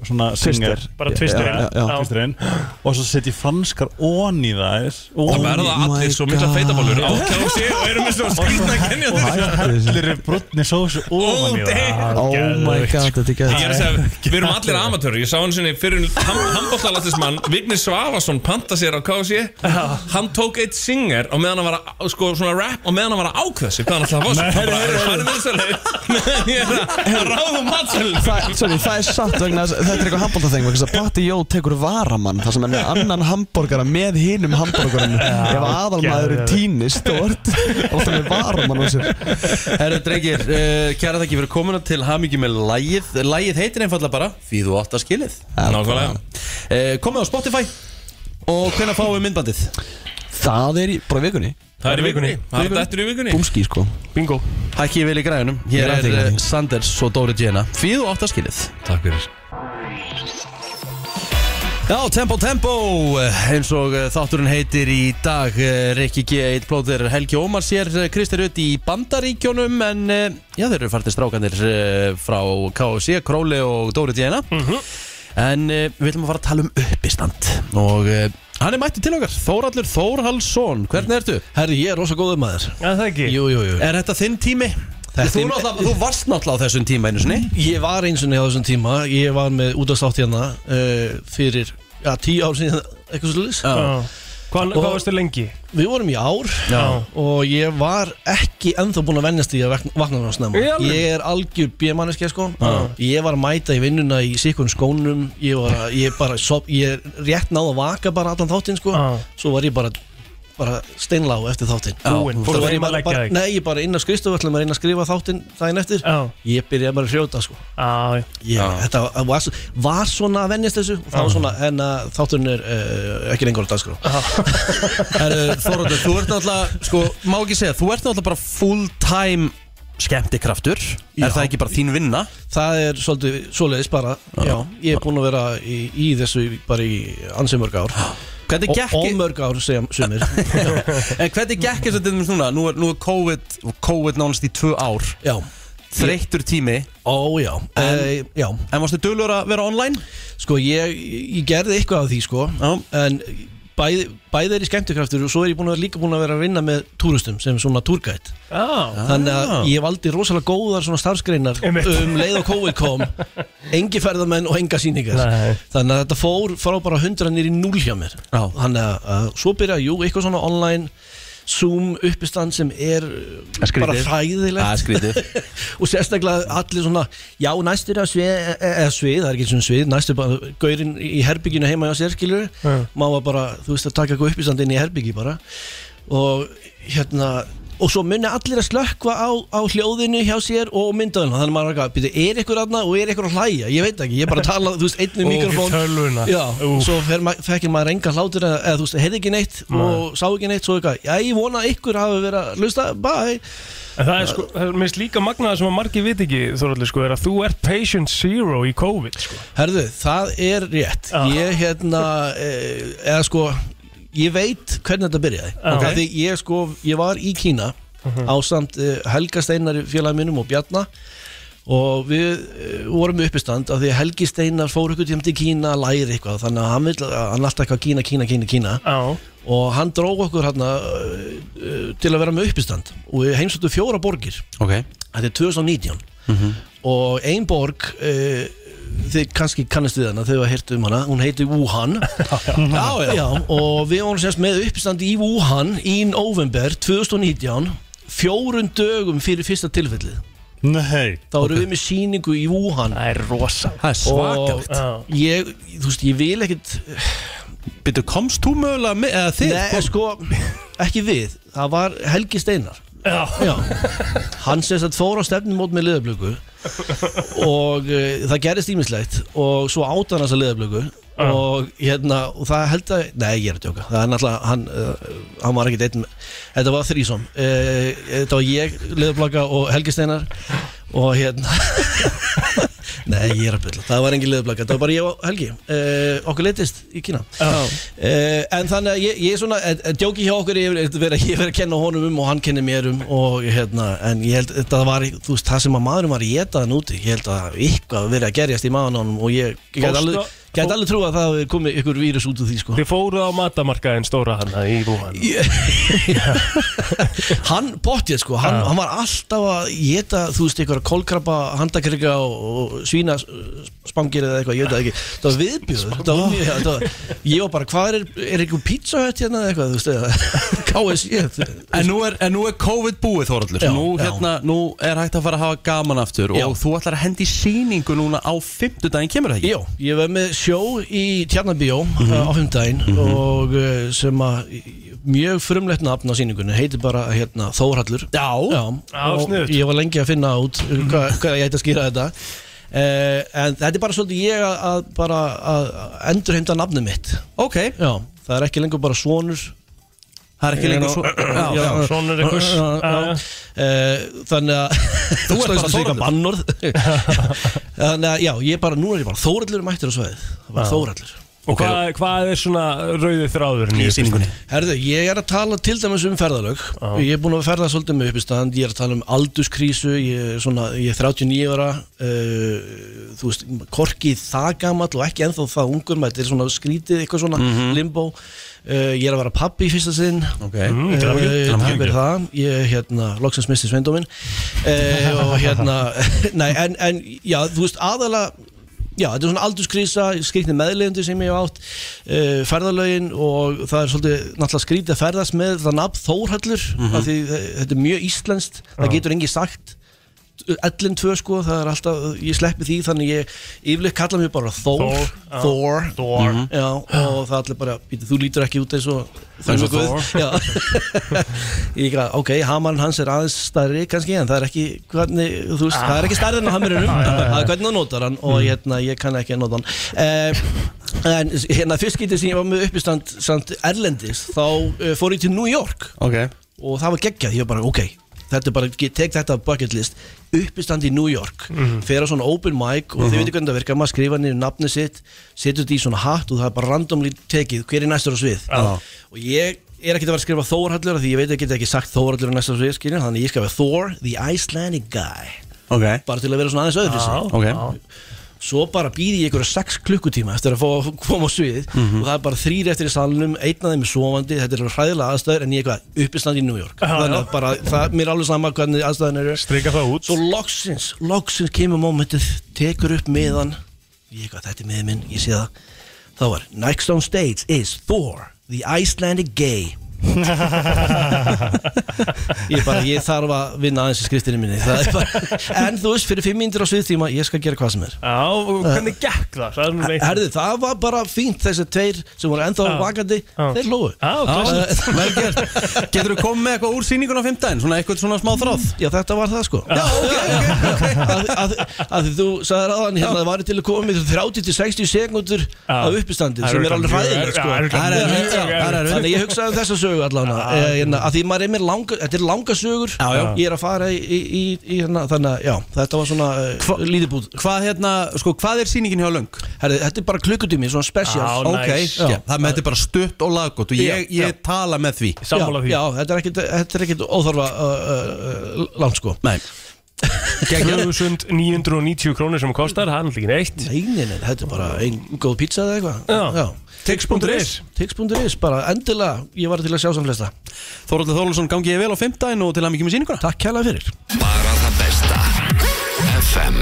Svona Twister, singer bara twister, Já, já, já. já. Twisterinn. Og svo setjum franskar onni þær Það verða Oh allir svo mikla feitabólur á KFC og eru með svo skrýtna kennja Allir er brotni sósu ofan í það Oh my god, sko. þetta er Ég er að segja, við erum allir amatörur Ég sá hann sinni fyrir ham, handbóttalatismann Vignir Svavarsson panta sér á KFC Hann tók eitt singer og meðan hann var að, sko, svona rap og meðan hann var að ákveða sig hvað hann alltaf var Nei, Hann heyrðu, bara, heyrðu. farið með þessari Ég er að ráða um matsölu Það- Sorry, það er satt vegna þess- þetta er eitthvað handbólta þeng vegna þess að Patti Jó tekur varamann þar sem hann er annan hambúrgara með hinum hambúrgarann ef aðalmaður týnist stort og það er varamann á sér Herru drengir, uh, kæra þakki fyrir komuna til hamingi með lægið Lægið heitir einfallega bara Því þú átt að skilið Nákvæmlega uh, Komið á Spotify Og hvenær fáum við myndbandið? Það er í, bara í vikunni Það er í vikunni, það er dættur í vikunni Búmski sko Bingo Hækki ég vel í græðunum Hér Ég er að er, þig, er Græðunum. Sanders og Dóri Jena Því þú átt að skilið Takk fyrir Já, Tempo Tempo, eh, eins og eh, þátturinn heitir í dag eh, Rikki G. Eitt plóðir Helgi Ómar sér Kristir Ut í Bandaríkjónum en eh, já, þeir eru fartir strákanir eh, frá KFC, Króli og Dóri Djena en eh, við viljum að fara að tala um uppistand og eh, hann er mættu til okkar Þóraldur Þórhalsson, hvernig ertu? Herri, ég er rosa góður maður Já, það ekki Jú, jú, jú Er þetta þinn tími? Þetta Þú, er- náttúrulega, þú varst náttúrulega á þessum tíma einu sinni Ég var eins og niður á þessum tíma Ég var með útastátt hérna uh, fyrir ja, tíu ár síðan eitthvað svo lýs Já. Og- Hvað hvað varstu lengi? Við vorum í ár Já. og ég var ekki ennþá búinn að vennast í að vakna- vakna á snemma Í alvöru? Ég er algjör bjömanniski sko Ég var að mæta í vinnuna í sikun skónum Ég var að, ég bara, sop, ég rétt náði að vaka bara allan þáttinn sko Já. Svo var ég bara, bara steinlá eftir þáttinn Búinn, Svo fórstu var ég heim að bara, leggja bara, þig? nei, ég bara inn á skrifstoföllum að reyna að skrifa þáttinn daginn eftir Já. Ég byrjaði bara að frjóta sko Já, ég, Þetta var- var, svo- var svona að vennjast þessu og það var svona, en að þátturinn er uh, ekki lengur á dagskrá Herru, Þorvaldur, þú ert náttúrulega, sko, má ekki segja, þú ert náttúrulega bara full time skemmtikraftur Er það ekki bara þín vinna? Það er svolítið svoleiðis bara já. Ég er búinn að vera í, í þessu bara í ansi mörg ár Hvernig Og- gekk- Og mörg ár sem sumir En hvernig gekk þess að þetta núna? Nú er, nú er COVID, COVID nánast í tvö ár Já Þreyttur tími Ó já En, já. en varstu dölur að vera online? Sko ég, ég gerði eitthvað af því sko já. En bæði, bæði er í skemmtikraftur og svo er ég búinn að vera líka búinn að vera að vinna með túristum sem svona túrgætt já Þannig að ég valdi rosalega góðar svona starfsgreinar Einmitt. um leið á COVID kom Engi ferðamenn og enga sýningar Nei. Þannig að þetta fór, fór bara hundra nýri núl hjá mér Já. Þannig að, að svo byrja, jú, eitthvað svona online Zoom uppistand sem er uh, skrítið. bara Það er hræðilegt skrítið og sérstaklega allir svona já, næstur á svið, e, eða svið það er ekki eins og svið, næstur bara gaurinn í herbygginu heima hjá sér, skilur Já. má var bara, þú veist, að taka eitthvað uppistand inn í herbyggi bara og hérna og svo muni allir að slökkva á, á hljóðinu hjá sér og myndaðuna þannig að maður er eitthvað, "Bíddu, er ykkur aðna og er ykkur að hlæja ég veit ekki, ég er bara að tala, þú veist, einn Ó, við mikrofón í tölvuna. já, Úff. svo fer ma- fekkir maður enga hlátur eða, eða þú veist, heyrði ekki neitt Nei. og sá ekki neitt, svo eitthvað, já, ég vona að ykkur hafi verið að hlusta, bye En það er sko, það er minnst líka magnaða sem að margir viti ekki, Þoraldur, sko, er að þú ert patient zero í COVID, sko. Herðu, það er rétt Ég hérna, eh, eða sko, ég veit hvernig þetta byrjaði Já. okay. Því ég sko, ég var í Kína e, Mhm. á samt Helga Steinar félagi minnum og Bjarna og við eh, vorum með uppistand af því að Helgi Steinar fór ykkur tíma til Kína að læra eitthvað þannig að hann, vill, hann alltaf eitthvað Kína, Kína, Kína, Kína Já. og hann dró okkur hérna til að vera með uppistand og við heimsóttum fjóra borgir Ok Þetta er 2019 og ein borg uh, þið kannski kannast við hana þegar við hirtum um hana, hún heitir Wuhan já, já. og við vorum sérst með uppstandi í Wuhan í november 2019 fjórun dögum fyrir fyrsta tilfellið Nei þá erum við með síningu í Wuhan það er rosa það er svakalegt. og ég, þú veist, ég vil ekkit Býtu, komst þú mögulega með, eða þið? Nei, kom- sko, ekki við Það var Helgi Steinar Já, Hann sem sagt fór á stefnumót með liðablöku Og uh, það gerist ímislegt Og svo átt hann þessa liðablöku Já. Og hérna, og það held að Nei, ég er að tjóka Það er náttúrulega, hann, uh, hann var ekkit einn með- Þetta var þrísom uh, Þetta var ég, liðablöka og Helgi Steinar Og hérna Nei, ég er að byrja Það var engin liðblaka, það var bara ég og Helgi uh, Okkur litist í Kína uh, En þannig að ég, ég er svona eh, eh, Djóki hjá okkur, ég er verið að, ver að kenna honum um Og hann kenni mér um og, hérna, En ég held, þetta var, þú veist, það sem að maðurinn var Ég etaðan úti, ég held að eitthvað verið að gerjast Í maðurinn á honum og ég, ég Fórstu- gæti alveg, gæt alveg trú að það hafi komið Ykkur vírus út úr því, sko Þið fóruð á matamarkaðin stóra hana í Wuhan. Hann bóttið, sko, hann, hann var alltaf að Geta, þú veist, ykkur kólkrabba Handakrygga og, og svína Spangir eða eitthvað, ég veit það ekki Það var viðbjöður, það var mjög já, þetta var- Ég var bara, hvað er, er eitthvað pizza hött hérna eða eitthvað, þú veist, eða KSJ En nú er, en nú er COVID búið Þorallur Já, nú, já. hérna, nú er hægt að fara að hafa gaman aftur Já. Og þú ætlar að hendi síningu núna á fimmtudaginn kemur það ekki? Jó, ég var með sjó í Tjarnabíó Mhm. á fimmdægin og uh, sem að mjög frumlegt nafn á síningunni heitir bara hérna, Þórhallur Já, Já, og sniðugt. ég var lengi að finna út Mhm. hvað, hvað ég ætti að skýra þetta uh, en þetta er bara svolítið ég að, að bara að endurheimta nafnið mitt Ok Já, það er ekki lengur bara sonur Það er ekki lengur svo- já, já, sonur einhvers. Já, já. Eh, Þannig að Þú ert bara Slagsins líka Þórhallur. bannorð Þannig að já, ég bara, núna er ég bara Þórallur er mættur á svæðið Það var Já. Þórallur Og hvað, hvað er svona rauði þráðurinn Í Herðu, ég er að tala til dæmis um ferðalög Ég er búin að ferða svolítið með uppistand Ég er að tala um aldurskrísu Ég er, svona, ég er 39 ára uh, Þú veist, korki það gamall Og ekki ennþá það ungur maður Þetta er svona skrítið, eitthvað svona Mhm. limbó uh, Ég er að vera pappi í fyrsta sinn Ok. Mm, til hamingju, til Það hamingju. er það Ég, hérna, loksins misti sveindóminn uh, Og hérna Nei, en, en, já, þú veist, aðalega Já, þetta er svona aldurskrísa, skrítni meðlegundir sem ég hef átt, uh, ferðalögin og það er svolítið náttúrulega skrítið að ferðast með þetta nafn Þórhallur Mhm. af því þe- þetta er mjög íslenskt, það Já. getur engi sagt ellin tvö sko, það er alltaf ég sleppi því, þannig ég yfirleitt kalla mér bara Þór, Þór, Þór, já. Þór. Þór. Já, og það er allir bara, "Bíddu, þú lítur ekki út eins og Eins og Þór Guð." Þór. Já. Ég ekki að, ok, hamarinn hans er aðeins stærri kannski, en það er ekki hvernig, þú veist, Ah. það er ekki stærri en á Já, hamarinum já, já. Mm. það er hvernig þú notar hann og hérna, ég kann ekki að nota hann uh, en hérna, fyrst getið sem ég var með uppistand samt erlendis, þá uh, fór ég til New York Ok og það var geggjað, ég var bara, ok þetta er bara, ég tek þetta af bucket list uppistand í New York Mhm. fer á svona open mic og þið Mhm. veitir hvernig það virkar maður skrifa niður nafni sitt, setur þetta í svona hatt og það er bara randomly tekið, hver er næstur á svið Já. og ég er ekkert að vera að skrifa Þórhallur af því ég veit að ég get ekki sagt Þórhallur á næsta svið skilur, þannig ég skrifa Thor, the Icelandic guy Ok bara til að vera svona aðeins öðru Já, svo bara býði ég ykkur 6 klukkutíma eftir að fá, koma á svið Mhm. og það er bara þrýr eftir í salnum, einn af þeim er sofandi þetta er alveg hræðilega aðstæður en ég er eitthvað uppistand í New York Já, þannig að já. bara, það, mér er alveg sama hvernig aðstæðan eru strika það út svo loksins, loksins kemur momentið tekur upp miðan ég eitthvað, þetta er miðið minn, ég sé það þá var, next on stage is Thor the Icelandic gay Ég, bara, ég þarf að vinna aðeins í skriftinni minni Það er bara, En þú veist, fyrir 5 mínútur á sviðtíma Ég skal gera hvað sem er Já, og hvernig gekk það? það er nú eitt. Herðu, það var bara fínt þessi tveir sem voru ennþá Já. vakandi Já. Þeir hlóðu Já, vel gert Getur þú komið með eitthvað úr sýningun á 15 Svona eitthvað svona smá þráð Já, þetta var það sko Já, ok, að því þú sagði ráðan hérna það var til að koma með 30-60 sekúndur af uppistandið Það er sem er alveg örugglega hræðilegt mjög- sko. Já, örugglega Það er- mjög- já, mjög- það er- þannig ég hugsaði um þessa sögu allan að því maður er mér langa þetta er langa sögur já. ég er að fara í, í, í, í hérna þannig að já, þetta var svona uh, lítið búð Hvað hérna, sko, hvað er sýningin hjá Löng? Herri, þetta er bara klukkutími, svona special Ok, já, það með þetta er bara stutt og laggótt Og ég, Já, já. ég tala með því Sammála því. Já, þetta er ekkit, þetta er ekkit óþorfa uh, uh, uh, langt sko Nei 2990 krónir sem það kostar, það er náttúrulega ekki neitt Nei, nei, nei, þetta er bara ein góð pizza eða eitthvað Já. Tix.is Tix.is, bara endilega, ég var til að sjá sem flesta Þorvaldur Þorvaldsson gangi ég vel á 15 og til að mikið með sýninguna Takk kæla fyrir Bara það besta FM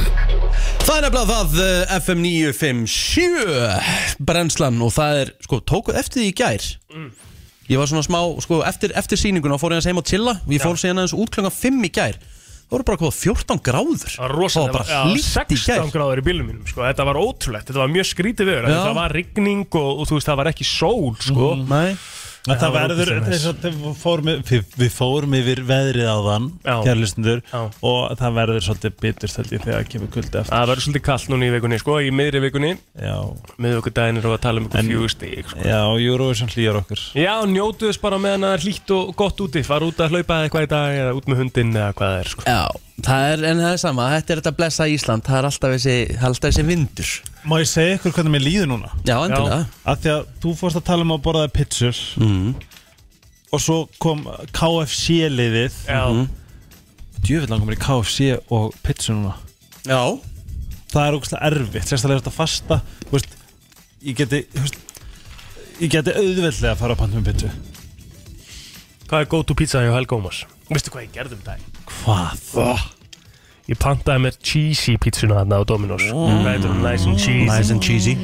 Það er nefnilega það eh, FM 957 brennslan og það er, sko, tókuð eftir því í gær Ég var svona smá, sko, eftir, eftir sýninguna fór ég hans heim að chilla og ég fór síðan aðeins út klokkan 5 í gær Það voru bara hvað, 14 gráður Það rosalega, var bara hlýtt í gær 16 gráður í bílum mínum sko. þetta var ótrúlegt, þetta var mjög skrítið viður Já. það var rigning og, og þú veist, það var ekki sól sko. mm. En það verður, þess að við fórum, yfir- við, við fórum yfir veðrið á þann, Já. kærlistundur, Já. og það verður svolítið bitust held ég þegar kemur kuldi eftir. það verður svolítið kallt núna í vikunni sko, í miðri vikunni Já. miðvikudaginn erum við að tala um ykkur fjögustík sko. Já, Eurovision hlýjar okkur. já, njótu þess bara meðan það er hlýtt og gott úti fara út að hlaupa eitthvað í dag eða út með hundin eða hvað það er sko. Já, það er, en það er sama, þetta er þetta að blessa Ísland, það er alltaf þessi, það er alltaf þessi vindur Má ég segja ykkur hvernig mér líður núna? Já, endilega. Af því að þú fórst að tala um að borðaði pizzur mm. og svo kom KFC-liðið. Já. Djöfitt langar mér í KFC og pizzur núna. Já. Það er ógustlega erfitt, sérstaklega þetta fasta, þú veist, ég geti, þú veist, ég geti auðveldlega að fara að panta með pizzu. hvað er go to pizza hjá Helga Ómars? veistu hvað ég gerði um dag? Hvað? Oh. ég pantaði mér cheesy pizzuna þarna á Dominos Hvað heitir hún? nice and cheesy Mm. Nice and Mm, cheesy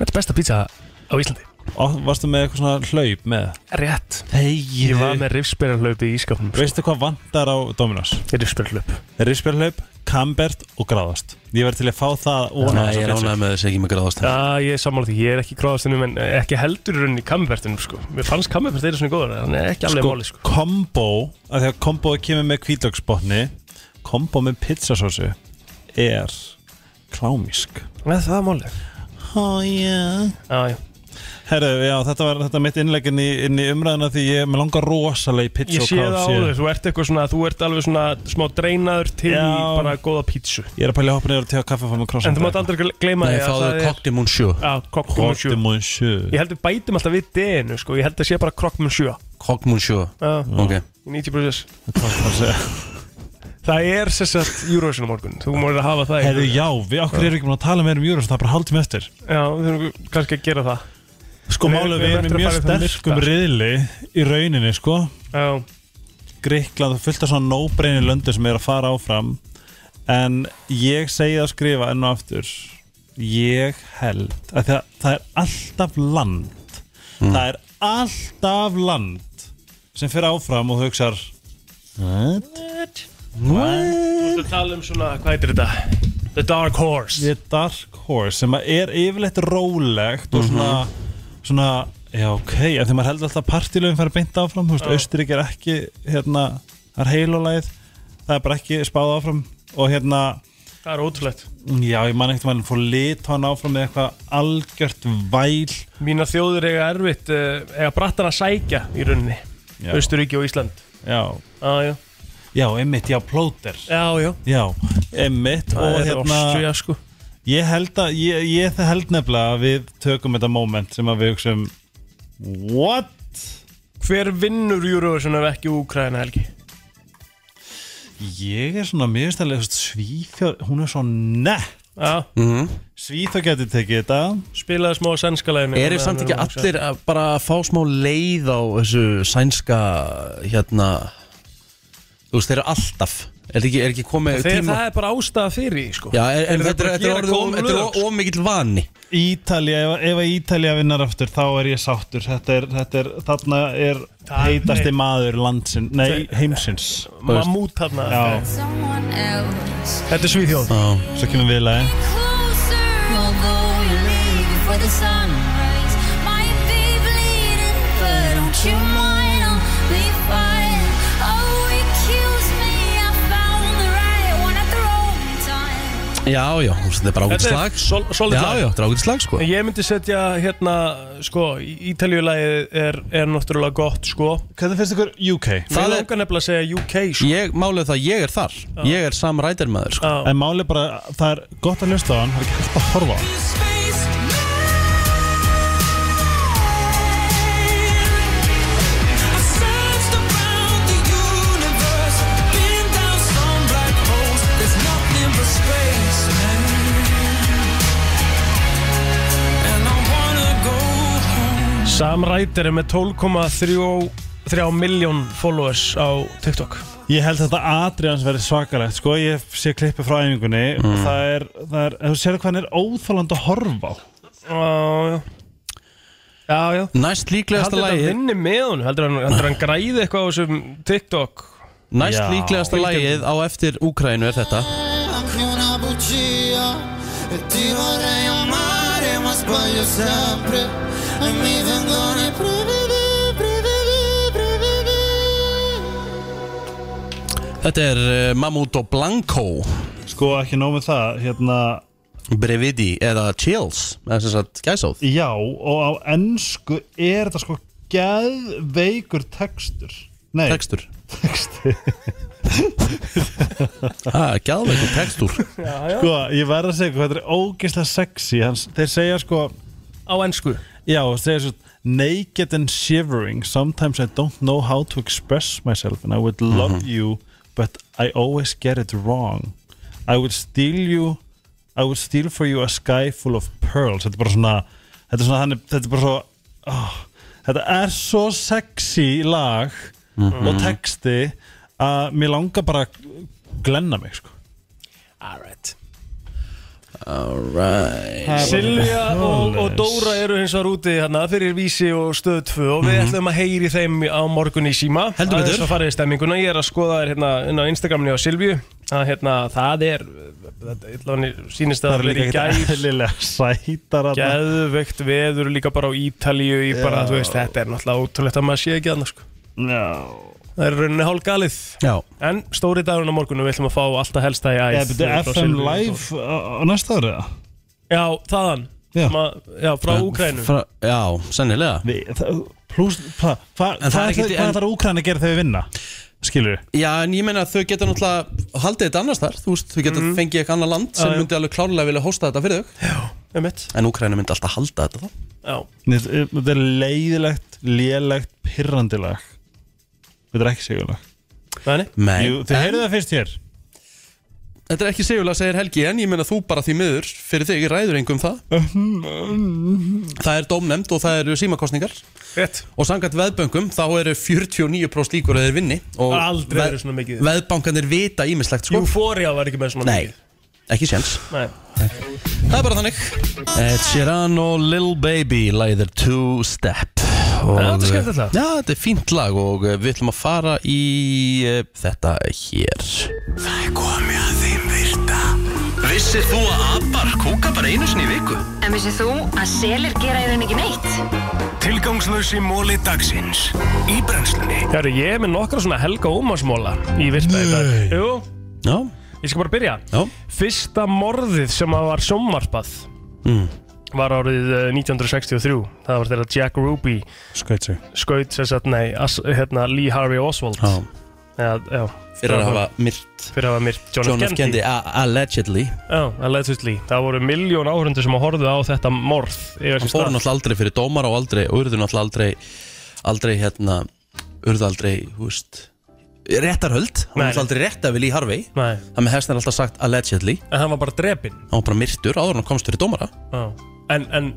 þetta er besta pizza á Íslandi Og varstu með eitthvað svona hlaup með? Rétt Ég var með rifsperjarhlaupi í sko. ískapnum Veistu hvað vantar á Dominos? Rifsperjarhlaup Rifsperjarhlaup, kambert og gráðast Ég verð til að fá það Nei, ég er ánægð með þessi ekki með gráðast Já, ég er sammála því, ég er ekki gráðastunum en ekki heldur í rauninni kammervertunum sko. Mér fannst kammervert þeirra svona góður en ekki alveg máli sko. Kombo, að því að kombo kemur með kvítlöksbotni Kombo með pizzasósu er klámísk Nei, það er máli Ó, já Já, já Herru, já, þetta var þetta mitt innlegg inn í, inn í umræðina því ég með langar rosalega í pizza Ég og sé það á KFC. þér, þú ert eitthvað svona, þú ert alveg svona smá dreinaður til Já. í bara góða pítsu Ég er að pæla hoppin yfir að tega kaffe og fá mig krossan En þú mátt aldrei gleyma því að það er- Cockney Moonshoe Já, Cockney Moonshoe Ég held við bætum alltaf við D-inu sko, ég held að sé bara Cockney Moonshoe Cockney Moonshoe Já. Ok Í 90% Cockney Það er sérsagt Eurovision á morgun, þú mórir að hafa það í Herru, huga. já, við okkur erum ekki búin að tala meira um Júrus það er bara haldum eftir Já, við þurfum kannski að gera það Sko málið er við erum í mjög sterkum riðli í rauninni sko Já Gríkland og fullt af svona no-brainu löndu sem er að fara áfram en ég segi það að skrifa enn og aftur ég held að það, það er alltaf land það er alltaf land sem fyrir áfram og þú hugsar What? What? Þú ert að tala um svona, hvað heitir þetta? The Dark Horse The Dark Horse sem að er yfirleitt rólegt og svona, svona já ok, af því maður heldur alltaf að partilöfum fara beint áfram, þú veist, Já. Austurík er ekki hérna, það er heilulæð það er bara ekki spáð áfram og hérna, Það er ótrúlegt já ég man ekkert mann fór litóan áfram með eitthvað algjört væl Mína þjóður eiga erfitt, eh, eiga brattan að sækja í rauninni Já. Austuríki og Ísland já, ah, Já, já einmitt, já plóter já, já já, einmitt Það og er Ástría, hérna sko. ég held að, ég, ég held nefnilega að við tökum þetta moment sem að við hugsaum what? Hver vinnur Eurovision ef ekki Úkraina helgi? Ég er svona miðurstæðilega Svíþjóð, hún er svo nett Já Mhm. Svíþjóð getur tekið þetta Spilaði smá sænska læginu Er þið samt ekki allir að bara fá smá leið á þessu sænska hérna Þú veist, þeir eru alltaf Er þetta ekki, er ekki komið Þegar tíma það er bara ástæða fyrir því, sko Já, en, en Þeir eru þetta er- bara að þetta er gera orðið góð of- þetta er lög, of- of mikill vani Ítalja, ef, ef að Ítalja vinnar aftur þá er ég sáttur þetta er, þetta er, þarna er Það- heitasti nei. maður landsin, nei Þe- heimsins Mammút þarna. Já. Þetta er Svíþjóð Já, svo kemur við lagi Oh, Já, já, þú veist, þetta er bara ágætt Þetta er slag sol- solid Já, lag. já, þetta er ágætt slag, sko En Ég myndi setja hérna sko, Ítaljulagið er, er náttúrulega gott sko. Hvernig finnst ykkur UK? Það Það er er- langar nefnilega að segja UK sko. Ég, málið það, ég er þar Ég er Sam Ryder maður, sko en máli bara, það er gott að hlusta á hann það er ekki hægt að horfa á hann Sam Ryder er með 12,3 miljón followers á TikTok Ég held að þetta atrið hans verið svakalegt sko. Ég sé klippi frá æfingunni og Mm. það er, það er, þú sér hvað hann er óþáland að horfa á Já, já Já, já Næst líklegasta Heldur lagið- þetta vinni með hún Heldur hann, heldur hann græði eitthvað á þessum TikTok Næst líklegasta lagið á eftir Úkrænu er þetta anche una bugia e ti vorrei amare ma sbaglio sempre e mi vengono i brividi, brividi, brividi Þetta er uh, Mamuto Blanco Sko ekki nóg með það hérna... Brevidi eða Chills eða sem sagt gæsóð Já, og á ennsku er þetta sko geðveikur textur Nei, Textur Textur Það er geðveikur textur já. Sko, ég verð að segja hvað þetta er ógeðslega sexy hans, Þeir segja sko Á ennsku Já, þeir segja svo Naked and shivering Sometimes I don't know how to express myself And I would love you But I always get it wrong I would steal you I would steal for you a sky full of pearls Þetta er bara svona Þetta er, svona, hann er- þetta er bara svo oh, Þetta er svo sexy lag Mhm. Og texti Að mér langar bara að glenna mig sko. Alright Alright Silja og, og Dóra eru hins vegar úti hérna fyrir Vísi og Stöð 2 og Mhm. við ætlum að heyri þeim á morgun í síma Heldur betur. Það er farið í stemminguna, ég er að skoða þér hérna inn á Instagramni á Silju að hérna það er þetta allavega sýnist að Það er líka verið í ekki gær eðlilega sætar þarna. Geðveikt veður líka bara á Ítalíu í bara, Já. þú veist, þetta er náttúrulega ótrúlegt að maður sé ekki annars sko. Já Það er í rauninni hálf galið Já. En stóri dagurinn á morgunum við ætlum að fá alltaf helsta í Eða æð byrju, frá FM Silvíu og Dóru. live á á næsta ári eða? Já, þaðan Já. Sem að- Já, frá Úkrænu Fra, Já, sennilega Vi, það, plus, hva, hva, Hvað En það er ætlar ekki- hvað en- ætlar Úkraina að gera þegar við vinna? Skilur við? Já, en ég meina að þau geta náttúrulega haldið þetta annars þar, þú veist, þau geta fengið eitthvað annað land sem Mhm. Já, já. myndi alveg klárlega vilja hósta þetta fyrir þau Já, um mitt En Úkræna myndi alltaf halda þetta þá Já eh, Þetta er leiðilegt, lélegt, pirrandi lag Þetta er ekki sigurlag Nei, Nei. Jú, Þið heyrðu það fyrst hér Þetta er ekki segulega, segir Helgi, en ég meina þú bara því miður fyrir þig ræður engum það Það er dómnefnd og það eru símakostningar Rétt. Og samkvæmt veðböngum þá eru 49% líkur að þeir vinni og Aldrei eru svona mikið. Veðbankanir vita ímislegt sko Euphoria var ekki með svona Nei, ekki séns Nei. Það er bara þannig Ed Sheeran og Lil Baby læðir Two Step og, Já, þetta er skemmtilegt lag. Já, þetta er fínt lag og eh, við ætlum að fara í eh, þetta hér Það er komið að þeim virta Vissir þú að abar kúka bara einu sinni í viku? En vissið þú að selir gera í rauninni ekki neitt? Tilgangslösi móli dagsins Í brennslunni Hörru, ég er með nokkra svona Helga Ómarsmóla Í virta í dag Jú Já Ég skal bara byrja Já Fyrsta morðið sem að var sjómvarpað mm. Var árið eh, 1963 Það var þeirra Jack Ruby Skaut sig Skaut sem sagt, nei, as, hérna Lee Harvey Oswald Já. Já, já Fyrir að hafa myrt Fyrir að hafa myrt John, John F. Kennedy Já, a- allegedly allegedly Það voru miljón áhörundu sem að horfðu á þetta morð Hann fór náttúrulega aldrei fyrir dómar og aldrei og urðu náttúrulega aldrei aldrei hérna, urðu aldrei þú veist, réttarhöld hann var Nei. náttúrulega aldrei rétta við Lee Harvey Nei. það með hestin er alltaf sagt allegedly En hann var bara drepin hann var bara myrtur áður en hann komst fyrir dómara Já. en, en,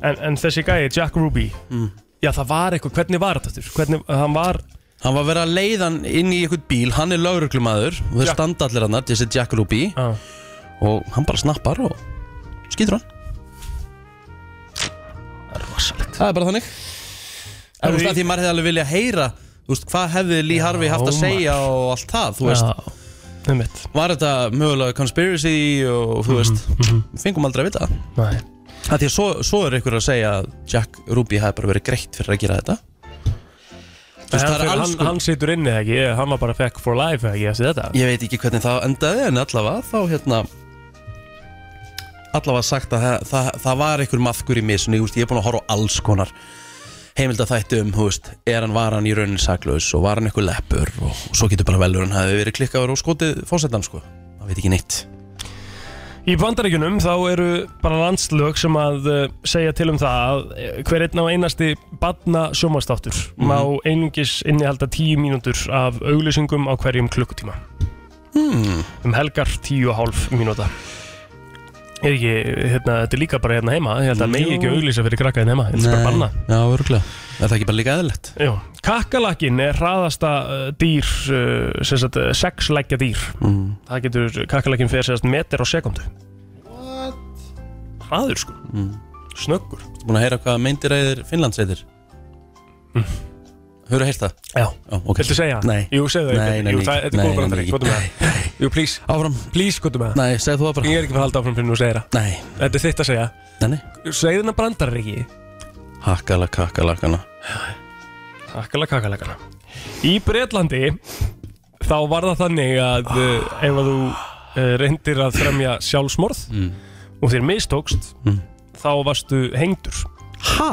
en, en þessi gæi, Jack Ruby Mm. Já, það var eitthvað, hvernig var þetta aftur? Hvernig, hann var hann var verið að leiða hann inn í einhvern bíl hann er lauruglumæður og þeir Jack. standa allir hann þessi Jack Ruby ah. og hann bara snappar og skýtur hann Það er rosalegt Það er bara þannig En þú veist að því maður hefði alveg vilja heyra Þú veist, hvað hefði Lee Harvey haft að maður. segja og allt það, þú veist Einmitt. Var þetta mögulega conspiracy og þú veist Fengum aldrei að vita það Nei. Af Því að svo, svo er ykkur að segja að Jack Ruby hafi bara verið greitt fyrir að gera þetta En það hann, er alls sko- hann, konar- hann situr inni eða ekki, hann var bara fekk for life eða ekki eftir þetta Ég veit ekki hvernig það endaði en allavega þá hérna allavega sagt að það, það, það var einhver maðkur í misunni, ég, ég er búin að horfa á alls konar heimildaþætti um, þú veist, er hann, var hann í raunin saklaus og var hann einhver leppur og, og svo getur bara velur hann hafi verið klikkaður og skotið fósettan sko, það veit ekki neitt Í bandaríkunum þá eru bara landslög sem að uh, segja til um það að eh, hver einn á einasti badna sjómanstáttur Mhm. má einungis innihalda tíu mínútur af auglýsingum á hverjum klukkutíma hmm. um helgar tíu og hálf mínúta Er ekki, hérna, þetta er líka bara hérna heima ég held að megi Jú. ekki auglýsa fyrir krakka hérna heima þetta er bara banna Já, örgulega, er það ekki bara líka eðlilegt? Já, kakkalakkin er hraðasta uh, dýr, uh, sem sagt, uh, sexleggja dýr Mm. Það getur, kakkalakkin fer sem sagt meter á sekundu Hraður sko, Mm. snöggur Ertu búin að heyra hvað meindiræðir Finnlands heitir? Hefur að heyrt það? Já, ok. Viltu segja? Nei Jú, segðu það Nei, ekki. nei, Jú, nei, það- þetta er nei, góð nei, brandari, nei, gotum með nei. það Jú, please Áfram Please, gotum með það Nei, segðu þú það bara Ég er ekki að fara að halda áfram fyrir þú segir það Nei Þetta er þitt að segja Nei, nei Segðu þarna brandari ekki Hakkala kakkalakana Kakkala kakkalakana Í Breitlandi þá var það þannig að Ah. uh, ef að þú uh, reyndir að fremja sjálfsmorð Mm. og þér mistókst þá varstu hengdur Ha?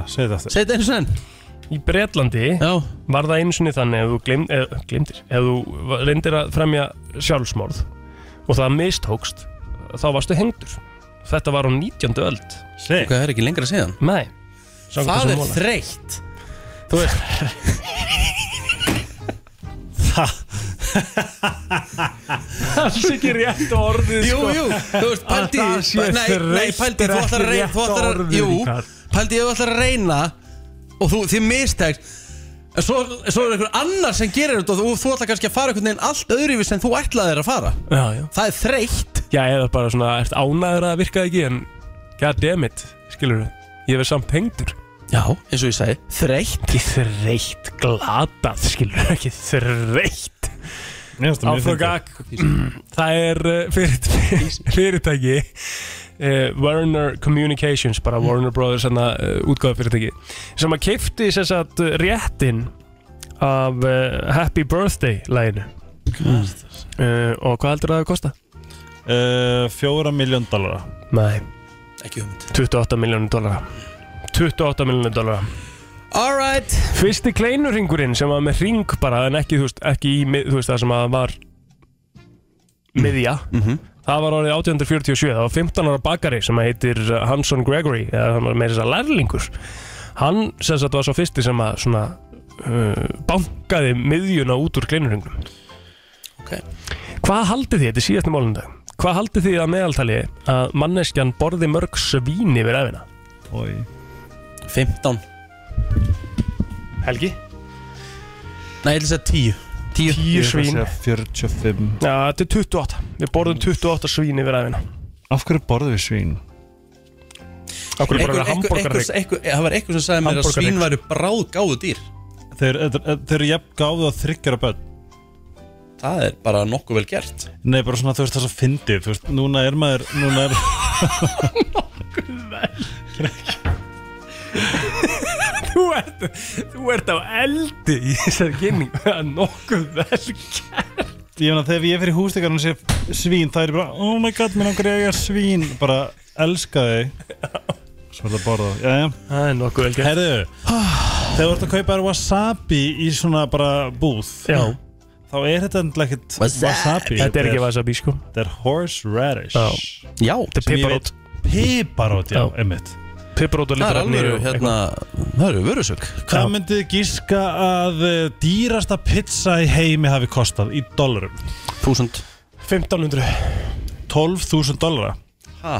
Ah, Segðu það Segðu þetta eins og enn Í Breitlandi Já. var það einu sinni þannig ef þú gleym, eh, gleymdir ef þú va- reyndir að fremja sjálfsmorð og það mistókst þá varstu hengdur Þetta var á 19. öld Hvað það er ekki lengra síðan? Nei Samkvæmt Það þessum er mála. þreytt Þú veist Alls ekki rétt orðið Jú, sko. jú, þú veist, pældi Að það sé Nei, nei, þreytt pældi, er þú ætlar að ekki reyna rétta Þú ætlar að, orðið, jú, Ríkharð. pældi, þú ætlar að reyna Og þú, þið mistekst En svo, svo er einhver annar sem gerir þetta Og þú, þú ætlar kannski að fara einhvern veginn allt öðruvís En þú ætlaðir að fara já, já. Það er þreytt Já, eða bara svona, ert ánæður að það virkaði ekki En goddammit, skilur Ég verð samt hengdur Já, eins og ég segi, þreytt Ekki þreytt, glatað, skilur Ekki þreytt finnst það mjög Áfrá fyndið. gag Það er uh, fyrirt, fyrirtæki uh, Warner Communications bara Mm. Warner Brothers hana, uh, útgáða fyrirtæki sem að keipti þess að réttin af uh, Happy Birthday læginu uh, og hvað heldur það að kosta? Uh, fjóra miljón dollara Nei Ekki hugmynd 28 miljónir dollara 28 miljónir dollara Alright Fyrsti kleinurringurinn sem var með ring bara en ekki, þú veist, ekki í, mið- þú veist, það sem að var miðja Mm. Mhm. Það var árið 1847, það var 15 ára bakari sem heitir uh, Hanson Gregory eða hann var með þess að lærlingur Hann sem sagt var svo fyrsti sem að svona uh, bankaði miðjuna út úr kleinurringum Ok Hvað haldið þið, þetta er síðast málundag Hvað haldið þið að meðaltali að manneskjan borði mörg svín yfir efina? Oi. 15 Helgi? Nei, ég ætla að segja 10 10 10 svín 45 Já, þetta er 28 Við borðum 28 svín yfir æfina Af hverju borðum við svín? Af hverju borðum við Einhver- einhver- hamborgarrygg? einhver- einhver- Það var einhver sem sagði mér að svín væru bráð gáðu dýr Þeir, eh, þeir, þeir eru jafn gáðu að þryggjara börn Það er bara nokkuð vel gert Nei, bara svona þú veist það svo fyndið Þú veist, núna er maður Núna er Þú ert, þú ert á eldi í þessari kynning Það er nokkuð vel gert Ég meina þegar ég fyrir hústekar og sé svín Það er ég bara, oh my god, minn okkur ég er svín Bara elska þau Svo er það að borða þá, jæja Það er nokkuð vel gert Herðu, þegar þú ert að kaupa þér wasabi í svona bara búð Já Þá er þetta endilega ekkert wasabi Þetta er ekki wasabi sko Þetta er horseradish Já, Já þetta er piparót Piparót, já, Já. einmitt Piparót og Það er litræfni alveg, og hérna, það eru vörusök Hvað myndið þið gíska að eh, dýrasta pizza í heimi hafi kostað í dólarum? 1000 1500 12.000 dólara Ha?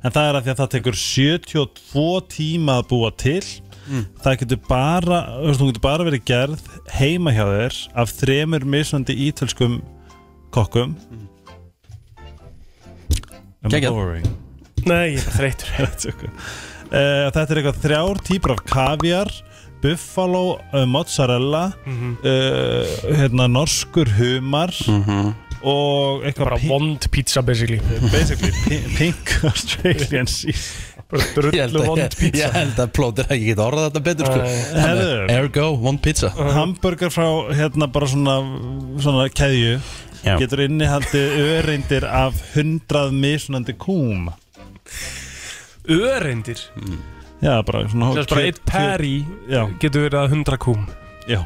En það er að því að það tekur 72 tíma að búa til Mm. Það getur bara, þú veist, hún getur bara verið gerð heima hjá þér af þremur misvandi ítölskum kokkum Am I Geggjað. boring? Nei, ég er bara þreytur Þetta er okkur. uh, Þetta er eitthvað þrjár típur af kaviar Buffalo uh, mozzarella Mhm. uh, hérna, Norskur humar Og eitthvað Mhm. Bara vond pizza basically sko- Basically, pi- pink Australian season Ég held að- Ég held að plótir að ég geta orðað þetta betur sko. Herðu. Ergo, one pizza uh-huh. Hamburger frá hérna bara svona, svona keðju Já. Getur innihaldið öreindir af hundrað mismunandi kúm Öreindir Já, bara svona Þess bara eitt pær í Já. Getur verið að 100 kúm Já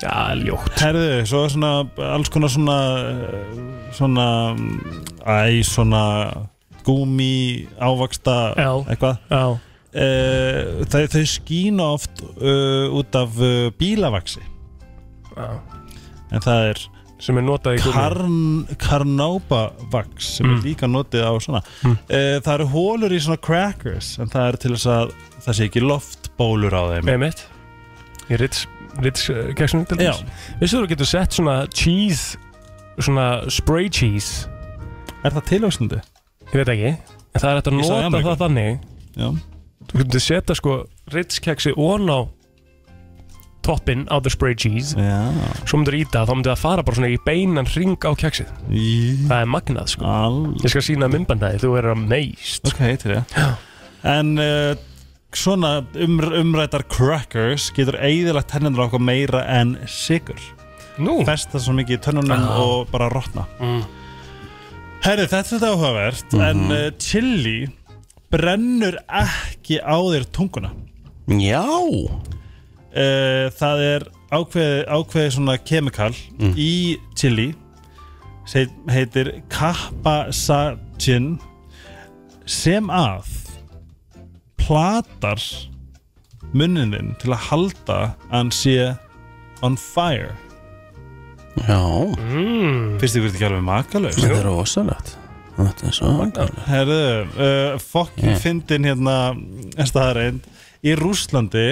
Já, ljótt Herðu, svo er svona alls konar svona svona æ, svona gúmi, ávaksta Já. eitthvað Já. Uh, þau, þau skína oft uh, út af uh, bílavaksi Já. en það er sem er notað í gúmmí. karn, karnóbavaks sem Mm. er líka notið á svona Mm. Eh, það eru hólur í svona crackers en það er til þess að það sé ekki loftbólur á þeim Einmitt. Í Ritz, Ritz uh, keksinu til Já. þess Vissu þú að þú getur sett svona cheese Svona spray cheese Er það tilvægsnandi? Ég veit ekki En það er hægt að Ég sagði nota Ameríku. það þannig Já. Þú getur setja sko Ritz keksi on á toppinn á the spray cheese Já. Svo myndir íta þá myndir það fara bara svona í beinan ring á keksið Í. Það er magnað sko All. Ég skal sína mymbandæði, þú verður amazed Ok, til það En uh, svona um, umrætar crackers getur eigðilegt tennundur okkur meira en sigur Nú. Festa svo mikið í tönnunum Ah. og bara rotna mm. Herri, þetta er þetta áhugavert En uh, chili brennur ekki á þér tunguna Já uh, Það er ákveðið ákveði svona kemikal í chili sem heitir kapasacin sem að platar munnin til að halda að hann sé on fire Já mm. Fyrst ykkur þetta ekki alveg makalaust Þetta er rosalegt Þetta er svo Herðu, uh, fokkin Yeah. Eh. yeah. fyndin hérna staðarind í Rúslandi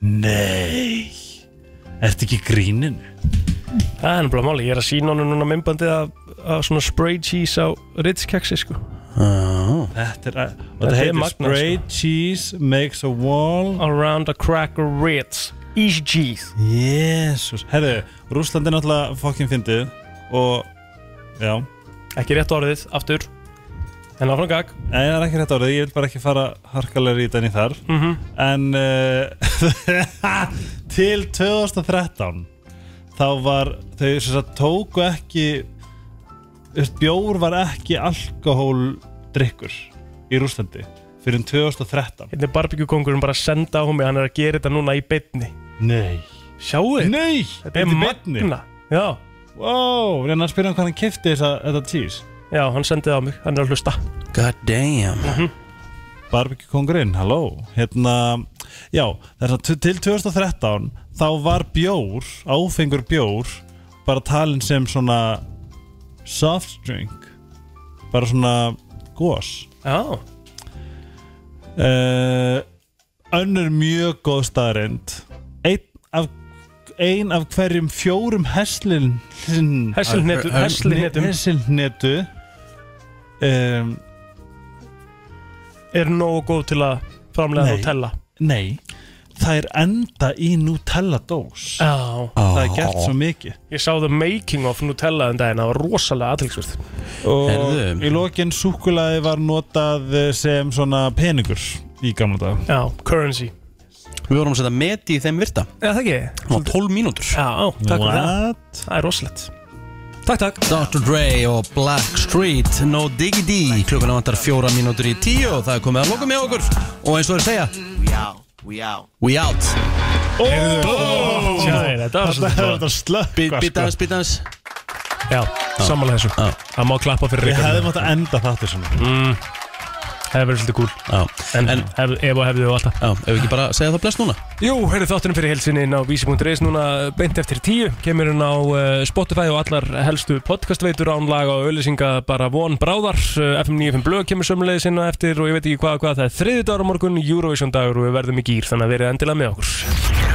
Nei Ertu ekki í gríninu? Það er náttúrulega máli, ég er að sína honum núna mymbandið af, af svona spray cheese á Ritz keksi sko Þetta er uh, að Þetta Þetta er heitir magnað, sko. spray cheese makes a wall Around a cracker Ritz Easy cheese Jesus Herðu, Rúslandi er náttúrulega fokkin fyndið og já Ekki rétt orðið, aftur En áfram gag Nei, það er ekki rétt orðið, ég vil bara ekki fara harkalega í þenni þar Mhm. En uh, til 2013 þá var, þau sem sagt, tóku ekki þú veist, bjór var ekki alkohóldrykkur í Rúslandi fyrir 2013 Hérna er barbíkjukongurinn bara að senda á mig Hann er að gera þetta núna í beinni Nei Sjáu þið? Nei, Þetta er magna Já Wow, reyna að spyrja hann hvað hann kifti þess að þetta cheese Já, hann sendið á mig, hann er að hlusta God damn Barbecue kongurinn, halló hérna, já, þess að t- til 2013 þá var bjór áfengur bjór bara talin sem svona soft drink bara svona gos Já uh, önnur mjög góð staðarind ein af, ein af hverjum fjórum heslin Hessilhnetu- hessilhnetum. hessilnetu um, Er nógu góð til að framlega Nei. Nutella Nei, það er enda í Nutella dós Já Það er gert svo mikið Ég sá the making of Nutella en daginn Það var rosalega aðtilsvöld Og í lokin súkulaði var notað eh, sem svona peningur í gamla dag Já, currency Við vorum að setja meti í þeim virta Já, það ekki Það var 12 mínútur Já, á, takk fyrir það What? Það er rosalegt Takk, takk Dr. Dre og Black Street No Diggity Klukkan vantar fjóra mínútur í tíu og það er komið að loka með okkur og eins og þeir segja We out, we out We out Oh! Tjæ, þetta var svolítið flott. slökk Bít- Bít aðeins, bít aðeins Já, sammála þessu Það má klappa fyrir Við Ríkard. hefðum átt að enda þáttir svona mm, Hefði verið svolítið gúl En, en hef, ef og hefði þú alltaf Já, ef við ekki bara segja það bless núna Jú, heyrðu þáttunum fyrir heilsinni inn á vísi.is núna beint eftir tíu kemur hún á uh, Spotify og allar helstu podcastveitur án laga og auðlýsinga bara von bráðar uh, FM 95 blöð kemur sömulegis inn á eftir og ég veit ekki hvað hvað það er þriðið dagur á morgun Eurovision dagur og við verðum í gýr þannig að verið endilega með okkur